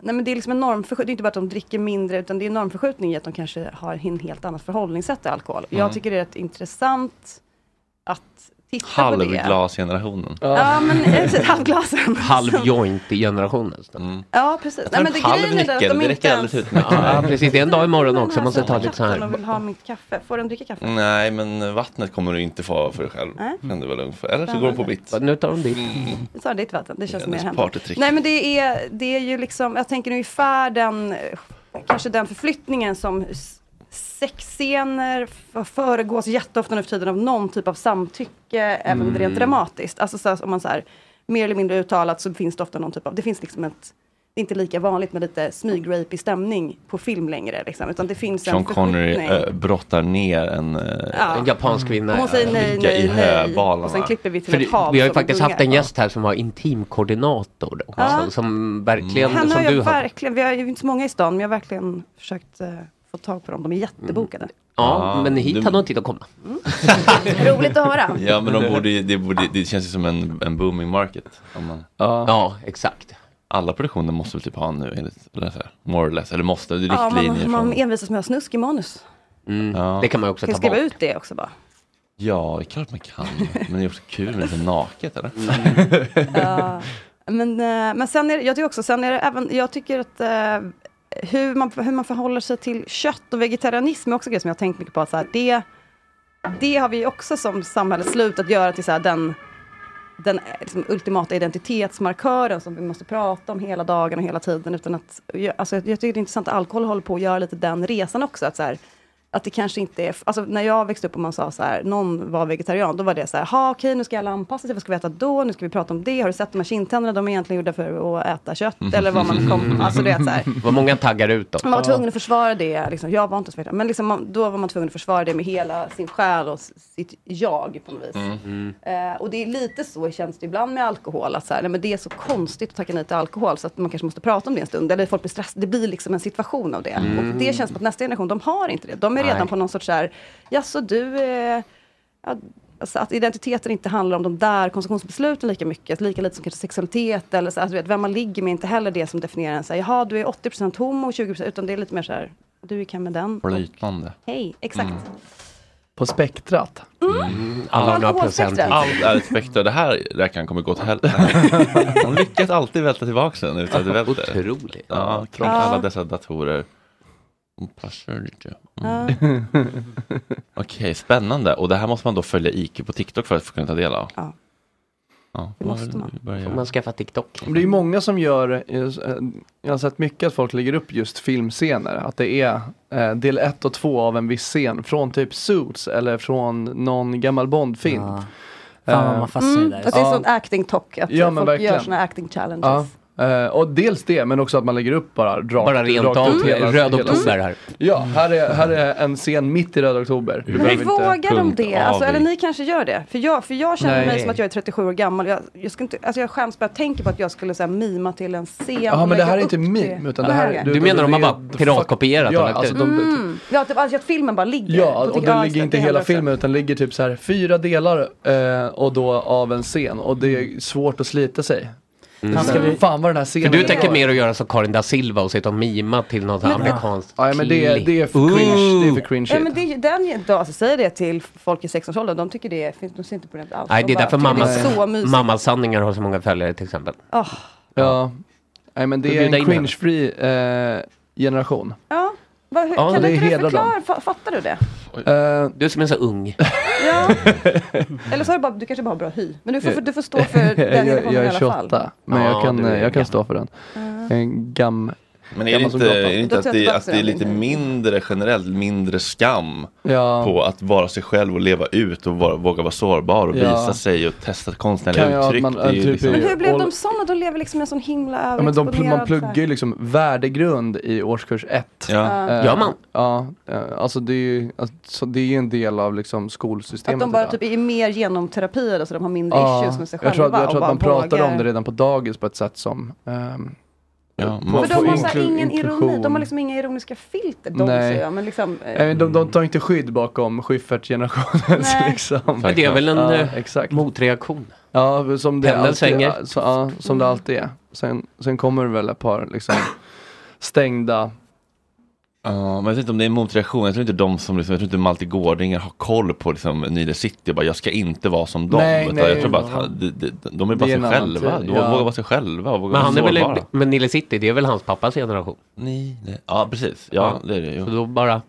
Speaker 11: Nej, men det är liksom en normförskjutning. Det är inte bara att de dricker mindre, utan det är en normförskjutning i att de kanske har en helt annat förhållningssätt till alkohol.
Speaker 1: Mm.
Speaker 11: Jag tycker det är rätt intressant att titta på det.
Speaker 1: Halvglasgenerationen.
Speaker 11: Ja, men eh, precis, halvglasen.
Speaker 8: Halv joint i generationen.
Speaker 11: Ja, precis. Nej, men det grejen är den att de inte ens...
Speaker 8: Ja, precis. Det är en dag imorgon också. Jag måste ta lite så
Speaker 11: De
Speaker 8: här.
Speaker 11: vill ha mitt kaffe. Får de dricka kaffe?
Speaker 1: Nej, men vattnet kommer du inte få för dig själv.
Speaker 11: Nej.
Speaker 1: Kan du vara lugn för. Eller så går de på ditt.
Speaker 8: Nu tar de ditt.
Speaker 11: Vi tar ditt vatten. Det känns mer
Speaker 1: Hennes
Speaker 11: hänt.
Speaker 1: partytrick.
Speaker 11: Nej, men det är, det är ju liksom, jag tänker ungefär den, eh, kanske den förflyttningen som s- sexscener f- föregås jätteofta nu för tiden av någon typ av samtycke, även
Speaker 14: Mm.
Speaker 11: rent dramatiskt. Alltså så här, om man så här, mer eller mindre uttalat så finns det ofta någon typ av, det finns liksom ett det är inte lika vanligt med lite smygrape i stämning på film längre. Liksom, utan det finns en
Speaker 1: Sean Connery
Speaker 11: förskjutning.
Speaker 1: äh, brottar ner en, eh,
Speaker 11: Ja. En japansk
Speaker 8: kvinna.
Speaker 11: Hon säger nej,
Speaker 1: ligga
Speaker 11: nej,
Speaker 1: i
Speaker 11: nej.
Speaker 1: höbalarna.
Speaker 11: Och sen klipper vi till
Speaker 8: För
Speaker 11: ett hav
Speaker 8: vi har ju
Speaker 11: som
Speaker 8: faktiskt haft en
Speaker 11: gungar.
Speaker 8: gäst här som var intimkoordinator också,
Speaker 11: Ja.
Speaker 8: som verkligen,
Speaker 11: Henne
Speaker 8: som
Speaker 11: har
Speaker 8: du
Speaker 11: jag
Speaker 8: hade.
Speaker 11: verkligen, vi har ju inte så många i stan, men jag har verkligen försökt eh, få tag på dem.
Speaker 1: Mm.
Speaker 11: De är jättebokade.
Speaker 8: Ja,
Speaker 6: Ah,
Speaker 1: Ja,
Speaker 8: men hit
Speaker 1: du-
Speaker 8: hade hon tid att komma.
Speaker 11: Roligt att höra.
Speaker 1: Ja, men de borde, ju- det, borde, det känns ju som en, en booming market. Om man...
Speaker 6: ja.
Speaker 8: exakt.
Speaker 1: Alla produktioner måste väl typ ha nu, enligt det här, more or less, eller måste, det är
Speaker 11: Ja,
Speaker 1: riktlinjer
Speaker 11: man,
Speaker 1: från...
Speaker 11: man envisas med att ha snusk i manus.
Speaker 1: ja.
Speaker 8: Mm. Det kan man ju
Speaker 11: Kan jag skriva ut det också bara?
Speaker 1: Ja, det är klart man kan. Men det är också kul med lite naket, eller?
Speaker 11: Mm. Ja. men, eh, men sen är det- jag tycker också, sen är det även, jag tycker att eh, hur, man, hur man förhåller sig till kött och vegetarianism är också en grej som jag har tänkt mycket på. Att så här, det, det har vi ju också som samhälle slut att göra till så här, den, den eh, liksom, ultimata identitetsmarkören som vi måste prata om hela dagen och hela tiden. Utan att, jag- alltså, jag tycker det är intressant att alkohol håller på att göra lite den resan också. Att, så här, att det kanske inte är... Alltså när jag växte upp och man sa så här, någon var vegetarian, då var det så här, ha okej, nu ska alla anpassa sig, vad ska vi äta då? Nu ska vi prata om det, har du sett de här kindtänderna, de är egentligen gjorda för att äta kött,
Speaker 6: Mm.
Speaker 11: eller vad man kom... Alltså du vet så här.
Speaker 8: Mm. Vad många taggar ut då.
Speaker 11: Man var tvungen att försvara det, liksom. jag var inte ens vegetarian, men liksom, man, då var man tvungen att försvara det med hela sin själ och s- sitt jag på något vis.
Speaker 1: Mm.
Speaker 8: Mm.
Speaker 11: Eh, och det är lite så känns det ibland med alkohol, att så här, nej, men det är så konstigt att tacka nej till alkohol, så att man kanske måste prata om det en stund, eller folk blir stressade, det blir liksom en situation av det.
Speaker 14: Mm.
Speaker 11: Och det känns som att nästa generation, de har inte det. De är
Speaker 14: Nej.
Speaker 11: redan på någon sorts så här, jaså du, eh, ja, alltså att identiteten inte handlar om de där konsumtionsbesluten lika mycket, lika lite som kanske sexualitet, eller så, alltså, du vet, vem man ligger med, är inte heller det som definierar en, så här, jaha du är 80% homo, 20%, utan det är lite mer så här, du gick hem med den,
Speaker 6: Mm.
Speaker 1: Flytande.
Speaker 11: hej, exakt.
Speaker 1: Mm.
Speaker 6: På spektrat.
Speaker 1: Alla har några
Speaker 11: Alkoholspektrum.
Speaker 1: procent. Allt är ett spektrum. Det här räkaren kommer gå till helvete. De lyckas alltid välta tillbaka den utan att det välter.
Speaker 8: Otroligt.
Speaker 1: Ja, trots
Speaker 11: Ja.
Speaker 1: alla dessa datorer. Och platser lite. Mm. Okej, spännande. Och det här måste man då följa IQ på TikTok för att få kunna ta del av.
Speaker 11: Ja.
Speaker 1: ja.
Speaker 6: Det måste man.
Speaker 1: Börja.
Speaker 8: Får man skaffa TikTok?
Speaker 6: Men Det är ju många som gör, eh, jag har sett mycket att folk lägger upp just filmscener. Att det är eh, del ett och två av en viss scen från typ Suits eller från någon gammal Bondfilm. Eh,
Speaker 7: Fan vad man fastnar i det där.
Speaker 11: Att Mm. det är sån acting talk, att
Speaker 6: Ja, men
Speaker 11: folk gör
Speaker 6: verkligen.
Speaker 11: såna acting challenges.
Speaker 6: Ja. Eh, och dels det, men också att man lägger upp bara rakt,
Speaker 8: Bara rent
Speaker 6: rakt
Speaker 8: av,
Speaker 6: ut hela-
Speaker 8: Röd
Speaker 6: hela-
Speaker 8: Oktober här.
Speaker 6: Ja, här är, här är en scen mitt i Röd Oktober. Du behöver
Speaker 11: Men
Speaker 6: inte-
Speaker 11: vågar de det? Alltså, eller ni kanske gör det? För jag, för jag känner
Speaker 6: Nej.
Speaker 11: mig som att jag är 37 år gammal. Jag, jag, ska inte, alltså, jag skäms bara jag tänker på att jag skulle så här, mima till en scen.
Speaker 6: Ja, men det
Speaker 11: lägga
Speaker 6: här är
Speaker 11: upp
Speaker 6: inte meme, utan det här...
Speaker 11: Nej.
Speaker 8: Du menar de har bara piratkopierat och
Speaker 6: Ja,
Speaker 8: lagt
Speaker 6: alltså
Speaker 8: ut?
Speaker 6: de,
Speaker 11: Mm. Ja, typ, alltså att filmen bara ligger.
Speaker 6: Ja,
Speaker 11: Då
Speaker 6: och
Speaker 11: tycker
Speaker 6: den
Speaker 11: jag,
Speaker 6: ligger
Speaker 11: typ- just
Speaker 6: inte
Speaker 11: det,
Speaker 6: hela
Speaker 11: det händer också.
Speaker 6: filmen utan ligger typ så här fyra delar eh, och då av en scen och det
Speaker 11: Mm.
Speaker 6: är svårt att slita sig.
Speaker 8: Mm.
Speaker 6: Så här,
Speaker 8: Ska vi-
Speaker 6: Fan vad den här scenen
Speaker 8: För du
Speaker 6: är
Speaker 8: tänker
Speaker 6: bra.
Speaker 8: mer att göra som Karin da Silva och sitta och mima till något
Speaker 6: Men-
Speaker 8: amerikanskt
Speaker 6: Ja, men det är-
Speaker 8: klipp.
Speaker 6: det är för cringe, det är för cringe
Speaker 11: Ja, men det, den, då, alltså, säg det till folk i 16-årsåldern. De tycker det finns de ser inte på det alls.
Speaker 8: Nej, det
Speaker 11: De
Speaker 8: är
Speaker 11: bara
Speaker 8: därför
Speaker 11: tycker
Speaker 8: mamma,
Speaker 11: Det är så mysigt.
Speaker 8: mammasanningar har så många följare till exempel.
Speaker 11: Ah.
Speaker 6: Ja, nej men
Speaker 8: Du
Speaker 6: det är
Speaker 8: bjuder
Speaker 6: en
Speaker 8: in henne.
Speaker 6: cringe-free eh, generation.
Speaker 11: Ja. Vad- hur,
Speaker 6: Ja,
Speaker 11: kan
Speaker 6: det
Speaker 11: inte du
Speaker 6: hedrar dem.
Speaker 11: förklara? Fa- Fattar du det?
Speaker 1: Eh,
Speaker 6: du
Speaker 8: som är så ung.
Speaker 11: Eller så har du, bara, du kanske bara har bra hy. Men du får, du får stå för den
Speaker 6: Eh, jag,
Speaker 11: generationen
Speaker 6: jag
Speaker 11: i
Speaker 6: är
Speaker 11: alla
Speaker 6: 28,
Speaker 11: fall. Mm.
Speaker 6: men
Speaker 1: Ja,
Speaker 6: jag kan,
Speaker 1: du är
Speaker 6: jag kan stå för den. Jag är en gam,
Speaker 1: Men är det
Speaker 6: gammal som
Speaker 1: inte, är
Speaker 6: gatan.
Speaker 1: det inte att, det, att det är lite mindre generellt, mindre skam
Speaker 6: Ja.
Speaker 1: på att vara sig själv och leva ut och vara, våga vara sårbar och
Speaker 6: Ja.
Speaker 1: visa sig och testa konstnärliga
Speaker 6: Kan jag-
Speaker 1: uttryck?
Speaker 6: man-
Speaker 1: det är ju
Speaker 6: typ i-
Speaker 1: liksom...
Speaker 11: Men hur blev
Speaker 6: All-
Speaker 11: de sådana? De lever liksom i en sån himla
Speaker 6: Ja, men de, pl- man
Speaker 11: överexponerad,
Speaker 6: pluggar ju
Speaker 11: så här-
Speaker 6: liksom värdegrund i årskurs ett.
Speaker 11: Ja. Ja.
Speaker 6: Eh,
Speaker 11: Gör man?
Speaker 6: Ja, eh, alltså det är ju alltså det är ju en del av liksom
Speaker 11: Att
Speaker 6: skolsystemet.
Speaker 11: de bara
Speaker 6: idag.
Speaker 11: typ är mer genomterapiade så de har mindre
Speaker 6: Ja,
Speaker 11: issues med sig själva.
Speaker 6: jag tror, att- jag tror
Speaker 11: och
Speaker 6: att man
Speaker 11: bara
Speaker 6: pratar om
Speaker 11: vågar.
Speaker 6: det redan på dagis på ett sätt som... ehm,
Speaker 11: För de har så här
Speaker 6: inklu-
Speaker 11: ingen ironi,
Speaker 6: inklusion.
Speaker 11: de har liksom inga ironiska filter. De
Speaker 6: Nej.
Speaker 11: säger jag, men liksom... eh,
Speaker 6: Nej, men de, de tar inte skydd bakom Schyffertgenerationens liksom.
Speaker 8: Men det är väl en
Speaker 6: Ja,
Speaker 8: eh, motreaktion.
Speaker 6: Ja, som det
Speaker 8: Pendeln
Speaker 6: alltid,
Speaker 8: svänger.
Speaker 6: ja, Så, ja, som det alltid är. Sen, sen kommer det väl ett par liksom stängda...
Speaker 1: Ja, men jag vet inte om det är en motreaktion. Jag tror inte de som, liksom, jag tror inte Malte Gårdinger har koll på liksom, Nile City och bara, jag ska inte vara som dem.
Speaker 8: Nej,
Speaker 1: Utan
Speaker 8: nej.
Speaker 1: jag tror bara att han- de, de, de är
Speaker 8: Det
Speaker 1: bara
Speaker 8: är
Speaker 1: sig
Speaker 8: en annan
Speaker 1: själva.
Speaker 6: typ,
Speaker 8: tid,
Speaker 1: De
Speaker 8: ja.
Speaker 1: vågar vara sig själva och vågar
Speaker 8: Men, han är
Speaker 1: vara
Speaker 8: väl,
Speaker 1: sårbara.
Speaker 8: men Nile City, det är väl hans pappas generation?
Speaker 1: Nej, Ja, precis. Ja, det är det. Jo.
Speaker 8: Så då bara...
Speaker 6: Men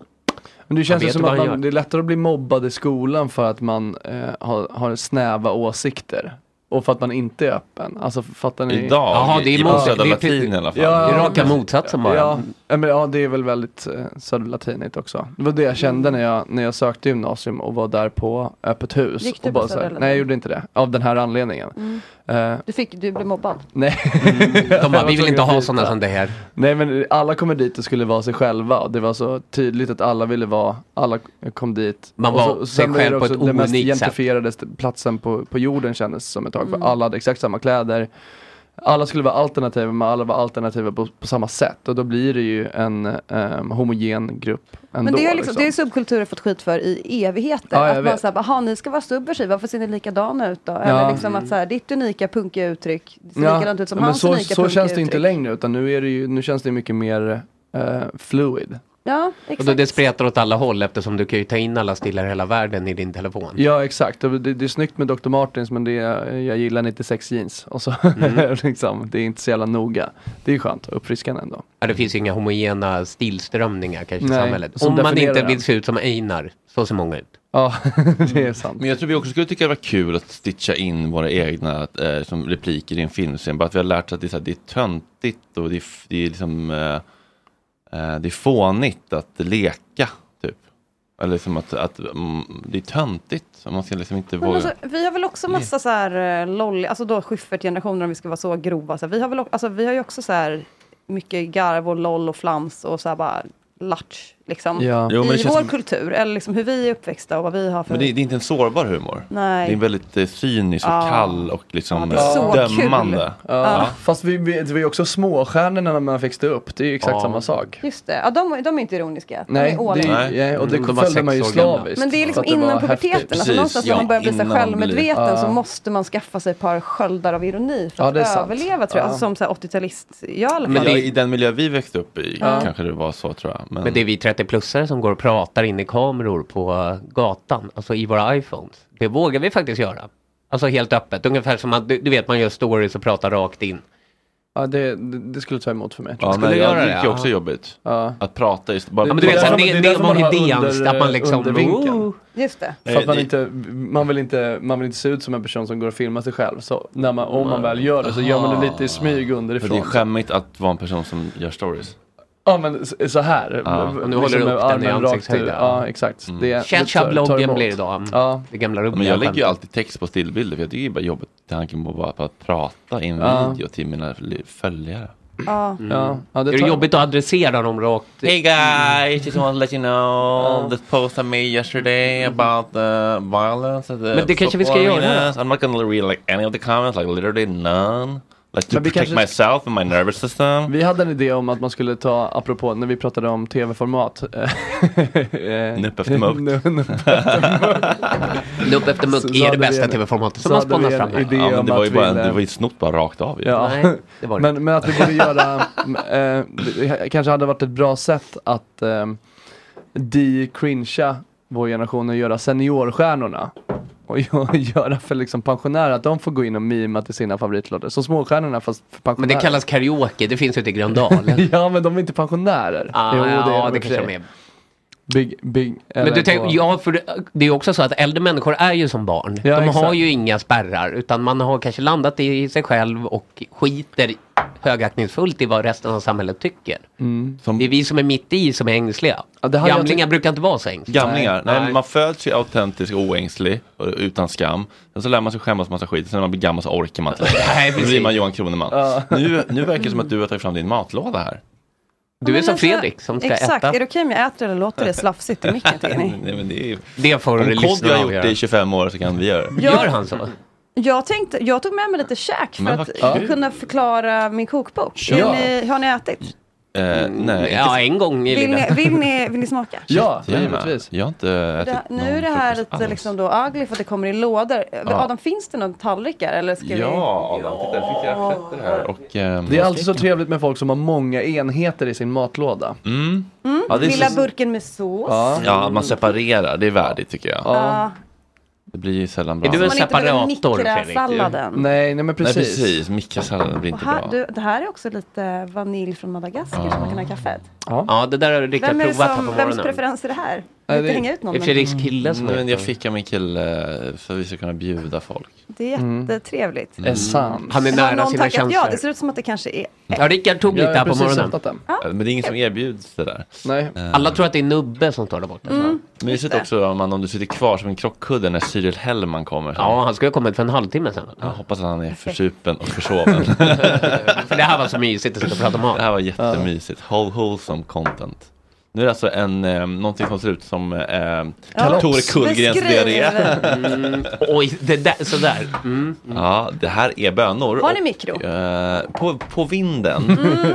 Speaker 6: det
Speaker 8: Han
Speaker 6: känns ju
Speaker 8: vet
Speaker 6: som
Speaker 8: vad
Speaker 6: att
Speaker 8: han
Speaker 6: man, det är lättare att bli mobbad i skolan för att man eh, har, har snäva åsikter. Och för att man inte är öppen. Alltså fattar ni?
Speaker 1: Idag, Jaha, det är i- i mot- södra det är precis- latin i alla fall. Det är raka motsatsen bara.
Speaker 6: Ja, ja, men, ja det är väl väldigt eh, södra latinigt också. Det var det jag kände när, jag, när jag sökte gymnasium och var där på öppet hus.
Speaker 11: Gick du
Speaker 6: och
Speaker 11: på
Speaker 6: bara så här-
Speaker 11: Södra Latin?
Speaker 6: Nej jag gjorde inte det. Av den här anledningen.
Speaker 11: Mm.
Speaker 6: Eh,
Speaker 11: Du, fick, du blev mobbad.
Speaker 6: Nej.
Speaker 8: Mm. De bara, vi vill inte ha
Speaker 6: sådana
Speaker 8: som det här.
Speaker 6: Nej men alla kommer dit och skulle vara sig själva och det var så tydligt att alla ville vara, alla kom dit.
Speaker 8: Man
Speaker 6: Och
Speaker 8: var sig
Speaker 6: sen blev det
Speaker 8: själv på
Speaker 6: också
Speaker 8: ett
Speaker 6: Den mest
Speaker 8: unikt sätt.
Speaker 6: gentrifierade st- platsen på, på jorden kändes som ett tag
Speaker 8: Mm.
Speaker 6: för alla hade exakt samma kläder. Alla skulle vara alternativa men alla var alternativa på, på samma sätt och då blir det ju en ehm, homogen grupp ändå.
Speaker 11: men det har liksom, det har subkulturer fått skit för i evigheter.
Speaker 6: Ja, jag
Speaker 11: att man
Speaker 6: vet.
Speaker 11: såhär, jaha ni ska vara subversiva, varför ser ni likadana ut då? Eller
Speaker 6: Ja.
Speaker 11: liksom att såhär, ditt unika punkiga uttryck ser likadant ut som
Speaker 6: men
Speaker 11: hans
Speaker 6: så,
Speaker 11: unika
Speaker 6: så
Speaker 11: punkiga
Speaker 6: känns det inte
Speaker 11: uttryck.
Speaker 6: längre utan nu, är det ju, nu känns det mycket mer eh, fluid.
Speaker 11: Ja,
Speaker 8: Och
Speaker 11: exakt.
Speaker 8: då det spretar åt alla håll eftersom du kan ju ta in alla stilar i hela världen i din telefon.
Speaker 6: Ja exakt, Och det, det är snyggt med Dr. Martens men det är, jag gillar 96 jeans. Och så,
Speaker 1: Mm.
Speaker 6: liksom, det är inte så jävla noga. Det är skönt och uppfriskande ändå.
Speaker 8: Ja, det finns ju inga homogena stilströmningar kanske
Speaker 6: Nej,
Speaker 8: i samhället.
Speaker 6: som
Speaker 8: Om man
Speaker 6: definierar
Speaker 8: inte
Speaker 6: den.
Speaker 8: vill se ut som Einar, så ser många ut.
Speaker 6: Ja, det är sant.
Speaker 1: Men jag tror vi också skulle tycka det var kul att stitcha in våra egna eh, som repliker i en filmscen. Bara att vi har lärt oss att det är, så här, det är töntigt och det är, f- det är liksom eh, eh, det är fånigt att leka. Typ. Eller liksom att, att mm, det är töntigt. Man ska liksom inte
Speaker 11: Men
Speaker 1: våga.
Speaker 11: alltså, vi har väl också
Speaker 6: Mm.
Speaker 11: massa så här eh, lolly, alltså då Schyffert-generationen om vi ska vara så grova. Så här, vi, har väl, o- alltså, vi har ju också så här mycket garv och loll och flams och så här bara latch liksom.
Speaker 1: Ja. Jo, men det
Speaker 11: I
Speaker 1: känns
Speaker 11: vår
Speaker 1: som-
Speaker 11: kultur, eller liksom hur vi är uppväxta och vad vi har för...
Speaker 1: Men det, det är inte en sårbar humor.
Speaker 11: Nej.
Speaker 1: Det är en väldigt eh, cynisk och
Speaker 11: Ja.
Speaker 1: kall och liksom
Speaker 11: det är
Speaker 1: eh,
Speaker 11: så kul.
Speaker 1: dömande.
Speaker 6: Ja. Fast vi, vi, det var ju också småstjärnorna när man växte upp, det är ju exakt
Speaker 1: Ja.
Speaker 6: samma sak.
Speaker 11: Just det, ja, de, de är inte ironiska. de
Speaker 6: Nej,
Speaker 11: är all
Speaker 6: det,
Speaker 11: in.
Speaker 6: är- ja, och det
Speaker 8: Mm, de var
Speaker 6: följde man ju
Speaker 8: sex år gamla.
Speaker 6: slaviskt.
Speaker 11: Men det är liksom
Speaker 6: för att
Speaker 11: innan
Speaker 6: var
Speaker 11: puberteten,
Speaker 6: häftigt.
Speaker 11: alltså någonstans när man börjar bli så
Speaker 6: innan man blir-
Speaker 11: självmedveten så
Speaker 6: Ja.
Speaker 11: måste man skaffa sig ett par sköldar av ironi för
Speaker 6: Ja,
Speaker 11: att
Speaker 6: det är sant.
Speaker 11: överleva tror
Speaker 6: Ja.
Speaker 11: jag. Alltså, som så här 80-talist, jag i alla
Speaker 1: Men
Speaker 11: fall.
Speaker 1: i den miljö vi växte upp i
Speaker 11: Ja.
Speaker 1: kanske det var så tror jag. Men,
Speaker 8: Men det är vi 30-plussare som går och pratar in i kameror på eh, gatan, alltså i våra iPhones. Det vågar vi faktiskt göra. Alltså helt öppet, ungefär som att du, du vet man gör stories och pratar rakt in.
Speaker 6: Ja, det, det, det skulle ta emot för mig.
Speaker 1: Ja,
Speaker 8: Skulle
Speaker 1: men
Speaker 8: göra
Speaker 1: jag
Speaker 8: det,
Speaker 1: tycker
Speaker 8: ja.
Speaker 1: också jobbigt.
Speaker 6: Ja.
Speaker 1: Att prata just bara.
Speaker 6: Ja, men du vet,
Speaker 1: prata.
Speaker 6: så här, det- Det är det därför var man har idéns, under- att man liksom- undervinkeln.
Speaker 8: Ooh.
Speaker 11: Just det.
Speaker 6: För att man inte, man vill inte, man vill inte se ut som en person som går och filmar sig själv. Så när man, om man väl gör det så gör man det lite i smyg
Speaker 1: För
Speaker 6: underifrån.
Speaker 1: det är skämmigt att vara en person som gör stories.
Speaker 6: Ja men s- så här.
Speaker 8: Ja,
Speaker 6: B-
Speaker 8: och nu håller du
Speaker 6: liksom med
Speaker 8: upp den i
Speaker 6: armen rakt
Speaker 8: ansiktshöjd,
Speaker 6: ut.
Speaker 8: ja.
Speaker 6: Ja, exakt.
Speaker 8: Mm.
Speaker 6: Det-
Speaker 8: Tja,
Speaker 6: det
Speaker 8: tja,
Speaker 6: tar- tar
Speaker 8: bloggen
Speaker 6: emot.
Speaker 8: blir det då. mm.
Speaker 6: Ja.
Speaker 8: Det gamla roliga
Speaker 1: Men jag lägger ju
Speaker 8: skämtet.
Speaker 1: alltid text på stillbilder för jag tycker det är bara jobbigt tanken på bara på att prata i en
Speaker 8: Ja.
Speaker 1: video till mina li- följare.
Speaker 11: Ja.
Speaker 8: Mm. är det jobbigt att adressera dem rakt?
Speaker 1: Hey guys, just want to let you know this post I made yesterday about the violence at the
Speaker 8: Men det kanske vi ska
Speaker 1: football
Speaker 8: göra.
Speaker 1: arenas. I'm not gonna read like any of the comments, like literally none. Like to
Speaker 6: Men vi
Speaker 1: protect
Speaker 6: kanske-
Speaker 1: myself and my nervous system.
Speaker 6: Vi hade en idé om att man skulle ta, apropå när vi pratade om tv-format. eh,
Speaker 1: Nupp efter muck.
Speaker 6: nu- nupp efter muck.
Speaker 8: Nupp efter muck
Speaker 6: Så-
Speaker 8: är
Speaker 6: så
Speaker 8: det
Speaker 6: hade vi
Speaker 8: bästa
Speaker 6: en-
Speaker 8: TV-formatet som
Speaker 6: så
Speaker 8: har
Speaker 6: hade vi
Speaker 8: spånat
Speaker 6: en
Speaker 8: fram här.
Speaker 6: idé
Speaker 1: Ja, men
Speaker 6: om
Speaker 1: det var ju
Speaker 6: att
Speaker 1: bara,
Speaker 6: vi-
Speaker 1: en- det var ju snott bara rakt av ju.
Speaker 6: Ja.
Speaker 8: Nej, det var det
Speaker 6: men, men att vi borde göra, m- eh, det kanske hade varit ett bra sätt att eh, de-cringea vår generation och göra seniorstjärnorna. Och gö- göra för liksom pensionärer, att de får gå in och mima till sina favoritlåtar. Så småstjärnorna fast för
Speaker 8: Men
Speaker 6: pensionärer.
Speaker 8: det kallas karaoke, det finns ju inte i Gröndal.
Speaker 6: ja, men de är inte pensionärer.
Speaker 8: Ah,
Speaker 6: det är
Speaker 8: ja,
Speaker 6: de i
Speaker 8: det
Speaker 6: och för
Speaker 8: kanske
Speaker 6: sig.
Speaker 8: de
Speaker 6: Big, big,
Speaker 8: Men
Speaker 6: eller
Speaker 8: du tänk,
Speaker 6: på-
Speaker 8: ja, för det- det är ju också så att äldre människor är ju som barn.
Speaker 6: Ja,
Speaker 8: de har
Speaker 6: exakt.
Speaker 8: ju inga spärrar, utan man har kanske landat i sig själv och skiter högaktningsfullt i vad resten av samhället tycker.
Speaker 6: Mm.
Speaker 8: Det är vi som är mitt i som är ängsliga.
Speaker 6: det hade jag
Speaker 8: Gamlingar
Speaker 6: tyckt-
Speaker 8: brukar inte vara så ängsliga.
Speaker 1: Gamlingar. Nej. men man föds ju autentisk och oängslig och utan skam. Sen så lär man sig skämmas massa skit. Sen när man blir gammal så orkar man inte
Speaker 8: Nej,
Speaker 1: längre. Då blir
Speaker 8: precis.
Speaker 1: man Johan Kroneman.
Speaker 8: Ja.
Speaker 1: Nu, nu verkar det som att du har tagit fram din matlåda här.
Speaker 8: Du är
Speaker 11: Men
Speaker 8: som
Speaker 11: alltså,
Speaker 8: Fredrik som ska
Speaker 11: Exakt,
Speaker 8: äta.
Speaker 11: är det okej om jag äter eller låter det slafsigt i micken tycker ni?
Speaker 1: Nej, men det, är...
Speaker 8: det får
Speaker 1: Om
Speaker 8: du
Speaker 1: Kodjo
Speaker 8: lyssna
Speaker 1: har
Speaker 8: och
Speaker 1: gjort det
Speaker 8: avgöra.
Speaker 1: i 25 år så kan vi göra det. Eh,
Speaker 11: Ja. Gör
Speaker 8: han så?
Speaker 11: Jag, tänkte, jag tog med mig lite käk för
Speaker 1: Men
Speaker 11: att
Speaker 1: vad kul.
Speaker 11: kunna förklara min kokbok.
Speaker 1: Ja.
Speaker 11: Är ni, har ni ätit?
Speaker 1: Eh, nej,
Speaker 8: Mm. Ja, en gång
Speaker 11: Vill ni, vill ni, vill ni smaka?
Speaker 6: Ja,
Speaker 1: Jävlar.
Speaker 6: givetvis.
Speaker 1: Jag har inte
Speaker 11: Det,
Speaker 1: ätit
Speaker 11: här- nu är det här lite liksom då ugly för att det kommer i lådor.
Speaker 1: Ja.
Speaker 11: Adam, finns det någon tallrikar eller ska vi?
Speaker 1: Ja, Adam, titta, nu fick jag fetter här. Och, ehm,
Speaker 6: Det är alltid så trevligt med folk som har många enheter i sin matlåda.
Speaker 1: Mm.
Speaker 11: Mm,
Speaker 1: Ja, det är
Speaker 11: lilla
Speaker 1: så-
Speaker 11: burken med sås.
Speaker 1: Ja, man separerar. Det är värdigt tycker jag.
Speaker 11: Ja.
Speaker 1: Det blir ju sällan bra.
Speaker 11: Är du en Så man inte behöver separator, mikra Fredrik? salladen.
Speaker 6: Nej, nej men
Speaker 1: Nej,
Speaker 6: precis.
Speaker 1: precis. Mikrasalladen blir
Speaker 11: Och
Speaker 1: inte
Speaker 11: här,
Speaker 1: bra.
Speaker 11: du, det här är också lite vanilj från Madagaskar som man kan ha i kaffet.
Speaker 6: Ja.
Speaker 8: det där har Rickard
Speaker 11: Vem är det
Speaker 8: provat här på
Speaker 11: som, vems
Speaker 8: morgonen.
Speaker 11: preferens är det här?
Speaker 8: Nej,
Speaker 11: Inte
Speaker 8: det-
Speaker 11: hänga ut någon.
Speaker 8: det är
Speaker 11: men-
Speaker 8: Fredriks kille som
Speaker 1: Nej,
Speaker 8: har
Speaker 1: Mm. men
Speaker 8: gjort
Speaker 1: jag
Speaker 8: det.
Speaker 1: fick av min kille eh, för att vi ska kunna bjuda folk.
Speaker 11: Det är
Speaker 1: Mm.
Speaker 11: jättetrevligt.
Speaker 1: Mm. Essens. Han är
Speaker 11: Har
Speaker 1: nära
Speaker 11: någon
Speaker 1: sina
Speaker 11: tackat Ja,
Speaker 1: känslor.
Speaker 11: det ser ut som att det kanske är...
Speaker 8: Ja, Rickard tog
Speaker 1: Jag
Speaker 8: lite här
Speaker 1: har
Speaker 8: på
Speaker 1: precis
Speaker 8: morgonen.
Speaker 1: hämtat Men det är ingen som erbjuds det där.
Speaker 6: Nej.
Speaker 8: Eh. Alla tror att det är Nubbe som står där borta. Mm.
Speaker 1: Mysigt också om, man, om du sitter kvar som en krockkudde när Cyril Hellman kommer.
Speaker 8: Ja, han skulle ha kommit för en halvtimme sedan.
Speaker 1: Jag hoppas att han är försupen och försoven.
Speaker 8: För det här var så mysigt att sitta och prata om mat.
Speaker 1: Det här var jättemysigt. Whole wholesome content. Nu är det alltså en, eh, någonting som ser ut som eh,
Speaker 8: Kalops.
Speaker 1: Tore Kullgrens E.
Speaker 8: Beskriv.
Speaker 1: diarré.
Speaker 8: Mm, oj, det där, sådär. Mm.
Speaker 1: Ja, det här är bönor.
Speaker 8: Har ni
Speaker 1: och,
Speaker 8: mikro? Mm.
Speaker 1: eh, på, på vinden,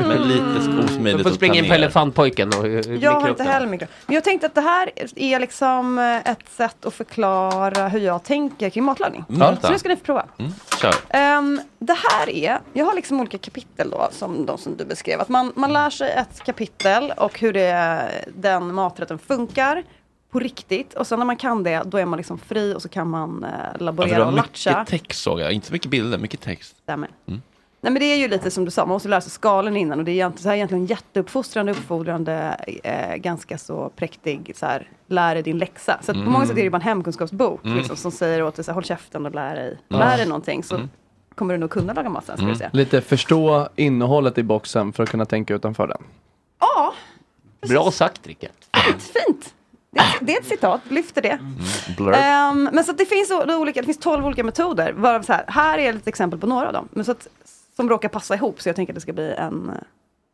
Speaker 1: men lite osmidigt
Speaker 8: Du får
Speaker 1: att
Speaker 8: springa
Speaker 1: ta
Speaker 8: in på
Speaker 1: ner.
Speaker 8: elefantpojken och eh,
Speaker 11: Jag har
Speaker 8: mikra upp
Speaker 11: inte
Speaker 8: den.
Speaker 11: heller mikro. Men jag tänkte att det här är liksom eh, ett sätt att förklara hur jag tänker kring matlagning.
Speaker 1: Ja.
Speaker 11: Så nu ska ni få prova.
Speaker 1: Mm, kör.
Speaker 11: Ehm, det här är, jag har liksom olika kapitel då, som de som du beskrev. Att man, man lär sig ett kapitel och hur det, den maträtten funkar på riktigt. Och sen när man kan det, då är man liksom fri och så kan man eh,
Speaker 1: Ja, för
Speaker 11: laborera
Speaker 1: det
Speaker 11: och
Speaker 1: var
Speaker 11: latcha.
Speaker 1: Alltså, mycket text såg jag, inte så mycket bilder, mycket text.
Speaker 11: Stämmer.
Speaker 1: Mm.
Speaker 11: Nej men det är ju lite som du sa, man måste lära sig skalen innan och det är egentligen, så här är egentligen jätteuppfostrande, uppfordrande, eh, ganska så präktig, så här, lär dig din läxa. Så att på
Speaker 14: Mm.
Speaker 11: många sätt är det bara en hemkunskapsbok
Speaker 14: Mm.
Speaker 11: liksom, som säger åt dig, så här, håll käften och lär dig,
Speaker 6: Ja.
Speaker 11: lär dig någonting så
Speaker 6: Mm.
Speaker 11: kommer du nog kunna laga mat sen. Ska du se.
Speaker 6: Lite förstå innehållet i boxen för att kunna tänka utanför den.
Speaker 11: Ja,
Speaker 8: Bra sagt Rickard.
Speaker 11: fint! Det är, det är ett citat, lyfter det. Ehm, men så att det finns o- olika, det finns 12 olika metoder. Varav så här, här är ett exempel på några av dem. Men så att, som råkar passa ihop så jag tänker att det ska bli en,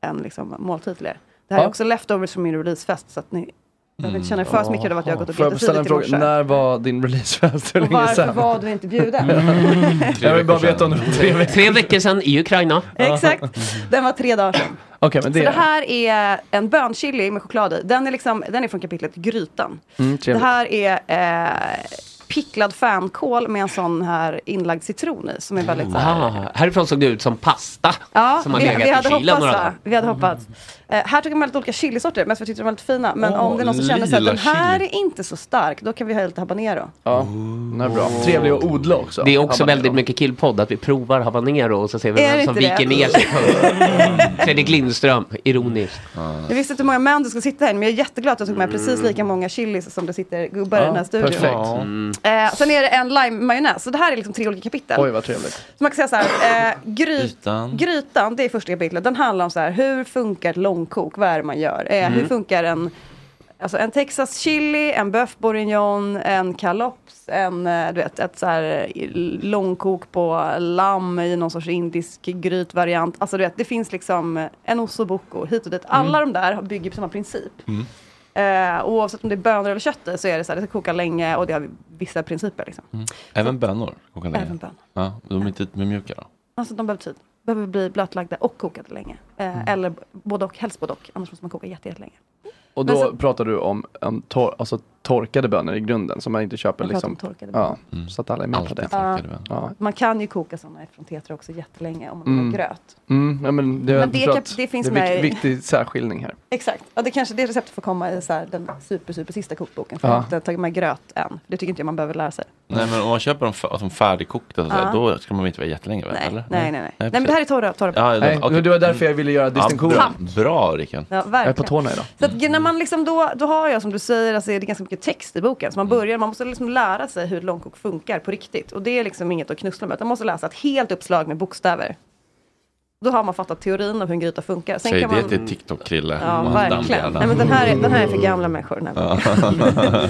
Speaker 11: en liksom måltid till er. Det här är
Speaker 6: Ja.
Speaker 11: också leftovers från min releasefest så att ni behöver inte känna er för smickrade av att jag har gått upp
Speaker 6: Mm. Får jag ställa en
Speaker 11: jättetidigt i
Speaker 6: fråga?
Speaker 11: morse.
Speaker 6: När var din releasefest? Hur
Speaker 11: Och
Speaker 6: länge
Speaker 11: varför
Speaker 6: sedan?
Speaker 11: var du inte bjuden?
Speaker 6: Jag vill bara veta om det var tre veckor
Speaker 8: Tre veckor sedan i Ukraina.
Speaker 11: Exakt. Den var tre dagar sedan.
Speaker 6: Okej, men
Speaker 11: Så
Speaker 6: det
Speaker 11: det
Speaker 6: är...
Speaker 11: här är en bönchili med choklad i. Den är, liksom, den är från kapitlet grytan.
Speaker 6: Mm,
Speaker 11: Det
Speaker 6: trevligt.
Speaker 11: här är eh, picklad fänkål med en sån här inlagd citron i som är väldigt så här.
Speaker 8: Ah, härifrån såg det ut som pasta.
Speaker 11: Ja,
Speaker 8: som har
Speaker 11: vi, vi
Speaker 8: legat i
Speaker 11: hade
Speaker 8: kylen
Speaker 11: hoppats.
Speaker 8: några
Speaker 11: va?
Speaker 8: dagar. Mm.
Speaker 11: Vi hade hoppats. Eh, här tog de väldigt olika chilisorter, mest för jag tyckte de var väldigt fina. Men
Speaker 6: Åh,
Speaker 11: om det är någon som känner sig att
Speaker 6: lila
Speaker 11: den här
Speaker 6: chili.
Speaker 11: är inte så stark, då kan vi ha lite habanero.
Speaker 6: Ja, den är bra. Trevlig att odla också.
Speaker 8: Det är också
Speaker 6: habanero.
Speaker 8: väldigt mycket killpodd att vi provar habanero och så ser vi
Speaker 11: Är det
Speaker 8: vem som
Speaker 11: inte det?
Speaker 8: viker ner sig först. Fredrik Lindström, ironiskt.
Speaker 11: Jag visste inte hur många män du skulle sitta här men jag är jätteglad att jag tog med precis lika många chilis som det sitter gubbar i den här studion.
Speaker 8: Mm.
Speaker 11: Eh, sen är det en lime-majonnäs. Så det här är liksom tre olika kapitel.
Speaker 6: Oj, vad trevligt.
Speaker 11: Så man kan säga så här, eh, gry-
Speaker 6: Ytan.
Speaker 11: grytan, det är första kapitlet. Den handlar om så här, hur funkar ett långkok? Vad är det man gör? Eh,
Speaker 14: Mm.
Speaker 11: Hur funkar en, alltså en Texas chili, en bœuf bourguignon, en kalops, en, eh, du vet, ett så här eh, långkok på lamm i någon sorts indisk grytvariant. Alltså du vet, det finns liksom en ossobuco hit och dit. Alla de där bygger på samma princip.
Speaker 1: Mm.
Speaker 11: Eh, oavsett om det är bönor eller kött i så är det så här, det ska koka länge och det har vissa principer. Liksom.
Speaker 1: Mm. Även bönor? kokar länge.
Speaker 11: Även bönor.
Speaker 1: Ja, de är inte med mjuka då?
Speaker 11: Alltså de behöver tid. Behöver bli blötlagda och kokade länge. Eh, Eller b- både och, helst både och. Annars måste man koka jätte- jättelänge.
Speaker 6: Och
Speaker 11: Men
Speaker 6: då
Speaker 11: så-
Speaker 6: pratar du om, om tor- alltså, torkade bönor i grunden som man inte köper.
Speaker 11: Jag pratar
Speaker 6: Liksom,
Speaker 11: om torkade
Speaker 6: ja,
Speaker 8: Mm.
Speaker 6: Så att alla är med på det.
Speaker 11: torkade
Speaker 6: Ja.
Speaker 11: Man kan ju koka sådana från tetra också jättelänge om man
Speaker 6: Mm.
Speaker 11: har gröt.
Speaker 6: Mm, ja, men det, har
Speaker 11: Men
Speaker 6: jag
Speaker 11: det
Speaker 6: förstått.
Speaker 11: kap- det finns
Speaker 6: är
Speaker 11: med i-
Speaker 6: en viktig särskiljning här.
Speaker 11: Exakt. Ja, det kanske det receptet får komma i så här, den super, super sista kokboken. För
Speaker 1: Ja.
Speaker 11: jag har inte tagit med gröt än. Det tycker inte jag man behöver lära sig.
Speaker 1: Nej, men om man köper dem f- alltså, färdigkokta, så
Speaker 11: Ja.
Speaker 1: här, då ska man inte vara jättelänge väl?
Speaker 11: Nej,
Speaker 1: eller?
Speaker 11: nej, nej. Nej, nej men
Speaker 1: precis.
Speaker 11: det här är torra, torra
Speaker 1: Ja,
Speaker 6: Nej,
Speaker 1: okej.
Speaker 6: men det var därför jag ville göra distinktionen.
Speaker 1: Ja, bra, bra Rickard.
Speaker 11: Ja, verkligen. Jag är på tårna
Speaker 6: idag.
Speaker 11: Så att, g- när man liksom då, då har jag som du säger, alltså, det är ganska mycket text i boken. Så man börjar, man måste liksom lära sig hur långkok funkar på riktigt. Och det är liksom inget att knussla med. utan Man måste läsa ett helt uppslag med bokstäver. Då har man fattat teorin om hur en gryta funkar.
Speaker 1: Säg det
Speaker 11: man...
Speaker 1: till TikTok-Krille.
Speaker 11: Ja,
Speaker 1: och hans
Speaker 11: verkligen.
Speaker 1: dammhjärna.
Speaker 11: Nej, men den, här är, den här är för gamla människor. Den här.
Speaker 1: Ja.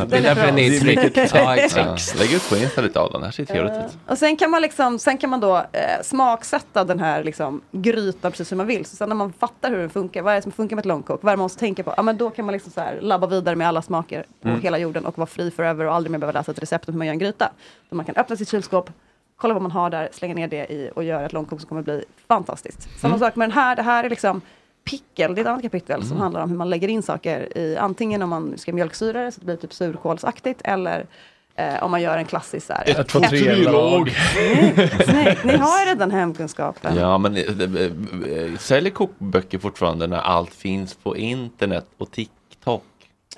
Speaker 11: Det är därför den är i tryck.
Speaker 1: Ja,
Speaker 11: Ja,
Speaker 1: exakt.
Speaker 11: exakt.
Speaker 1: Lägg ut på Insta lite av den, det här ser trevligt ut.
Speaker 11: Och sen kan man, liksom, sen kan man då eh, smaksätta den här liksom, grytan precis hur man vill. Så sen när man fattar hur den funkar, vad är det som funkar med ett långkok, vad är det man måste tänka på? Ja, men då kan man liksom så här labba vidare med alla smaker på
Speaker 14: Mm.
Speaker 11: hela jorden och vara fri forever och aldrig mer behöva läsa ett recept om hur man gör en gryta. Så man kan öppna sitt kylskåp, kolla vad man har där, slänga ner det i och göra ett långkok som kommer bli fantastiskt. Samma
Speaker 14: Mm.
Speaker 11: sak med den här, det här är liksom Pickel, det är ett annat kapitel som
Speaker 14: Mm.
Speaker 11: handlar om hur man lägger in saker i antingen om man ska mjölksyra det så att det blir typ surkålsaktigt eller eh, om man gör en klassisk så här,
Speaker 1: Ett, två, tre,
Speaker 11: äpple-
Speaker 1: lag.
Speaker 11: Snyggt, ni har ju redan hemkunskapen.
Speaker 1: Ja, men eh, eh, eh, säljer kokböcker fortfarande när allt finns på internet och TikTok?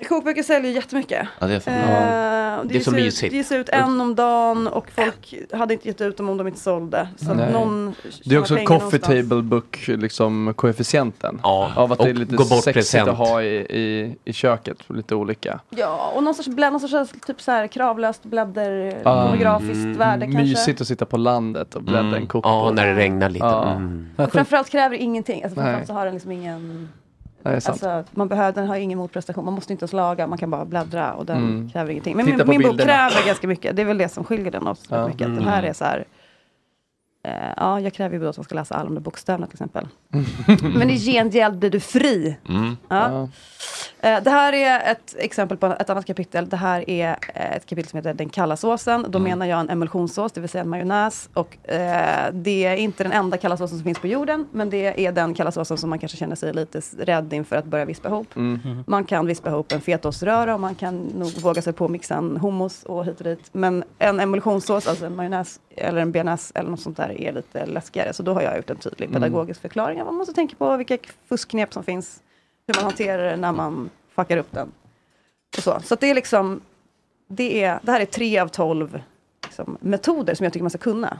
Speaker 11: Kokböcker säljer ju jättemycket.
Speaker 1: Ja, det är så.
Speaker 11: Eh,
Speaker 1: Ja.
Speaker 11: och
Speaker 1: Det är
Speaker 11: ges
Speaker 1: så
Speaker 11: ut-
Speaker 1: mysigt.
Speaker 11: Det ges ut en om dagen och folk hade inte gett ut dem om de inte sålde. Så att
Speaker 6: Nej.
Speaker 11: någon
Speaker 6: det är
Speaker 11: tjänar
Speaker 6: också
Speaker 11: pengar
Speaker 6: coffee
Speaker 1: typ.
Speaker 11: någonstans.
Speaker 6: table book liksom, koefficienten. av att det är
Speaker 8: och
Speaker 6: lite
Speaker 8: gå bort
Speaker 6: sexigt
Speaker 8: present.
Speaker 6: att ha i, i, i köket. Lite olika.
Speaker 11: Ja, och någon sorts, blädd, någon sorts typ så här kravlöst blädder,
Speaker 6: Ah. Mm.
Speaker 11: pornografiskt Eh,
Speaker 1: Mm,
Speaker 11: värde kanske.
Speaker 6: Mysigt att sitta på landet och bläddra en kokbok.
Speaker 8: Mm. Ja, när det regnar lite. Mm.
Speaker 11: Och Framförallt kräver det ingenting. Alltså,
Speaker 6: Nej.
Speaker 11: framförallt så har den liksom ingen...
Speaker 6: Det är sant.
Speaker 11: Alltså, man behöver, den har ingen motprestation. Man måste inte ens laga, man kan bara bläddra och den
Speaker 6: Mm.
Speaker 11: kräver ingenting. Men
Speaker 6: Titta
Speaker 11: min,
Speaker 6: på
Speaker 11: min bok
Speaker 6: bilderna.
Speaker 11: kräver ganska mycket. Det är väl det som skiljer den åt.
Speaker 6: Ja.
Speaker 11: Ja. Mycket. Att Den
Speaker 6: Mm.
Speaker 11: här är så här... eh, ja, jag kräver ju då att man ska läsa alla de där bokstäverna till exempel. Men i gengäld blir du fri. Ja. Eh, Det här är ett exempel på ett annat kapitel. Det här är eh, ett kapitel som heter Den kalla såsen. Då
Speaker 6: Mm.
Speaker 11: menar jag en emulsionssås, det vill säga en majonnäs. Och eh, det är inte den enda kalla såsen som finns på jorden, men det är den kalla såsen som man kanske känner sig lite s- rädd inför att börja vispa ihop.
Speaker 8: Mm.
Speaker 11: Man kan vispa ihop en fetaoströra och man kan nog våga sig på att mixa en hummus och hit och dit. Men en emulsionssås, alltså en majonnäs eller en bearnaise eller något sånt där är lite läskigare. Så då har jag gjort en tydlig
Speaker 14: Mm.
Speaker 11: pedagogisk förklaring. av vad Man måste tänka på vilka fuskknep som finns, hur man hanterar det när man fuckar upp den. Och så så att det är liksom, det, är, det här är tre av tolv liksom, metoder som jag tycker man ska kunna.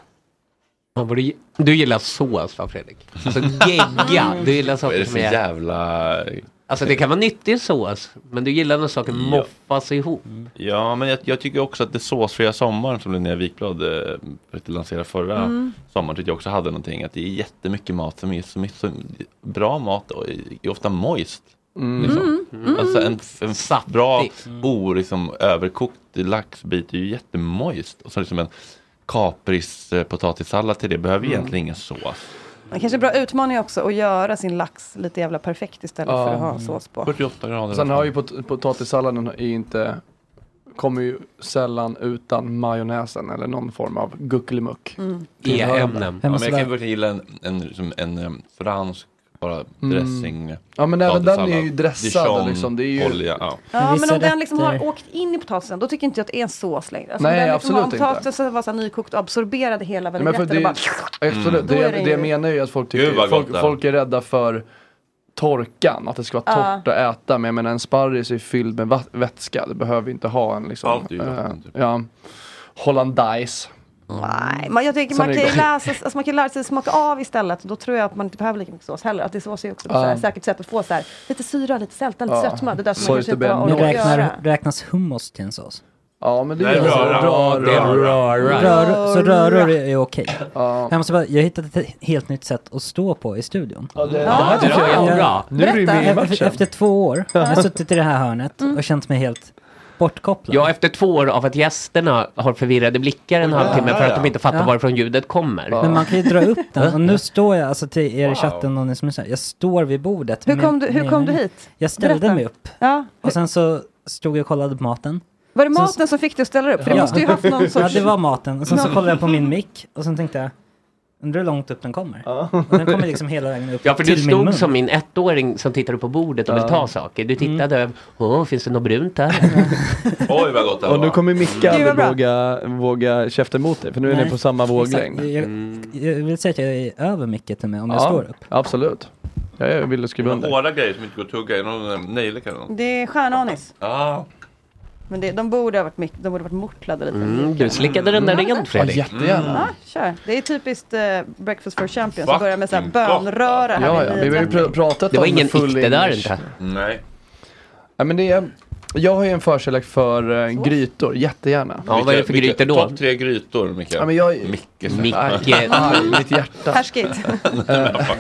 Speaker 8: Fan, vad du, du gillar sås va Fredrik? Alltså gegga,
Speaker 7: Mm.
Speaker 8: du gillar
Speaker 1: Vad är
Speaker 8: saker
Speaker 1: det
Speaker 8: som
Speaker 1: för
Speaker 8: är...
Speaker 1: jävla...
Speaker 8: Alltså det kan vara nyttig sås, men du gillar när saker moffas ihop.
Speaker 1: Ja, men jag, jag tycker också att det såsfria sommaren som Linnea Wikblad eh, försökte lansera förra
Speaker 8: Mm.
Speaker 1: sommaren tyckte jag också hade någonting. Att det är jättemycket mat som är så mycket så bra mat och är ofta moist.
Speaker 6: Mm.
Speaker 1: Liksom.
Speaker 6: Mm. Mm.
Speaker 1: Alltså en, f- en f- bra, o, liksom, överkokt laxbit är ju jättemoist. Och så liksom en kapris eh, potatissallad till det behöver
Speaker 11: Mm.
Speaker 1: egentligen ingen sås.
Speaker 11: Det kanske är en bra utmaning också att göra sin lax lite jävla perfekt istället för att ha en
Speaker 6: Ja.
Speaker 11: sås på.
Speaker 1: 48 grader.
Speaker 6: Sen har ju pot- potatissalladen är inte, kommer ju sällan utan majonnäsen eller någon form av guckelimuck.
Speaker 11: Mm.
Speaker 6: tillhörande.
Speaker 1: Ja, men jag kan ju verkligen gilla en, en, som en em, fransk bara
Speaker 6: Mm.
Speaker 1: dressing.
Speaker 6: Ja, men även den är
Speaker 1: potatissallad.
Speaker 6: ju dressad,
Speaker 1: Dijon,
Speaker 6: liksom. Det är ju-
Speaker 1: olja. Ja.
Speaker 11: Ja, men om den
Speaker 6: rätter-
Speaker 11: liksom har åkt in i potatisen, då tycker inte jag att det är en sås längre. Alltså, om
Speaker 6: eh, Nej,
Speaker 11: den
Speaker 6: absolut
Speaker 11: om
Speaker 6: inte.
Speaker 11: potatisen var så här nykokt och absorberade hela
Speaker 6: Ja, Men för
Speaker 11: vinägretten
Speaker 6: det,
Speaker 11: och bara... Mm.
Speaker 6: absolut,
Speaker 11: Då
Speaker 6: det,
Speaker 11: är
Speaker 6: det
Speaker 11: ju-
Speaker 6: jag menar är ju att folk,
Speaker 1: Mm. Gud,
Speaker 6: tycker,
Speaker 1: vad gott
Speaker 6: folk,
Speaker 1: det är.
Speaker 6: folk är rädda för torkan, att det ska vara
Speaker 11: Ja.
Speaker 6: torrt att äta. Men jag menar en sparris är ju fylld med va- vätska, det behöver inte ha en liksom,
Speaker 1: Allt är ju vatten, typ.
Speaker 6: eh, ja, hollandaise.
Speaker 11: Nej, men jag tycker
Speaker 6: Sen
Speaker 11: man
Speaker 6: är
Speaker 11: kan,
Speaker 6: det
Speaker 11: ju
Speaker 6: gott.
Speaker 11: läsa, alltså man kan lära sig smaka av istället. Då tror jag att man inte behöver lika mycket sås heller. Att det är sås är ju också ett
Speaker 7: Ja.
Speaker 11: så här säkert sätt att få så här, lite syra, lite sälta, lite
Speaker 7: Ja.
Speaker 11: sötma. Det är därför
Speaker 7: Soy
Speaker 11: man kanske
Speaker 7: to
Speaker 11: inte har
Speaker 7: Men
Speaker 11: orkat göra.
Speaker 7: räknar, räknas hummus till en sås?
Speaker 6: Ja, men det,
Speaker 7: Nej,
Speaker 6: är alltså-
Speaker 7: röra.
Speaker 6: Röra.
Speaker 7: Det är röra. Rör, så röror är är okej. Jag måste bara, jag har hittat ett helt nytt sätt att stå på i studion.
Speaker 6: Ja, det- det här tycker jag är bra. Nu är du med i
Speaker 7: Berätta.
Speaker 6: matchen.
Speaker 7: Efter, efter två år har jag suttit i det här hörnet
Speaker 11: Mm.
Speaker 7: och känt mig helt bortkopplad.
Speaker 8: Ja, efter två år av att gästerna har förvirrade blickar en halvtimme för att de inte fattar
Speaker 7: Ja.
Speaker 8: varifrån ljudet kommer.
Speaker 7: Men man kan ju dra upp den. Och nu står jag, alltså till er i chatten och ni som lyssnar, jag står vid bordet.
Speaker 11: Hur
Speaker 7: med-
Speaker 11: kom du- hur
Speaker 7: med-
Speaker 11: kom du hit?
Speaker 7: Jag ställde
Speaker 11: Berätta.
Speaker 7: mig upp.
Speaker 11: Ja.
Speaker 7: Och sen så stod jag och kollade på maten.
Speaker 11: Var det
Speaker 7: Sen
Speaker 11: maten som fick dig att ställa dig upp? För det måste ju haft någon sorts...
Speaker 7: Ja, det var maten. Och sen så
Speaker 11: Någon-
Speaker 7: kollade jag på min mick och sen tänkte jag, undrar hur långt upp den kommer? Och den kommer liksom hela vägen upp
Speaker 8: Ja, för
Speaker 7: till
Speaker 8: du
Speaker 7: min mun.
Speaker 8: stod som min ettåring som tittade på bordet och vill
Speaker 7: Ja. Mm.
Speaker 8: ta saker. Du tittade, åh, finns det något brunt där?
Speaker 1: Oj vad gott det
Speaker 6: Och nu kommer Micke
Speaker 1: Mm.
Speaker 8: Gud, vad
Speaker 6: aldrig
Speaker 8: bra.
Speaker 6: våga, våga käfta emot dig, för nu är ni
Speaker 7: Nej,
Speaker 6: på samma
Speaker 7: exakt.
Speaker 6: våglängd. Mm.
Speaker 7: Jag, jag vill säga att jag är över mycket till mig om jag
Speaker 6: Ja,
Speaker 7: står
Speaker 11: typ.
Speaker 7: upp.
Speaker 6: Absolut. Ja, jag ville skriva
Speaker 1: Några
Speaker 6: under.
Speaker 1: Hårda grejer som inte går att tugga i, någon eh, nejlika eller något. Ah.
Speaker 11: Det är stjärnanis.
Speaker 1: Ja.
Speaker 11: Men det, de borde ha varit, mycket- de borde ha varit mortlade lite. Mm.
Speaker 8: Mm, du slickade den där ren, Fredrik.
Speaker 6: Ja, jättegärna.
Speaker 11: Ja, kör. Det är typiskt eh, Breakfast for Champions
Speaker 6: Fucking
Speaker 11: att börja med så här
Speaker 6: gott.
Speaker 11: bönröra. här
Speaker 6: Ja,
Speaker 11: vid
Speaker 6: ja, vi har ju
Speaker 11: nio-tiden.
Speaker 6: pr- pratat
Speaker 8: Det var
Speaker 6: om
Speaker 8: ingen
Speaker 6: full
Speaker 8: ikte där
Speaker 6: English.
Speaker 8: inte.
Speaker 1: Nej.
Speaker 6: Ja, men det är, jag har ju en förkärlek för eh, grytor, jättegärna.
Speaker 1: Vilka- vilka- Topp tre grytor, Micke.
Speaker 6: Ja, men jag-
Speaker 1: Micke. så-
Speaker 6: Micke. Aj, aj, mitt hjärta. Eh, Härskigt.
Speaker 1: Nej, men vad fan.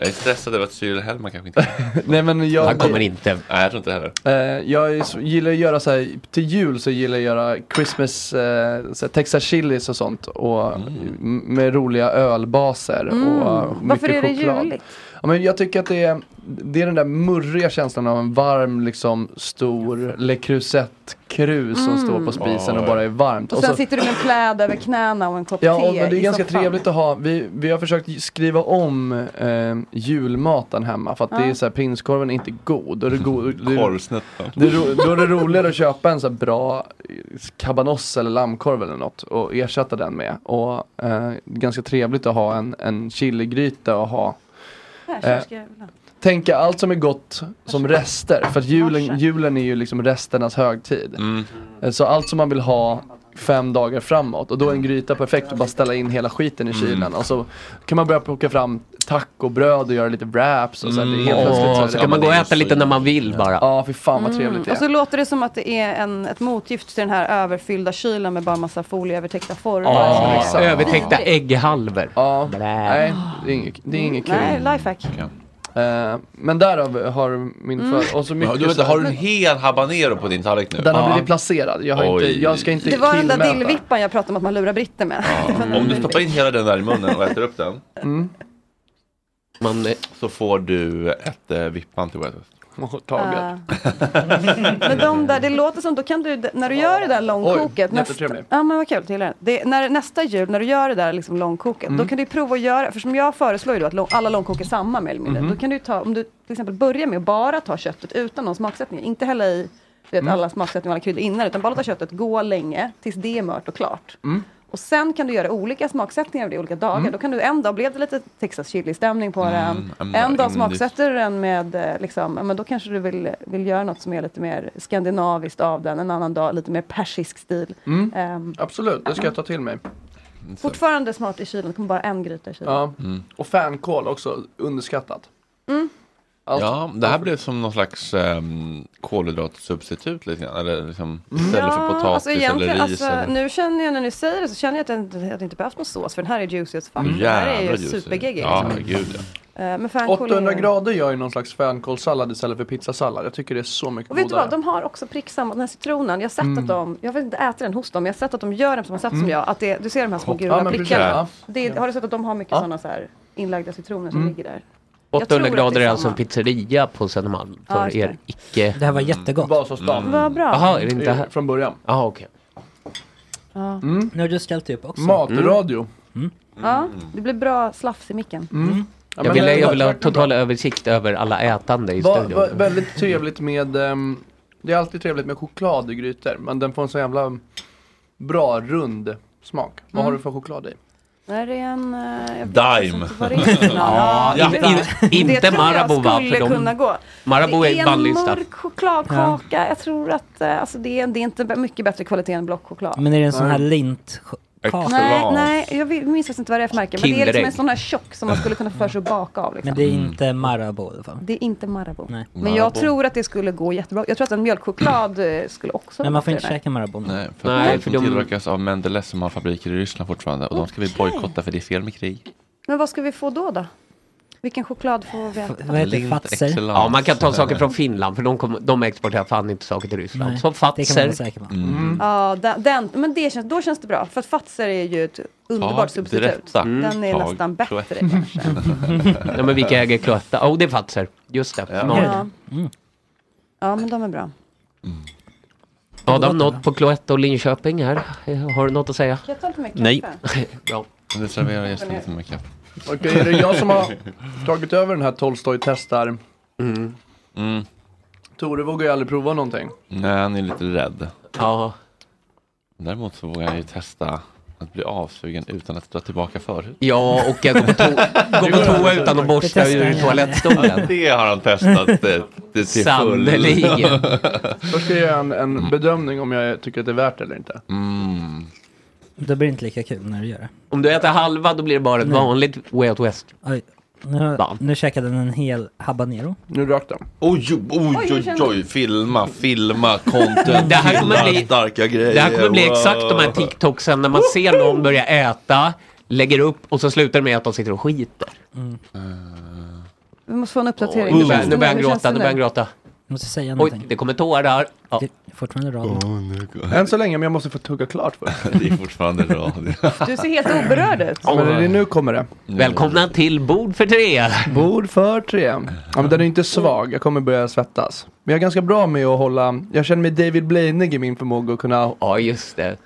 Speaker 1: jag är stressad över att Cyril Hellman kanske inte
Speaker 6: Nej, men jag- Han kommer
Speaker 8: inte.
Speaker 1: Nej, jag tror inte heller.
Speaker 6: Eh, jag är så- gillar att göra så här, till jul så gillar jag att göra Christmas, eh, så här, Texas chilis och sånt. Och
Speaker 1: Mm.
Speaker 6: m- med roliga ölbaser
Speaker 11: Mm.
Speaker 6: och mycket
Speaker 11: Varför är det
Speaker 6: choklad.
Speaker 11: juligt?
Speaker 6: Ja, men jag tycker att det är, det är den där murriga känslan av en varm, liksom stor Le Creuset-krus som
Speaker 11: Mm.
Speaker 6: står på spisen och bara är varmt.
Speaker 11: Och
Speaker 6: Och
Speaker 11: sen
Speaker 6: så-
Speaker 11: sitter du med en pläd över knäna och en kopp
Speaker 6: Ja,
Speaker 11: te
Speaker 6: och, men det är
Speaker 11: i
Speaker 6: ganska
Speaker 11: soffan.
Speaker 6: trevligt att ha. Vi, vi har försökt skriva om eh, julmaten hemma för att det
Speaker 11: Ja.
Speaker 6: är så här, prinskorven är inte god. Då är det, go- det,
Speaker 1: Korvsnuttan.
Speaker 6: det är ro, då är det roligare att köpa en så här bra eh, kabanoss eller lammkorv eller något och ersätta den med. Och eh, ganska trevligt att ha en, en chiligryta och ha.
Speaker 11: Här,
Speaker 6: Eh,
Speaker 11: kör, ska jag-
Speaker 6: tänka allt som är gott som rester. För att julen, julen är ju liksom resternas högtid.
Speaker 8: Mm.
Speaker 6: Eh, Så allt som man vill ha fem dagar framåt och då är en gryta perfekt att bara ställa in hela skiten i
Speaker 8: Mm.
Speaker 6: kylen. Och så kan man börja plocka fram tacobröd och göra lite wraps och så. här. Det är helt
Speaker 8: Mm.
Speaker 6: plötsligt
Speaker 8: Åh,
Speaker 6: här-
Speaker 8: så kan man gå och äta lite när man vill bara.
Speaker 6: Ja, fy fan vad trevligt det
Speaker 11: Mm. Och
Speaker 6: är.
Speaker 11: så låter det som att det är en, ett motgift till den här överfyllda kylen med bara massa folieövertäckta former. som är
Speaker 8: Ja,
Speaker 11: så
Speaker 8: övertäckta
Speaker 11: vidrigt.
Speaker 8: ägghalvor.
Speaker 6: Ja,
Speaker 8: nej,
Speaker 6: Nej, det är inget, det är inget kul.
Speaker 11: Nej, lifehack.
Speaker 6: Eh, men därav har min
Speaker 11: Mm.
Speaker 6: för... Och så
Speaker 1: Ja,
Speaker 6: mycket
Speaker 1: du vet,
Speaker 6: så här-
Speaker 1: har du en hel habanero på din tallrik nu?
Speaker 6: Den har
Speaker 1: Ja.
Speaker 6: blivit placerad. Jag, har
Speaker 1: Oj.
Speaker 6: inte, jag ska inte
Speaker 11: Det var den där
Speaker 6: killmäta.
Speaker 11: dillvippan jag pratade om att man lurar britter med.
Speaker 1: Mm. Om du stoppar in hela den där i munnen och äter upp den.
Speaker 6: Mm.
Speaker 1: Så får du ett eh, vippan till Wetwest.
Speaker 11: Ah. men de där, det låter som, då kan du, när du gör det där långkoket.
Speaker 6: Oj,
Speaker 11: nästa,
Speaker 6: jättetrevlig.
Speaker 11: ja men vad kul, det gillar jag. det, när, nästa jul när du gör det där liksom långkoket,
Speaker 6: Mm.
Speaker 11: då kan du ju prova att göra, för som jag föreslår ju då att lång, alla långkok är samma mer eller mindre.
Speaker 6: Mhm.
Speaker 11: Då kan du ju ta, om du till exempel börjar med att bara ta köttet utan någon smaksättning, inte hälla i du vet,
Speaker 6: Mm.
Speaker 11: alla smaksättningar och alla kryddor innan, utan bara låta köttet gå länge tills det är mört och klart.
Speaker 6: Mm.
Speaker 11: Och sen kan du göra olika smaksättningar av det i olika dagar.
Speaker 6: Mm.
Speaker 11: Då kan du, en dag blev det lite Texas chili-stämning
Speaker 1: Mm,
Speaker 11: på den.
Speaker 6: I'm
Speaker 11: En
Speaker 6: not
Speaker 11: dag
Speaker 6: in
Speaker 11: smaksätter du den med, eh, liksom, ja, men då kanske du vill, vill göra något som är lite mer skandinaviskt av den. En annan dag lite mer persisk stil.
Speaker 6: Mm.
Speaker 11: Ehm,
Speaker 6: Absolut, det ska jag ta till mig.
Speaker 11: fortfarande smart i kylen, det kommer bara en gryta i kylen.
Speaker 6: Ja.
Speaker 1: Mm.
Speaker 6: Och fänkål också, underskattat.
Speaker 11: Mm.
Speaker 6: Allt.
Speaker 1: Ja, det här blev som någon slags um, kolhydratsubstitut lite grann. Eller liksom istället för potatis
Speaker 11: alltså
Speaker 1: eller
Speaker 11: egentligen,
Speaker 1: ris.
Speaker 11: alltså,
Speaker 1: eller...
Speaker 11: nu känner jag när ni säger det så känner jag att jag inte, att jag inte behövt någon sås för den här är juicy as fuck.
Speaker 1: Mm,
Speaker 11: Den här är ju
Speaker 1: jävla juicy.
Speaker 11: supergeggig.
Speaker 1: Ja,
Speaker 11: liksom.
Speaker 1: gud ja.
Speaker 11: Eh, men fänkål är-
Speaker 6: 800 grader gör ju någon slags fänkålssallad istället för pizzasallad. Jag tycker det är så mycket
Speaker 11: Och vet du
Speaker 6: godare.
Speaker 11: vad, de har också prick samma, den här citronen. Jag har sett
Speaker 6: Mm.
Speaker 11: att de, jag vet inte, äter den hos dem, men jag har sett att de gör den på samma sätt som
Speaker 6: Mm.
Speaker 11: jag. Att det, du ser de här små
Speaker 6: Ja,
Speaker 11: gula
Speaker 6: men precis.
Speaker 11: prickarna.
Speaker 6: Ja.
Speaker 11: Det, Har du sett att de har mycket
Speaker 6: Ja.
Speaker 11: sådana så här inlagda citroner som
Speaker 6: Mm.
Speaker 11: ligger där? Jag tror
Speaker 8: 800
Speaker 11: att
Speaker 8: grader
Speaker 11: det
Speaker 8: är
Speaker 11: är
Speaker 8: alltså en
Speaker 11: samma.
Speaker 8: pizzeria på Södermalm.
Speaker 11: Ja,
Speaker 8: För
Speaker 11: just
Speaker 8: er icke...
Speaker 7: Det här var jättegott.
Speaker 6: Vasastan.
Speaker 8: Mm.
Speaker 11: Vad bra.
Speaker 8: Jaha, är det inte här?
Speaker 6: Eh, Från början.
Speaker 8: Jaha, okej.
Speaker 11: Ja.
Speaker 7: Mm. Nu har du ställt upp också.
Speaker 8: Mm.
Speaker 7: Mm.
Speaker 6: Matradio.
Speaker 11: ja, det blir bra slafs i micken.
Speaker 8: Mm.
Speaker 11: Mm.
Speaker 6: Ja,
Speaker 8: jag
Speaker 6: men
Speaker 8: vill,
Speaker 6: det-
Speaker 8: jag vill ha
Speaker 6: verkligen
Speaker 8: total översikt över alla ätande i
Speaker 6: Va,
Speaker 8: studion.
Speaker 6: va, väldigt trevligt med, ehm, det är alltid trevligt med choklad i grytor. Men den får en så jävla bra rund smak. Vad
Speaker 11: Mm.
Speaker 6: har du för choklad i?
Speaker 11: Där är en... eh, jag vet
Speaker 1: Dime.
Speaker 11: inte vad det är för någon.
Speaker 8: Ja,
Speaker 11: Ja,
Speaker 8: inte-
Speaker 11: det-
Speaker 8: inte- inte
Speaker 11: det tror jag
Speaker 8: Marabou, va?
Speaker 11: skulle
Speaker 8: För de-
Speaker 11: kunna gå.
Speaker 8: Marabou
Speaker 11: det
Speaker 8: är
Speaker 11: är en
Speaker 8: bannlysta.
Speaker 11: mörk chokladkaka. Jag tror att eh, alltså, det, är, det är inte b- mycket bättre kvalitet än blockchoklad.
Speaker 7: Men är det en sån här lint?
Speaker 1: Excellence.
Speaker 11: Nej, nej, jag vet- minns faktiskt inte vad det är för märke. Men det är liksom
Speaker 1: Kinderägg.
Speaker 11: en sån här tjock som man skulle kunna få för sig att baka av. Liksom.
Speaker 7: Men det är
Speaker 1: Mm.
Speaker 8: Mm.
Speaker 7: inte Marabou i alla fall.
Speaker 11: Det är inte Marabou.
Speaker 7: Nej.
Speaker 11: Men jag
Speaker 7: Marabou.
Speaker 11: tror att det skulle gå jättebra. Jag tror att en mjölkchoklad eh, skulle också
Speaker 7: Men man får
Speaker 11: gå
Speaker 7: inte
Speaker 11: till det där.
Speaker 7: käka Marabou.
Speaker 1: Nej, för,
Speaker 7: Nej,
Speaker 1: Nej,
Speaker 7: för
Speaker 1: för
Speaker 7: de-
Speaker 1: tillverkas av Mendeles som har fabriker i Ryssland fortfarande och de ska vi
Speaker 11: Okej.
Speaker 1: bojkotta för det är fel med krig.
Speaker 11: Men vad ska vi få då då? Vilken choklad får vi äta?
Speaker 8: Ja, man kan ta saker från Finland för de, kommer, de exporterar fan inte saker till Ryssland.
Speaker 11: Nej,
Speaker 8: så
Speaker 7: det kan man
Speaker 8: Fatser.
Speaker 7: vara säker på.
Speaker 8: Mm.
Speaker 11: Ja, den, den, men det känns, då känns det bra. För att Fatser är ju ett underbart
Speaker 8: Tag,
Speaker 11: substitut.
Speaker 8: berätta.
Speaker 11: Den är
Speaker 8: Mm, tag,
Speaker 11: nästan bättre
Speaker 8: Cloetta.
Speaker 11: kanske.
Speaker 8: ja, men vilka äger Cloetta? Åh, oh, det är Fatser. Just det. Smart.
Speaker 11: Ja.
Speaker 7: Mm.
Speaker 11: ja, men de är bra.
Speaker 8: Adam, något på Cloetta och Linköping här? Eh, Har du något att säga?
Speaker 11: Kan jag ta lite mer kaffe?
Speaker 8: Nej. Bra.
Speaker 1: Det serverar gästen lite mer kaffe.
Speaker 6: Okej, är det jag som har tagit över den här Tolstoj testar?
Speaker 1: Mm.
Speaker 6: Tore vågar ju aldrig prova någonting.
Speaker 1: Nej, han är lite rädd.
Speaker 8: Ja.
Speaker 1: Däremot så vågar jag ju testa att bli avsugen utan att dra tillbaka förut.
Speaker 8: Ja, och jag går på to- går på toa utan att borsta Det testar ur jag. toalettstolen.
Speaker 1: Det har han testat eh, till till full.
Speaker 8: Sannerligen.
Speaker 6: Först ska jag göra en, en bedömning om jag tycker att det är värt det eller inte.
Speaker 1: Mm.
Speaker 7: Då blir det inte lika kul när du gör det.
Speaker 8: Om du äter halva då blir det bara ett
Speaker 7: Nej.
Speaker 8: vanligt Way Out West.
Speaker 7: Oj, nu, nu käkade den en hel habanero.
Speaker 6: Nu rök den.
Speaker 1: Oj, oj,
Speaker 7: Oj,
Speaker 1: oj,
Speaker 7: hur
Speaker 1: oj,
Speaker 7: kändes det?
Speaker 1: filma, filma, content,
Speaker 8: Det här kommer
Speaker 1: gillar
Speaker 8: bli-
Speaker 1: starka grejer.
Speaker 8: Det här kommer bli
Speaker 1: wow.
Speaker 8: exakt de här TikToksen när man ser någon börja äta, lägger upp och så slutar det med att de sitter och skiter.
Speaker 11: Vi måste få en uppdatering.
Speaker 8: nu börjar- nu börjar han
Speaker 11: Hur känns
Speaker 8: gråta,
Speaker 11: det
Speaker 8: nu börjar han gråta.
Speaker 7: Jag måste säga
Speaker 8: Oj,
Speaker 7: någonting.
Speaker 8: det kommer tårar. Ja.
Speaker 7: Fortfarande radio.
Speaker 6: Än så länge, men jag måste få tugga klart först.
Speaker 1: det är fortfarande radio.
Speaker 11: Du ser helt oberörd ut.
Speaker 6: Men det är, nu kommer det.
Speaker 8: Välkomna till bord för tre.
Speaker 6: Bord för tre. Ja, men den är inte svag, jag kommer börja svettas. Men jag är ganska bra med att hålla, jag känner mig David Blaine i min förmåga att kunna,
Speaker 8: ja, just det.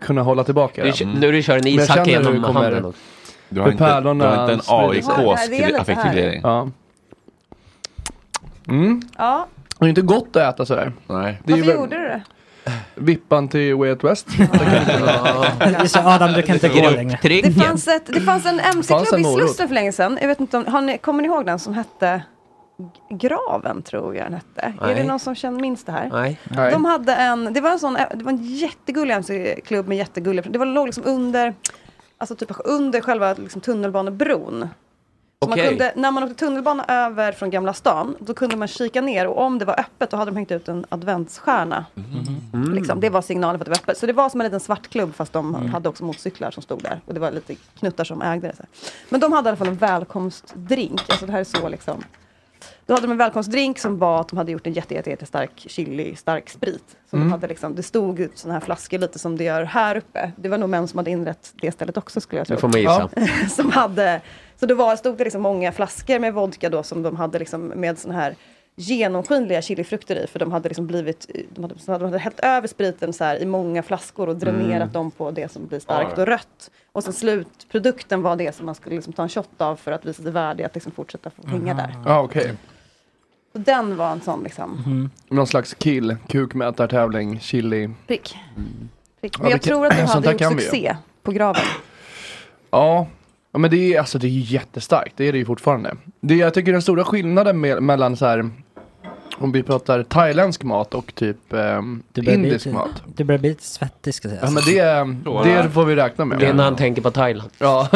Speaker 6: kunna hålla tillbaka
Speaker 8: Du kö- nu du kör en
Speaker 6: Men jag
Speaker 8: Isak
Speaker 6: känner
Speaker 8: genom
Speaker 6: hur det kommer-
Speaker 8: handen också.
Speaker 1: Du har
Speaker 6: hur
Speaker 1: inte- du har
Speaker 6: pärlorna
Speaker 1: inte en
Speaker 6: sprider
Speaker 1: AIK
Speaker 6: sig.
Speaker 1: Ja, det är lite affektreglering.
Speaker 6: Ja. Mm.
Speaker 11: Ja,
Speaker 6: Det är inte gott att äta sådär.
Speaker 1: Nej.
Speaker 6: Det är ju
Speaker 11: varför
Speaker 6: väl-
Speaker 11: gjorde du det?
Speaker 6: Vippan till Way Out West.
Speaker 7: Just det, Adam, du kan inte gå längre.
Speaker 11: Det fanns, ett, det fanns en
Speaker 6: Fanns en
Speaker 11: mc-klubb i
Speaker 6: morot?
Speaker 11: Slussen för länge sedan. Jag vet inte om, har ni, kommer ni ihåg den som hette G- Graven, tror jag den hette. Är det
Speaker 8: Nej.
Speaker 11: någon som känner, minns det här?
Speaker 8: Nej.
Speaker 11: De hade en, det var en sån, det var en jättegullig mc-klubb med jättegulliga, det var, låg liksom under, alltså typ under själva liksom tunnelbanebron. Så man
Speaker 8: Okej.
Speaker 11: kunde, när man åkte tunnelbana över från Gamla stan, då kunde man kika ner och om det var öppet då hade de hängt ut en adventsstjärna.
Speaker 1: Mm.
Speaker 8: Mm.
Speaker 11: Liksom. Det var signalen för att det var öppet. Så det var som en liten svart klubb fast de hade också motorcyklar som stod där. Och det var lite knuttar som ägde det. Så här. Men de hade i alla fall en välkomstdrink. Alltså det här är så liksom. Då hade de en välkomstdrink som var att de hade gjort en jätte, jätte, jätte stark chili, stark sprit. Som
Speaker 6: Mm.
Speaker 11: de hade liksom, det stod ut sådana här flaskor lite som det gör här uppe. Det var nog män som hade inrett det stället också skulle jag tro.
Speaker 8: Nu får man gissa.
Speaker 11: som hade, så då var, stod det liksom många flaskor med vodka då som de hade liksom med sådana här genomskinliga chilifrukter i för de hade liksom blivit, de hade, de hade hällt över spriten så här i många flaskor och dränerat
Speaker 8: Mm.
Speaker 11: dem på det som blir
Speaker 8: Ja,
Speaker 11: starkt
Speaker 8: ja.
Speaker 11: och rött. Och sen slutprodukten var det som man skulle liksom ta en shot av för att visa sig värdig att liksom fortsätta få hänga där.
Speaker 6: Mm. Ja, Mm. okej.
Speaker 11: Och den var en sån liksom
Speaker 7: Mhm.
Speaker 6: Någon slags kill, kukmätartävling, chili.
Speaker 11: prick. prick.
Speaker 6: Mm. Ja,
Speaker 11: Men jag
Speaker 6: vilket-
Speaker 11: tror att de
Speaker 6: sånt
Speaker 11: hade
Speaker 6: där
Speaker 11: gjort
Speaker 6: kan vi ju.
Speaker 11: succé på graven.
Speaker 6: Ja, ja men det är, alltså, det är ju jättestarkt. Det är det ju fortfarande. Det, jag tycker den stora skillnaden me- mellan så här, om vi pratar thailändsk mat och typ ehm,
Speaker 7: börjar bli typ-
Speaker 6: indisk
Speaker 7: lite-
Speaker 6: mat.
Speaker 7: Du börjar bli lite svettig ska jag säga.
Speaker 6: Ja, men det, det får vi räkna med.
Speaker 8: Alltså, Det är när han tänker på Thailand.
Speaker 6: Ja.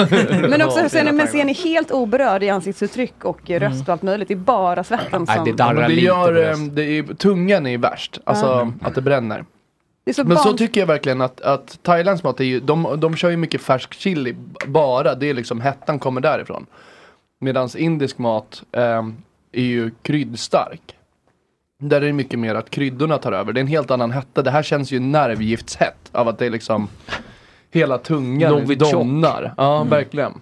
Speaker 11: Men också, sen, men ser ni helt oberörd i ansiktsuttryck och eh, röst och allt möjligt. Det är bara svetten
Speaker 6: Ja,
Speaker 11: som...
Speaker 6: men Mm. det gör, ehm, det är, tungan är värst, alltså
Speaker 11: Ja.
Speaker 6: att det bränner.
Speaker 11: Det är så
Speaker 6: Men så
Speaker 11: barn-
Speaker 6: tycker jag verkligen att, att Thailands mat, är ju, de, de kör ju mycket färsk chili b- bara, det är liksom hettan kommer därifrån. Medan indisk mat ehm, är ju kryddstark. Där är det mycket mer att kryddorna tar över, det är en helt annan hetta. Det här känns ju nervgiftshett av att det är liksom hela tungan
Speaker 8: Novichok.
Speaker 6: domnar. Ja,
Speaker 8: Mm.
Speaker 6: verkligen.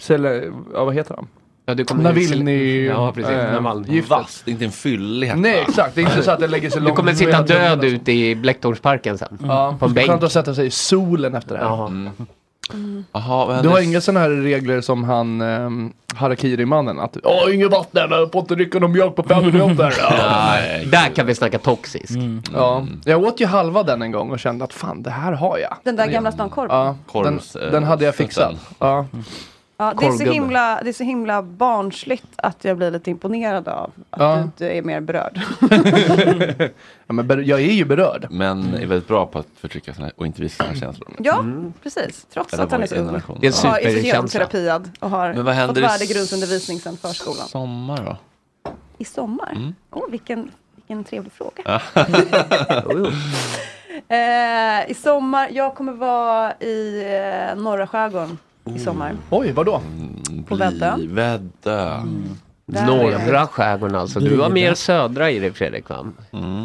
Speaker 6: Sele, ja, vad heter han?
Speaker 8: Ja, du kommer-
Speaker 6: Navalny.
Speaker 8: Ja, precis.
Speaker 6: eh,
Speaker 8: Navalny.
Speaker 6: giftet.
Speaker 1: Vass, det är inte en fyllig hetta.
Speaker 6: Nej exakt, det är inte så att det lägger sig
Speaker 8: Du
Speaker 6: långt
Speaker 8: kommer
Speaker 6: ner
Speaker 8: sitta
Speaker 6: i
Speaker 8: död ute i Blecktorpsparken sen.
Speaker 6: Ja,
Speaker 8: På en
Speaker 6: det är
Speaker 8: bänk. Mm.
Speaker 6: skönt att sätta sig i solen efter det här.
Speaker 1: Jaha, vad
Speaker 6: Du
Speaker 1: händer?
Speaker 6: har inga sådana här regler som han um, Harakiri-mannen att Åh, inget vatten, jag får inte dricka någon mjölk på fem minuter. Ja. Mm.
Speaker 8: Nej, där kan vi snacka toxisk.
Speaker 6: ja,
Speaker 1: Mm.
Speaker 6: jag åt ju halva den en gång och kände att fan, det här har jag.
Speaker 11: Den där gamla stankorven.
Speaker 6: Ja, den,
Speaker 8: Korvs, eh,
Speaker 6: den hade jag fixat.
Speaker 8: sköten.
Speaker 6: Ja.
Speaker 11: Ja, det, är så
Speaker 6: Korvgubbe.
Speaker 11: himla, det är så himla barnsligt att jag blir lite imponerad av att
Speaker 6: Ja.
Speaker 11: du inte är mer berörd.
Speaker 6: Ja, men ber- jag är ju berörd. Mm.
Speaker 1: Men är väldigt bra på att förtrycka sina, och inte visa sina känslor.
Speaker 11: Ja, precis. Trots
Speaker 1: Det där
Speaker 11: att han
Speaker 1: var
Speaker 11: är så
Speaker 1: ju en
Speaker 11: ung.
Speaker 1: relation.
Speaker 11: Och
Speaker 1: Det är en
Speaker 11: har är
Speaker 1: superkänsla.
Speaker 11: terapiad och har
Speaker 1: Men vad händer
Speaker 11: fått
Speaker 1: i
Speaker 11: värdegrundsundervisning sedan förskolan.
Speaker 1: Sommar då?
Speaker 11: I sommar?
Speaker 1: Mm.
Speaker 11: Åh, vilken, vilken trevlig fråga.
Speaker 1: Jo,
Speaker 11: Eh, I sommar, jag kommer vara i eh, norra skärgården i sommar.
Speaker 6: Oj, vadå?
Speaker 1: Mm.
Speaker 11: På Väddö.
Speaker 1: Väddö.
Speaker 11: Där
Speaker 8: Norra skärgården alltså. Du har mer södra i dig Fredrik va?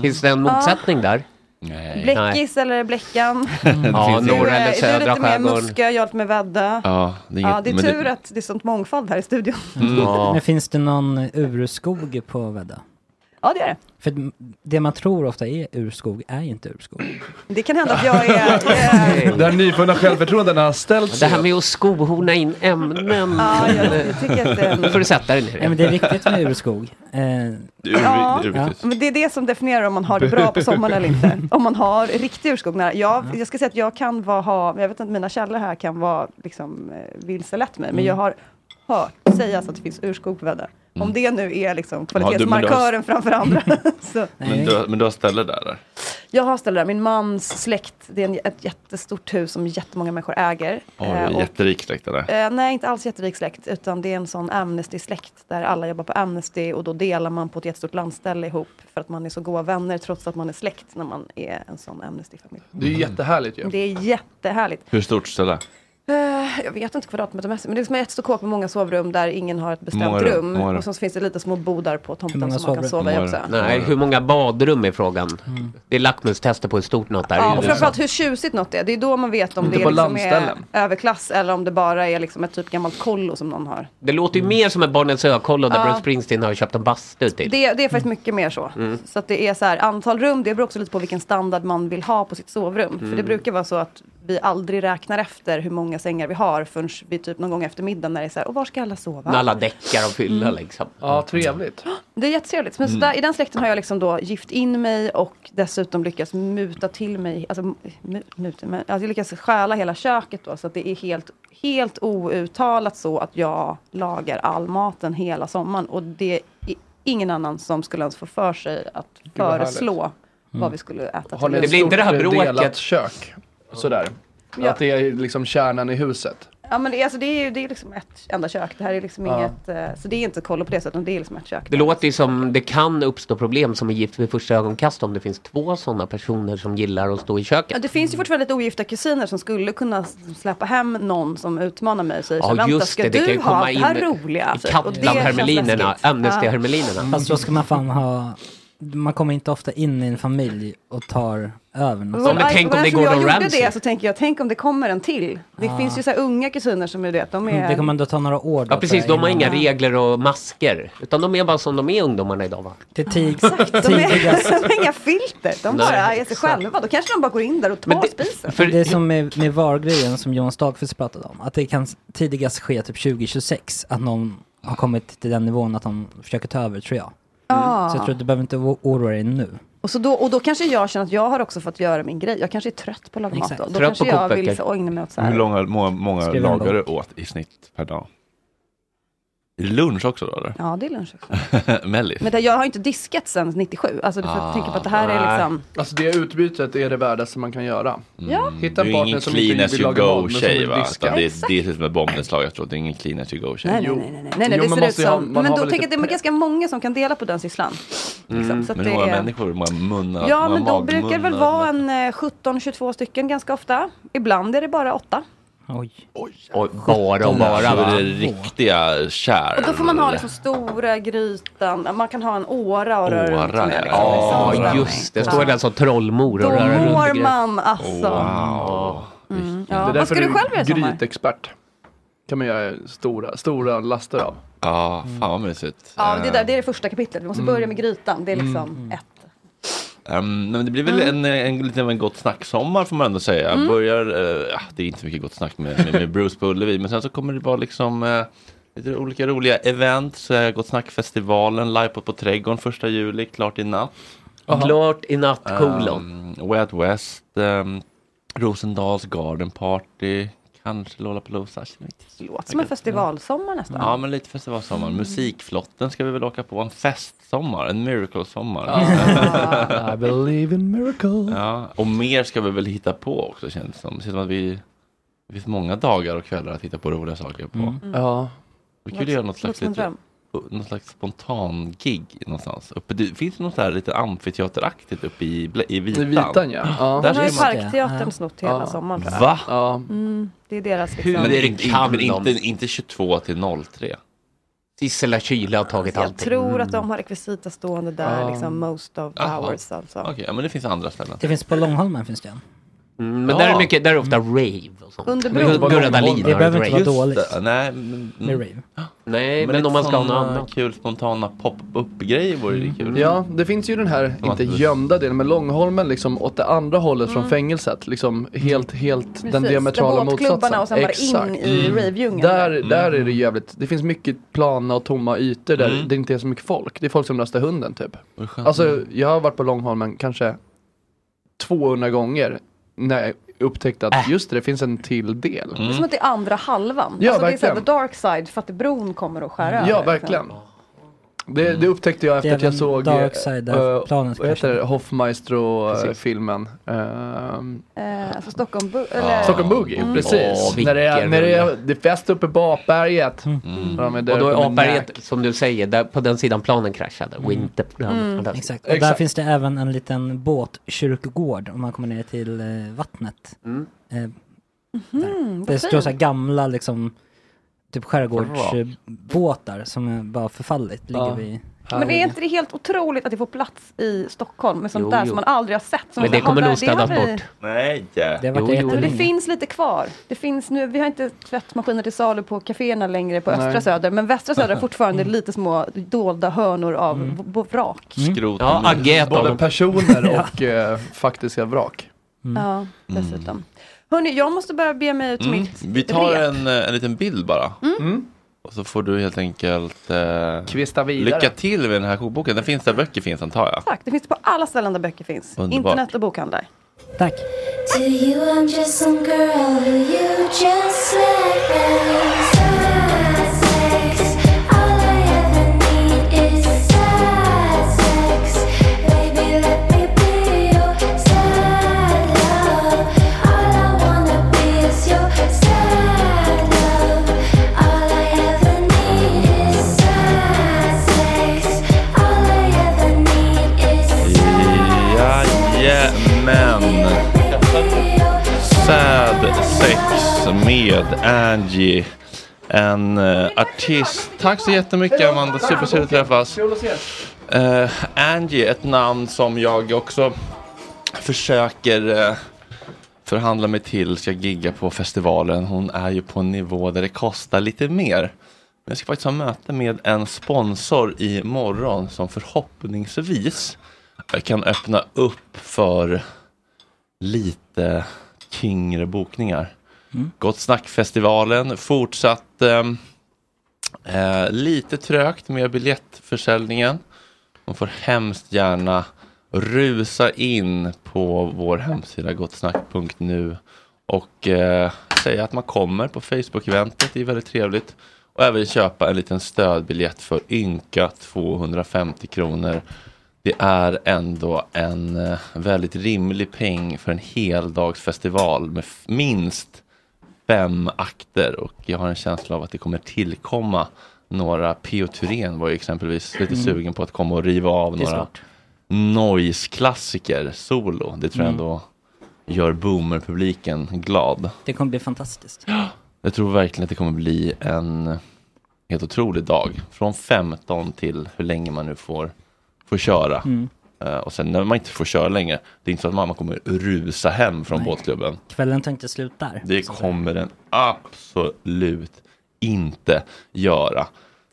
Speaker 8: Finns det en
Speaker 11: Ja.
Speaker 8: motsättning där? Nej.
Speaker 11: Bläckis eller Bläckan.
Speaker 8: Ja,
Speaker 1: finns
Speaker 8: norra
Speaker 11: Du är-
Speaker 8: eller
Speaker 11: Du är
Speaker 8: södra
Speaker 11: lite mer
Speaker 8: skärgården.
Speaker 11: Muskö, jag är lite mer Väddö.
Speaker 1: Ja, det är inget-
Speaker 11: ja, det är
Speaker 1: men det- Mm.
Speaker 11: tur att det är sånt mångfald här i studion.
Speaker 7: Men finns det någon urskog på Väddö?
Speaker 11: Ja, det är det.
Speaker 7: För det man tror ofta är urskog är inte urskog.
Speaker 11: Det kan hända att jag är...
Speaker 6: Det här nyfunna självförtroendet när han ställt
Speaker 8: Det här med att skohorna in ämnen.
Speaker 11: Ja, jag tycker att det-
Speaker 8: Nu får du sätta dig ner.
Speaker 7: Nej men det är viktigt med urskog. Eh,
Speaker 11: Ja, men det är det som definierar om man har det bra på sommaren eller inte. Om man har riktig urskog nära. Jag, jag ska säga att jag kan vara, ha, jag vet att mina källor här kan vara liksom, eh, vilselett mig, men
Speaker 1: Mm.
Speaker 11: jag har hört sägas att det finns urskog på Väddö. Om
Speaker 1: Mm.
Speaker 11: det nu är liksom
Speaker 1: men du har-
Speaker 11: kvalitetsmarkören framför andra. så.
Speaker 1: Men du, har- men du har ställe där? där.
Speaker 11: Jag har ställt där, min mans släkt, det är en, ett jättestort hus som jättemånga människor äger.
Speaker 1: Oj,
Speaker 11: Eh, och-
Speaker 1: jätterik släkt det där.
Speaker 11: Eh, nej, inte alls jätterik släkt, utan det är en sån Amnesty-släkt där alla jobbar på Amnesty och då delar man på ett jättestort landställe ihop för att man är så goda vänner trots att man är släkt när man är en sån Amnesty-familj.
Speaker 6: Det är ju jättehärligt ju.
Speaker 11: Det är jättehärligt.
Speaker 1: Hur stort ställe?
Speaker 11: Eh, jag vet inte kvadratmetermässigt, men det är som ett stort kåk med många sovrum där ingen har ett bestämt
Speaker 8: Många rum,
Speaker 11: rum.
Speaker 8: många rum.
Speaker 11: Och så finns det lite små bodar på
Speaker 8: Hur
Speaker 11: tomten som
Speaker 8: många
Speaker 11: man kan sova i också.
Speaker 8: Nej, hur många badrum är frågan? Det är lackmustester på hur stort något är.
Speaker 11: Ja, och framförallt hur tjusigt något är. Det är då man vet om
Speaker 8: Inte
Speaker 11: det
Speaker 8: på
Speaker 11: är, liksom är
Speaker 8: landställen.
Speaker 11: överklass eller om det bara är liksom ett typ gammalt kollo som någon har.
Speaker 8: Det låter ju mer som en Barnens ö-kollo där
Speaker 11: Ja.
Speaker 8: Bruce Springsteen har köpt en bastu typ. till.
Speaker 11: Det, det är faktiskt mycket mer så.
Speaker 8: Mm.
Speaker 11: Så att det är så här, antal rum, det beror också lite på vilken standard man vill ha på sitt sovrum. För det
Speaker 8: Mm.
Speaker 11: brukar vara så att vi aldrig räknar efter hur många sängar vi har förrän vi typ någon gång efter middagen när det är så här, och var ska alla sova?
Speaker 8: När alla däckar och fylla
Speaker 11: Mm.
Speaker 8: liksom.
Speaker 6: Ja, trevligt.
Speaker 11: Det är jättetrevligt. Men så
Speaker 8: Mm.
Speaker 11: där, i den släkten har jag liksom då gift in mig och dessutom lyckats muta till mig, alltså mu- muta, men, alltså jag lyckas stjäla hela köket då så att det är helt, helt outtalat så att jag lagar all maten hela sommaren och det är ingen annan som skulle ens få för sig att
Speaker 6: vad härligt.
Speaker 11: föreslå
Speaker 6: Mm.
Speaker 11: vad vi skulle äta
Speaker 6: Har ni
Speaker 11: till
Speaker 6: ett
Speaker 11: lunch.
Speaker 6: stort eh, delat kök? Sådär.
Speaker 11: Ja.
Speaker 6: Att det är liksom kärnan i huset.
Speaker 11: Ja men det, är- alltså, det är ju det är liksom ett enda kök. Det här är liksom
Speaker 8: Ja.
Speaker 11: inget, eh, så det är inte kollo på det sättet, utan det är liksom ett kök.
Speaker 8: Det låter ju som det kan uppstå problem som är gift vid första ögonkast om det finns två sådana personer som gillar att stå i köket.
Speaker 11: Ja, det finns ju
Speaker 8: mm.
Speaker 11: fortfarande lite ogifta kusiner som skulle kunna släppa hem någon som utmanar mig och säger
Speaker 8: Ja,
Speaker 11: så här,
Speaker 8: just
Speaker 11: "Vänta,
Speaker 8: det,
Speaker 11: ska
Speaker 8: det kan
Speaker 11: du
Speaker 8: ju
Speaker 11: ha
Speaker 8: komma
Speaker 11: det här
Speaker 8: in
Speaker 11: roliga?
Speaker 8: i
Speaker 11: Typ.
Speaker 8: kapp
Speaker 11: Och det
Speaker 8: bland
Speaker 11: känns
Speaker 8: hermelinerna,
Speaker 11: läskigt.
Speaker 8: Amnesty-hermelinerna.
Speaker 11: Ja.
Speaker 7: Fast då ska man fan ha, man kommer inte ofta in i en familj och tar över något.
Speaker 11: Men tänk om det går jag gjorde det så tänker jag, tänk om det kommer en till. Det
Speaker 8: Ah.
Speaker 7: Ja.
Speaker 11: finns ju så här unga kusiner som är det, de är...
Speaker 7: Mm, Det kommer ändå ta några år då.
Speaker 8: Ja precis,
Speaker 7: för
Speaker 8: de har
Speaker 7: innan-
Speaker 8: inga regler och masker. Utan de är bara som de är ungdomarna idag va?
Speaker 7: Det är tig-
Speaker 11: de,
Speaker 7: tidigast.
Speaker 11: är, de har inga filter, de
Speaker 8: Nej,
Speaker 11: bara är sig själva. Då kanske de bara går in där och tar spisen.
Speaker 7: det är som med, med VAR-grejen som Johan Stalkvist pratade om. Att det kan s- tidigast ske typ 2026. Att någon har kommit till den nivån att de försöker ta över tror jag.
Speaker 11: Ah.
Speaker 7: Så jag tror att du behöver inte o- oroa dig nu.
Speaker 11: Och, så då, och då kanske jag känner att jag har också fått göra min grej. Jag kanske är trött på att laga mat
Speaker 7: Exakt. Mm.
Speaker 11: då. Då
Speaker 7: Trött
Speaker 11: kanske
Speaker 7: på
Speaker 11: jag vill
Speaker 7: kokböcker.
Speaker 11: så, ägna mig åt så här.
Speaker 1: Hur långa, många, många
Speaker 7: Skriv en
Speaker 1: lagar
Speaker 7: bok.
Speaker 1: du åt i snitt per dag? Lunch också då? Eller?
Speaker 11: Ja, det är lunch också.
Speaker 6: Typ.
Speaker 1: Mellis?
Speaker 11: Men det, jag har inte diskat sedan 97. Alltså du får
Speaker 1: Ah,
Speaker 11: tänka på att det här
Speaker 6: nej.
Speaker 11: är liksom...
Speaker 6: Alltså det utbytet är det värdaste man kan göra.
Speaker 11: Ja.
Speaker 6: Hitta
Speaker 1: Du
Speaker 6: en
Speaker 1: Mm. är
Speaker 6: partner
Speaker 1: ingen
Speaker 6: som inte
Speaker 1: clean as
Speaker 6: vill
Speaker 1: you
Speaker 6: laga mat
Speaker 1: go
Speaker 6: men som
Speaker 1: tjej
Speaker 6: vill
Speaker 1: va?
Speaker 6: diska.
Speaker 1: Utan Det är det är som är bombens lag, jag tror. Det är ingen clean as you go tjej.
Speaker 11: Nej, nej, nej, nej, nej, nej,
Speaker 6: Jo,
Speaker 11: det
Speaker 6: man
Speaker 11: ser ut
Speaker 6: måste ju ha-
Speaker 11: som...
Speaker 6: man
Speaker 11: men
Speaker 6: har
Speaker 11: då
Speaker 6: väl
Speaker 11: tänker jag att
Speaker 6: lite
Speaker 11: det är ganska många som kan dela på den sysslan.
Speaker 6: Mm.
Speaker 11: Liksom, så att
Speaker 1: men
Speaker 11: det
Speaker 1: hur många
Speaker 11: är-
Speaker 1: människor, hur många munnar,
Speaker 11: ja,
Speaker 1: hur
Speaker 11: men
Speaker 1: många
Speaker 11: de brukar det väl
Speaker 1: magmunnar?
Speaker 11: vara en eh, 17-22 stycken ganska ofta. Ibland är det bara åtta.
Speaker 7: Oj.
Speaker 8: Oj, bara och bara
Speaker 1: Alltså,
Speaker 8: va?
Speaker 1: det är riktiga kärl.
Speaker 11: Och då får man ha liksom stora grytan, man kan ha en åra och röra runt
Speaker 1: Åra,
Speaker 11: med.
Speaker 1: ja.
Speaker 11: Liksom.
Speaker 8: Ja
Speaker 1: Ja.
Speaker 8: just det, står det alltså trollmor och
Speaker 11: Då
Speaker 8: röra runt i
Speaker 11: mår
Speaker 8: grejer.
Speaker 11: man alltså.
Speaker 6: Wow.
Speaker 11: Mm,
Speaker 6: Det
Speaker 11: ja.
Speaker 6: är
Speaker 11: Vad
Speaker 6: därför
Speaker 11: ska du själv göra i
Speaker 6: du är
Speaker 11: sommar?
Speaker 6: grytexpert. kan man göra stora, stora laster av.
Speaker 1: Ja, fan vad mysigt.
Speaker 11: Ja, det,
Speaker 1: Eh,
Speaker 11: där, det är det första kapitlet. Vi måste
Speaker 1: Mm.
Speaker 11: börja med grytan. Det är liksom
Speaker 6: Mm,
Speaker 11: ett.
Speaker 1: ehm, nej, men det blir väl
Speaker 8: Mm.
Speaker 1: en, en, en, lite av en gott snack-sommar får man ändå säga.
Speaker 11: Mm.
Speaker 1: Börjar, eh, ja, det är inte så mycket gott snack med, med, med Bruce på Ullevi, men sen så kommer det vara liksom eh, lite olika roliga events. Uh, gott snack-festivalen, live på, på Trädgården första juli, klart i natt.
Speaker 8: Klart i natt, kolon.
Speaker 1: Ehm, Way Out West, ehm, Rosendals Garden Party, Kanske Lollapalooza.
Speaker 11: Låter som en festivalsommar nästan.
Speaker 1: Ja, men lite festivalsommar. Musikflotten ska vi väl åka på. En festsommar, en miracle-sommar.
Speaker 6: I believe in miracles.
Speaker 11: Mm.
Speaker 1: Ja, och mer ska vi väl hitta på också känns det som. Det känns som att vi, det finns många dagar och kvällar att hitta på roliga saker på.
Speaker 6: Mm. Ja.
Speaker 1: Vi kunde göra något slags,
Speaker 6: Låter som en
Speaker 1: lite, något slags spontan gig någonstans. Uppe, det finns det något där lite amfiteateraktigt uppe i, Bla- i Vitan?
Speaker 6: I Vitan, ja. Ja.
Speaker 11: Den
Speaker 1: ser
Speaker 11: har ju
Speaker 1: man-
Speaker 11: Parkteatern snott hela sommaren tror jag.
Speaker 1: Va?
Speaker 11: Mm, det är deras liksom.
Speaker 1: Men, inte, men inte, inte 22 till 03.
Speaker 8: Sissela Kyle har tagit
Speaker 11: Jag tror att
Speaker 6: Mm.
Speaker 11: de har rekvisita stående där,
Speaker 1: Mm. Ja.
Speaker 11: liksom most of
Speaker 1: Jaha.
Speaker 11: hours alltså.
Speaker 1: Okej, ja, men det finns andra ställen.
Speaker 7: Det finns på Långholmen finns det en.
Speaker 8: Mm, Men där är mycket, där är ofta rave och sånt.
Speaker 11: Under
Speaker 8: Men Gur-
Speaker 7: bron.
Speaker 8: Gurra Dahlin
Speaker 7: Det
Speaker 8: har ett
Speaker 7: behöver inte vara
Speaker 8: rave.
Speaker 7: dåligt.
Speaker 1: Just det, Nej, men, mm.
Speaker 7: Med rave.
Speaker 8: Nej, men, om man ska ha Mm. något annat.
Speaker 1: Kul spontana pop-up-grejer vore det kul.
Speaker 6: Ja, det finns ju den här,
Speaker 1: Som
Speaker 6: inte
Speaker 1: att-
Speaker 6: gömda delen, men Långholmen liksom åt det andra hållet från
Speaker 11: Mm.
Speaker 6: fängelset. Liksom helt, helt den
Speaker 11: Precis,
Speaker 6: diametrala
Speaker 11: där båtklubbarna
Speaker 6: motsatsen.
Speaker 11: och sen bara in i
Speaker 6: Mm.
Speaker 11: ravejungeln
Speaker 6: Där,
Speaker 11: där.
Speaker 6: där är det jävligt, det finns mycket plana och tomma ytor där
Speaker 1: Mm.
Speaker 6: det inte är så mycket folk. Det är folk som rastar hunden typ.
Speaker 1: Vad skönt.
Speaker 6: Alltså jag har varit på Långholmen kanske 200 gånger när jag upptäckte
Speaker 1: Äh.
Speaker 6: att just det, det finns en till del.
Speaker 11: Det
Speaker 1: Mm.
Speaker 11: är som att det är andra halvan.
Speaker 6: Ja,
Speaker 11: alltså, det är såhär the
Speaker 6: verkligen.
Speaker 11: dark side för att bron kommer att skära över,
Speaker 6: Ja,
Speaker 11: liksom.
Speaker 6: verkligen. Det, det upptäckte jag
Speaker 7: Det
Speaker 6: efter
Speaker 7: är
Speaker 6: att jag
Speaker 7: den
Speaker 6: såg
Speaker 7: dark side av
Speaker 6: eh,
Speaker 7: planet
Speaker 6: vad heter
Speaker 7: kanske.
Speaker 6: det? Hoffmaestro-filmen. Ehm,
Speaker 11: Eh, alltså Stockholm... Bu-
Speaker 6: Eller...
Speaker 11: eller...
Speaker 6: Stockholm Boogie,
Speaker 11: Mm.
Speaker 6: precis.
Speaker 8: Åh,
Speaker 6: när det är,
Speaker 8: vilken
Speaker 6: när det är,
Speaker 8: rulle.
Speaker 6: det är fest uppe på Apberget. Ja, men där
Speaker 8: och då
Speaker 6: uppe
Speaker 8: är
Speaker 6: med
Speaker 8: Apberget, som du säger, där, på den sidan planen kraschade.
Speaker 7: Mm.
Speaker 8: Winter.
Speaker 7: Mm. Exakt. Och där finns det även en liten båtkyrkogård om man kommer ner till eh, vattnet. Eh,
Speaker 11: Mhm,
Speaker 7: det
Speaker 11: vad
Speaker 7: står så här
Speaker 11: fint.
Speaker 7: gamla liksom typ
Speaker 11: Bra.
Speaker 7: skärgårdsbåtar som är bara förfallit ligger
Speaker 8: Ja.
Speaker 7: vid.
Speaker 11: Men är inte det helt otroligt att det får plats i Stockholm med sånt
Speaker 7: Jo,
Speaker 11: där
Speaker 7: jo.
Speaker 11: som man aldrig har sett? Som
Speaker 7: Men
Speaker 11: man
Speaker 7: det
Speaker 11: bara,
Speaker 7: kommer
Speaker 11: "Ah,
Speaker 7: nog
Speaker 11: där, det har
Speaker 7: städas
Speaker 11: vi."
Speaker 7: bort.
Speaker 1: Nej. Det
Speaker 7: har varit
Speaker 11: Men det
Speaker 7: jättelänge.
Speaker 11: finns lite kvar. Det finns nu, vi har inte tvättmaskiner till salu på kaféerna längre på östra
Speaker 8: Nej.
Speaker 11: söder, men västra söder är fortfarande lite små dolda hörnor av v- v- vrak.
Speaker 1: Skrot. Mm.
Speaker 6: Ja,
Speaker 8: Agge är ett av
Speaker 6: Eh, Både
Speaker 8: dem.
Speaker 6: personer och eh, faktiska vrak.
Speaker 11: Ja, dessutom. Hörni, jag måste börja be mig ut
Speaker 1: Mm.
Speaker 11: mitt
Speaker 1: Vi tar
Speaker 11: rep.
Speaker 1: en, eh, en liten bild bara. Och så får du helt enkelt eh,
Speaker 6: Kvista vidare.
Speaker 1: lycka till med den här kokboken. Den finns där böcker finns antar jag.
Speaker 11: Tack, det finns på alla ställen där böcker finns.
Speaker 1: Underbart.
Speaker 11: Internet och bokhandlar.
Speaker 7: Tack.
Speaker 14: To you, I'm just some girl who you just let go. Sad sex, all I ever need is sad sex. Baby, let me be your sad love. All I wanna be is your sad love. All I ever need is sad sex. All I ever need is
Speaker 1: Jajamän. Sad sex med Angie. En eh, artist. Tack så jättemycket Amanda. Supertrevligt att träffas.
Speaker 6: Kul att ses.
Speaker 1: Eh, Angie, ett namn som jag också försöker eh, förhandla mig till ska gigga på festivalen. Hon är ju på en nivå där det kostar lite mer. Men jag ska faktiskt ha möte med en sponsor imorgon som förhoppningsvis kan öppna upp för lite tyngre bokningar.
Speaker 7: Mm.
Speaker 1: Gott snackfestivalen fortsatt ehm, Eh, lite trögt med biljettförsäljningen. Man får hemskt gärna rusa in på vår hemsida gottsnack.nu och eh, säga att man kommer på Facebook-eventet. Det är väldigt trevligt. Och även köpa en liten stödbiljett för ynka 250 kronor. Det är ändå en eh, väldigt rimlig peng för en heldagsfestival med f- minst fem akter och jag har en känsla av att det kommer tillkomma några. P.O. Thyrén var ju exempelvis lite
Speaker 6: Mm.
Speaker 1: sugen på att komma och riva av
Speaker 6: Det är
Speaker 1: några
Speaker 6: smart.
Speaker 1: noise-klassiker solo. Det tror jag
Speaker 7: Mm.
Speaker 1: ändå gör boomer-publiken glad.
Speaker 7: Det kommer bli fantastiskt.
Speaker 1: Jag tror verkligen att det kommer bli en helt otrolig dag. Från 15 till hur länge man nu får, får köra.
Speaker 7: Mm.
Speaker 1: Eh, och sen när man inte får köra längre, det är inte så att mamma kommer rusa hem från
Speaker 7: Nej.
Speaker 1: båtklubben.
Speaker 7: Kvällen tar inte slut där.
Speaker 1: Det kommer den absolut inte göra.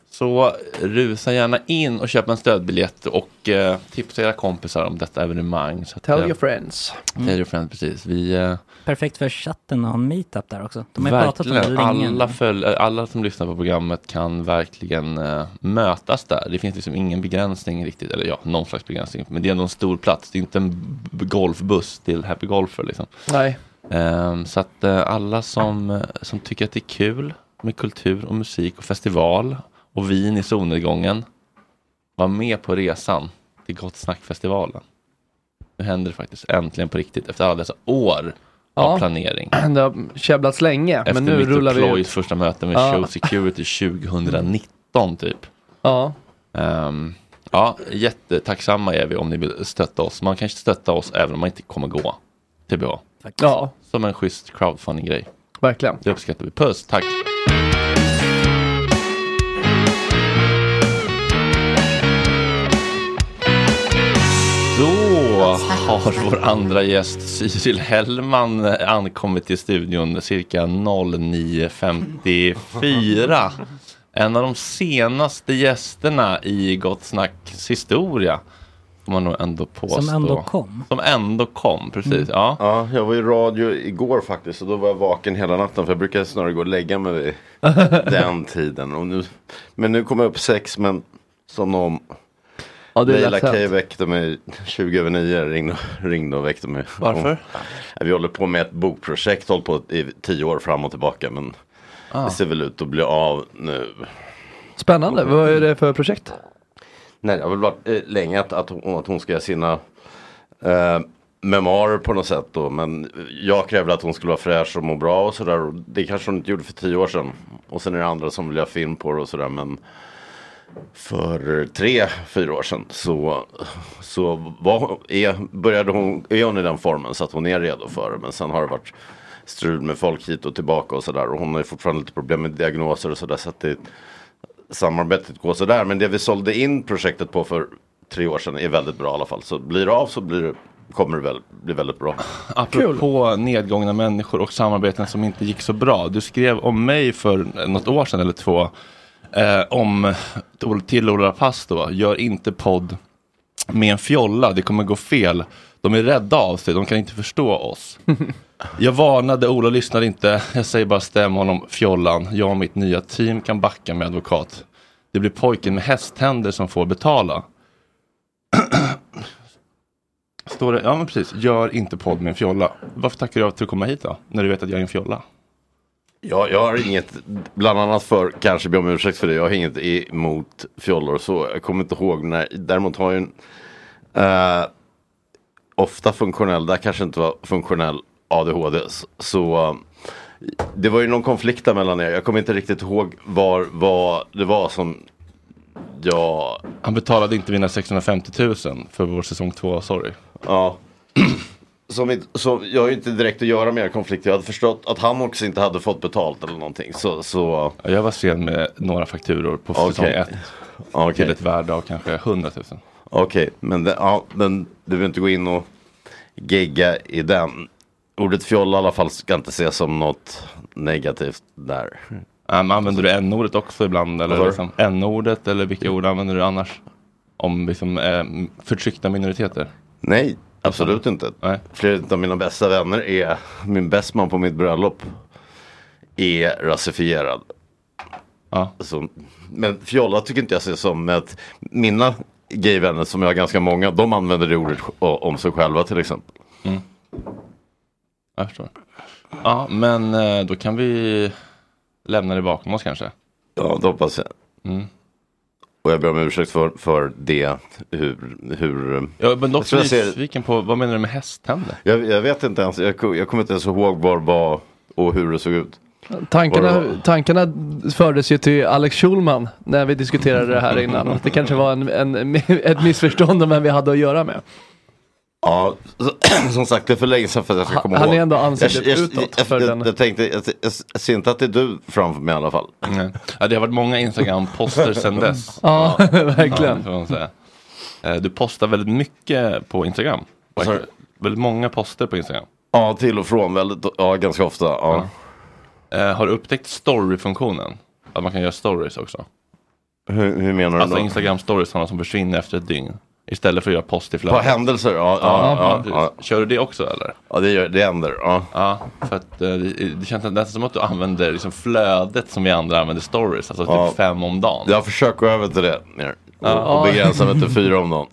Speaker 1: Så rusa gärna in och köp en stödbiljett och eh, tipsa era kompisar om detta evenemang. Så att,
Speaker 6: Tell
Speaker 1: eh,
Speaker 6: your friends.
Speaker 1: Tell your friends, precis. Vi, eh,
Speaker 7: Perfekt för chatten att ha en meetup där också. De har ju pratat om det
Speaker 1: Verkligen.
Speaker 7: länge.
Speaker 1: Alla, följ, alla som lyssnar på programmet kan verkligen eh, mötas där. Det finns liksom ingen begränsning riktigt, eller ja, någon slags begränsning. Men det är ändå en stor plats. Det är inte en b- golfbuss till Happy Golfer liksom.
Speaker 6: Nej.
Speaker 1: Ehm, så att eh, alla som, eh, som tycker att det är kul med kultur och musik och festival och vin i solnedgången. Var med på resan till Gott Snack-festivalen. Nu händer det faktiskt äntligen på riktigt efter alla dessa år av planering.
Speaker 6: Det har käbblats länge,
Speaker 1: Efter
Speaker 6: men nu
Speaker 1: Victor
Speaker 6: rullar vi ut.
Speaker 1: Ploys första möte med
Speaker 6: Ja.
Speaker 1: Show Security 2019 typ.
Speaker 6: Ja.
Speaker 1: Ehm, ja, jättetacksamma är vi om ni vill stötta oss. Man kan stötta oss även om man inte kommer gå. TBH.
Speaker 6: Ja.
Speaker 1: Som en schysst crowdfunding-grej.
Speaker 6: Verkligen.
Speaker 1: Det uppskattar vi. Puss, tack. Då har vår andra gäst Cyril Hellman ankommit till studion cirka 09.54. En av de senaste gästerna i Gott Snacks historia. Får man nog ändå påstå.
Speaker 7: ändå kom.
Speaker 1: Som ändå kom, precis.
Speaker 7: Mm.
Speaker 1: Ja.
Speaker 15: Ja, jag var i radio igår faktiskt och då var jag vaken hela natten för jag brukar snarare gå och lägga mig vid den tiden. Och nu, men nu kom jag upp sex men som någon
Speaker 6: Ja, det är
Speaker 15: Leila
Speaker 6: lätt hänt.
Speaker 15: K väckte mig 20 över 9, ringde, ringde och väckte mig.
Speaker 1: Varför?
Speaker 15: Hon- Ja, vi håller på med ett bokprojekt, hållit på i tio år fram och tillbaka men
Speaker 6: Ah.
Speaker 15: det ser väl ut att bli av nu.
Speaker 6: Spännande. Vad är det för projekt?
Speaker 15: Nej, det har väl varit eh, länge att, att, hon, att hon ska göra sina eh, memoarer på något sätt då. Men jag krävde att hon skulle vara fräsch och må bra och sådär. Och Det kanske hon inte gjorde för tio år sedan. Och sen är det andra som vill göra film på det och sådär. Men för tre, fyra år sedan så, så var, är, började hon, är hon i den formen så att hon är redo för det. Men sen har det varit strul med folk hit och tillbaka och sådär. Och hon har ju fortfarande lite problem med diagnoser och sådär. Så att det, samarbetet går sådär. Men det vi sålde in projektet på för tre år sedan är väldigt bra i alla fall. Så blir det av så blir det, kommer det väl, bli väldigt bra.
Speaker 1: Apropå nedgångna människor och samarbeten som inte gick så bra. Du skrev om mig för något år sedan eller två. Eh, om till Ola Rapace då. Gör inte podd med en fjolla. Det kommer gå fel. De är rädda av sig. De kan inte förstå oss. Jag varnade, Ola lyssnar inte. Jag säger bara stäm honom, fjollan. Jag och mitt nya team kan backa med advokat. Det blir pojken med hästhänder som får betala. Står det, ja men precis, gör inte podd med en fjolla. Varför tackar du av till att komma hit då? När du vet att jag är en fjolla?
Speaker 15: Jag, jag har inget, bland annat för, kanske be om ursäkt för det, jag har inget emot fjollor och så. Jag kommer inte ihåg när, däremot har jag en eh, ofta funktionell, där kanske inte var funktionell ADHD. s- Så eh, det var ju någon konflikt där mellan er, jag kommer inte riktigt ihåg var, vad det var som jag...
Speaker 1: Han betalade inte mina 650 000 för vår säsong två, sorry.
Speaker 15: Ja. Som, inte- som, jag har ju inte direkt att göra med er konflikt, jag hade förstått att han också inte hade fått betalt eller någonting. Så, så...
Speaker 1: Jag var sen med några fakturor på säsong
Speaker 15: Okej.
Speaker 1: ett.
Speaker 15: Okej.
Speaker 1: Till ett värde av kanske 100 000.
Speaker 15: Okej, men det, ja, den, du vill inte gå in och gegga i den. Ordet fjolla i alla fall ska inte ses som något negativt där.
Speaker 1: Um, använder du n-ordet också ibland?
Speaker 15: Vad
Speaker 1: Eller
Speaker 15: sa du? Mm.
Speaker 1: liksom, n-ordet eller vilka ord använder du annars? Om liksom, eh, förtryckta minoriteter?
Speaker 15: Nej, absolut inte. Flera av mina bästa vänner är, min bästman på mitt bröllop är rasifierad. Så, men fjolla tycker inte jag ser som ett, mina gayvänner som jag har ganska många, de använder det ordet o- om sig själva till exempel.
Speaker 1: Jag förstår. Ja, men eh, då kan vi lämna det bakom oss kanske.
Speaker 15: Ja, det hoppas jag.
Speaker 1: Mm.
Speaker 15: Och jag ber om ursäkt för, för det, hur, hur...
Speaker 1: Ja, men
Speaker 15: jag,
Speaker 1: också
Speaker 15: tror jag, ser,
Speaker 1: nyfiken på, vad menar du med hästtänder?
Speaker 15: jag, jag vet inte ens, jag, ko- jag kommer inte ens ihåg var var och hur det såg ut. Var
Speaker 6: Tankarna,
Speaker 15: det var?
Speaker 6: tankarna fördes ju till Alex Schulman när vi diskuterade det här innan. Att det kanske var en, en, ett missförstånd om vem vi hade att göra med.
Speaker 15: Ja, så- som sagt det är för länge sedan för att jag ska komma
Speaker 6: han
Speaker 15: ihåg.
Speaker 6: är ändå ansiktet
Speaker 15: jag, jag,
Speaker 6: utåt
Speaker 15: Jag,
Speaker 6: för
Speaker 15: jag,
Speaker 6: den-
Speaker 15: jag, tänkte, jag, jag, jag ser inte att det är du framför mig i alla fall.
Speaker 1: Ja, det har varit många Instagram-poster sedan dess.
Speaker 6: Ja, verkligen.
Speaker 1: det får man säga. Eh, Du postar väldigt mycket på Instagram. Väldigt många poster på Instagram.
Speaker 15: Ja, till och från väldigt, ja ganska ofta. Ja.
Speaker 1: Eh, Har du upptäckt story-funktionen? Att man kan göra stories också.
Speaker 15: Hur, hur menar du
Speaker 1: Alltså
Speaker 15: då?
Speaker 1: Instagram-stories, sådana som försvinner efter ett dygn. Istället för att göra post i flödet.
Speaker 15: På händelser, ja, ja, ja,
Speaker 1: precis.
Speaker 15: ja.
Speaker 1: Kör du det också eller?
Speaker 15: Ja, det, gör, det händer. Ja.
Speaker 1: för att eh, det, det känns nästan som att du använder liksom flödet som vi andra använder stories. Alltså
Speaker 15: Ja.
Speaker 1: typ fem om dagen.
Speaker 15: Jag försöker gå över till det mer. Och, och begränsa mig till fyra om dagen.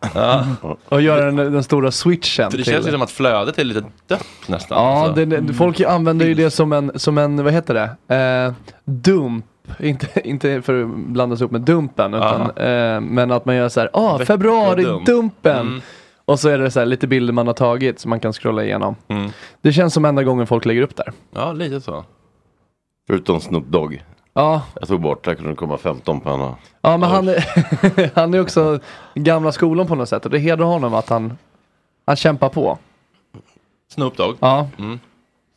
Speaker 6: Och göra den, den stora switchen.
Speaker 15: För det
Speaker 1: Det känns ju
Speaker 6: till-
Speaker 1: som att flödet är lite dött nästan.
Speaker 6: Ja,
Speaker 1: Alltså.
Speaker 6: det, det, folk använder ju det som en, som en vad heter det, eh, dump. Inte, inte för att blandas ihop med dumpen, utan, eh, men att man gör så här, ah,
Speaker 1: Veckodump.
Speaker 6: februari-dumpen.
Speaker 1: Mm.
Speaker 6: Och så är det så här, lite bilder man har tagit som man kan scrolla igenom. Det känns som enda gången folk lägger upp där.
Speaker 1: Mm. Ja, lite så.
Speaker 15: Förutom Snoop Dogg.
Speaker 6: Ja.
Speaker 15: Jag tog bort, där kunde det komma 15 på henne.
Speaker 6: Ja, men han, är- han är också gamla skolan på något sätt och det hedrar honom att han, han kämpar på.
Speaker 1: Snoop Dogg.
Speaker 6: Ja.
Speaker 1: Mm.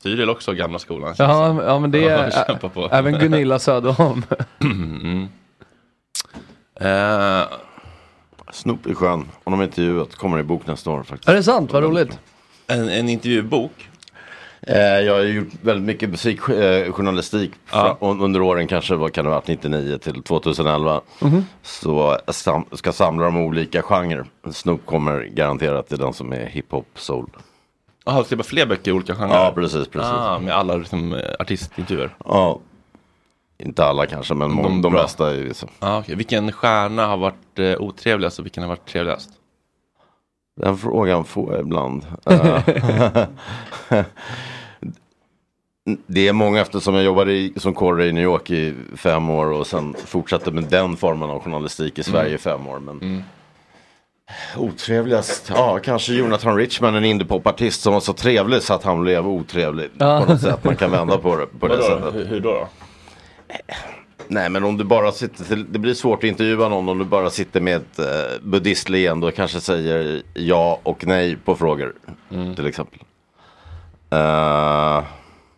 Speaker 1: Cyril också, gamla skolan.
Speaker 6: Ja, ja men det
Speaker 1: Ja, vi
Speaker 6: är
Speaker 1: kämpar på.
Speaker 6: även Gunilla Söderholm.
Speaker 1: Mm-hmm.
Speaker 15: mm. eh, Snoop är skön. Hon har intervjuat, kommer i bok nästa år faktiskt.
Speaker 6: Är det sant? Vad roligt.
Speaker 1: En, en intervjubok?
Speaker 15: Eh, jag har ju gjort väldigt mycket eh, musikjournalistik
Speaker 1: Ja.
Speaker 15: under åren kanske, vad kan det ha varit, 99 till 2011.
Speaker 1: Mhm.
Speaker 15: Så jag sam- ska samla de olika genrer. Snoop kommer garanterat till den som är hiphop, soul.
Speaker 1: Jaha, så det var fler böcker i olika Ah, genrer?
Speaker 15: Ja, precis, precis.
Speaker 1: Ah, med alla liksom, eh, artistintervjuer?
Speaker 15: Ja, inte alla kanske, men de, de,
Speaker 1: bra.
Speaker 15: bästa är ju så.
Speaker 1: Ja, Ah, okej. Vilken stjärna har varit eh, otrevligast och vilken har varit trevligast?
Speaker 15: Den frågan får jag ibland. Eh, det är många eftersom jag jobbade i, som kåre i New York i fem år och sen fortsatte med den formen av journalistik i Sverige i fem år. Men Otrevligast, ja kanske Jonathan Richman, en indiepopartist som var så trevlig så att han blev otrevlig
Speaker 1: Ja.
Speaker 15: på något sätt. Man kan vända på det på det
Speaker 1: Vadå då?
Speaker 15: sättet.
Speaker 1: Hur, hur då? då?
Speaker 15: Nej men om du bara sitter, till, det blir svårt att intervjua någon om du bara sitter med ett eh, buddhistleende och kanske säger ja och nej på frågor.
Speaker 1: Mm.
Speaker 15: Till exempel. Eh,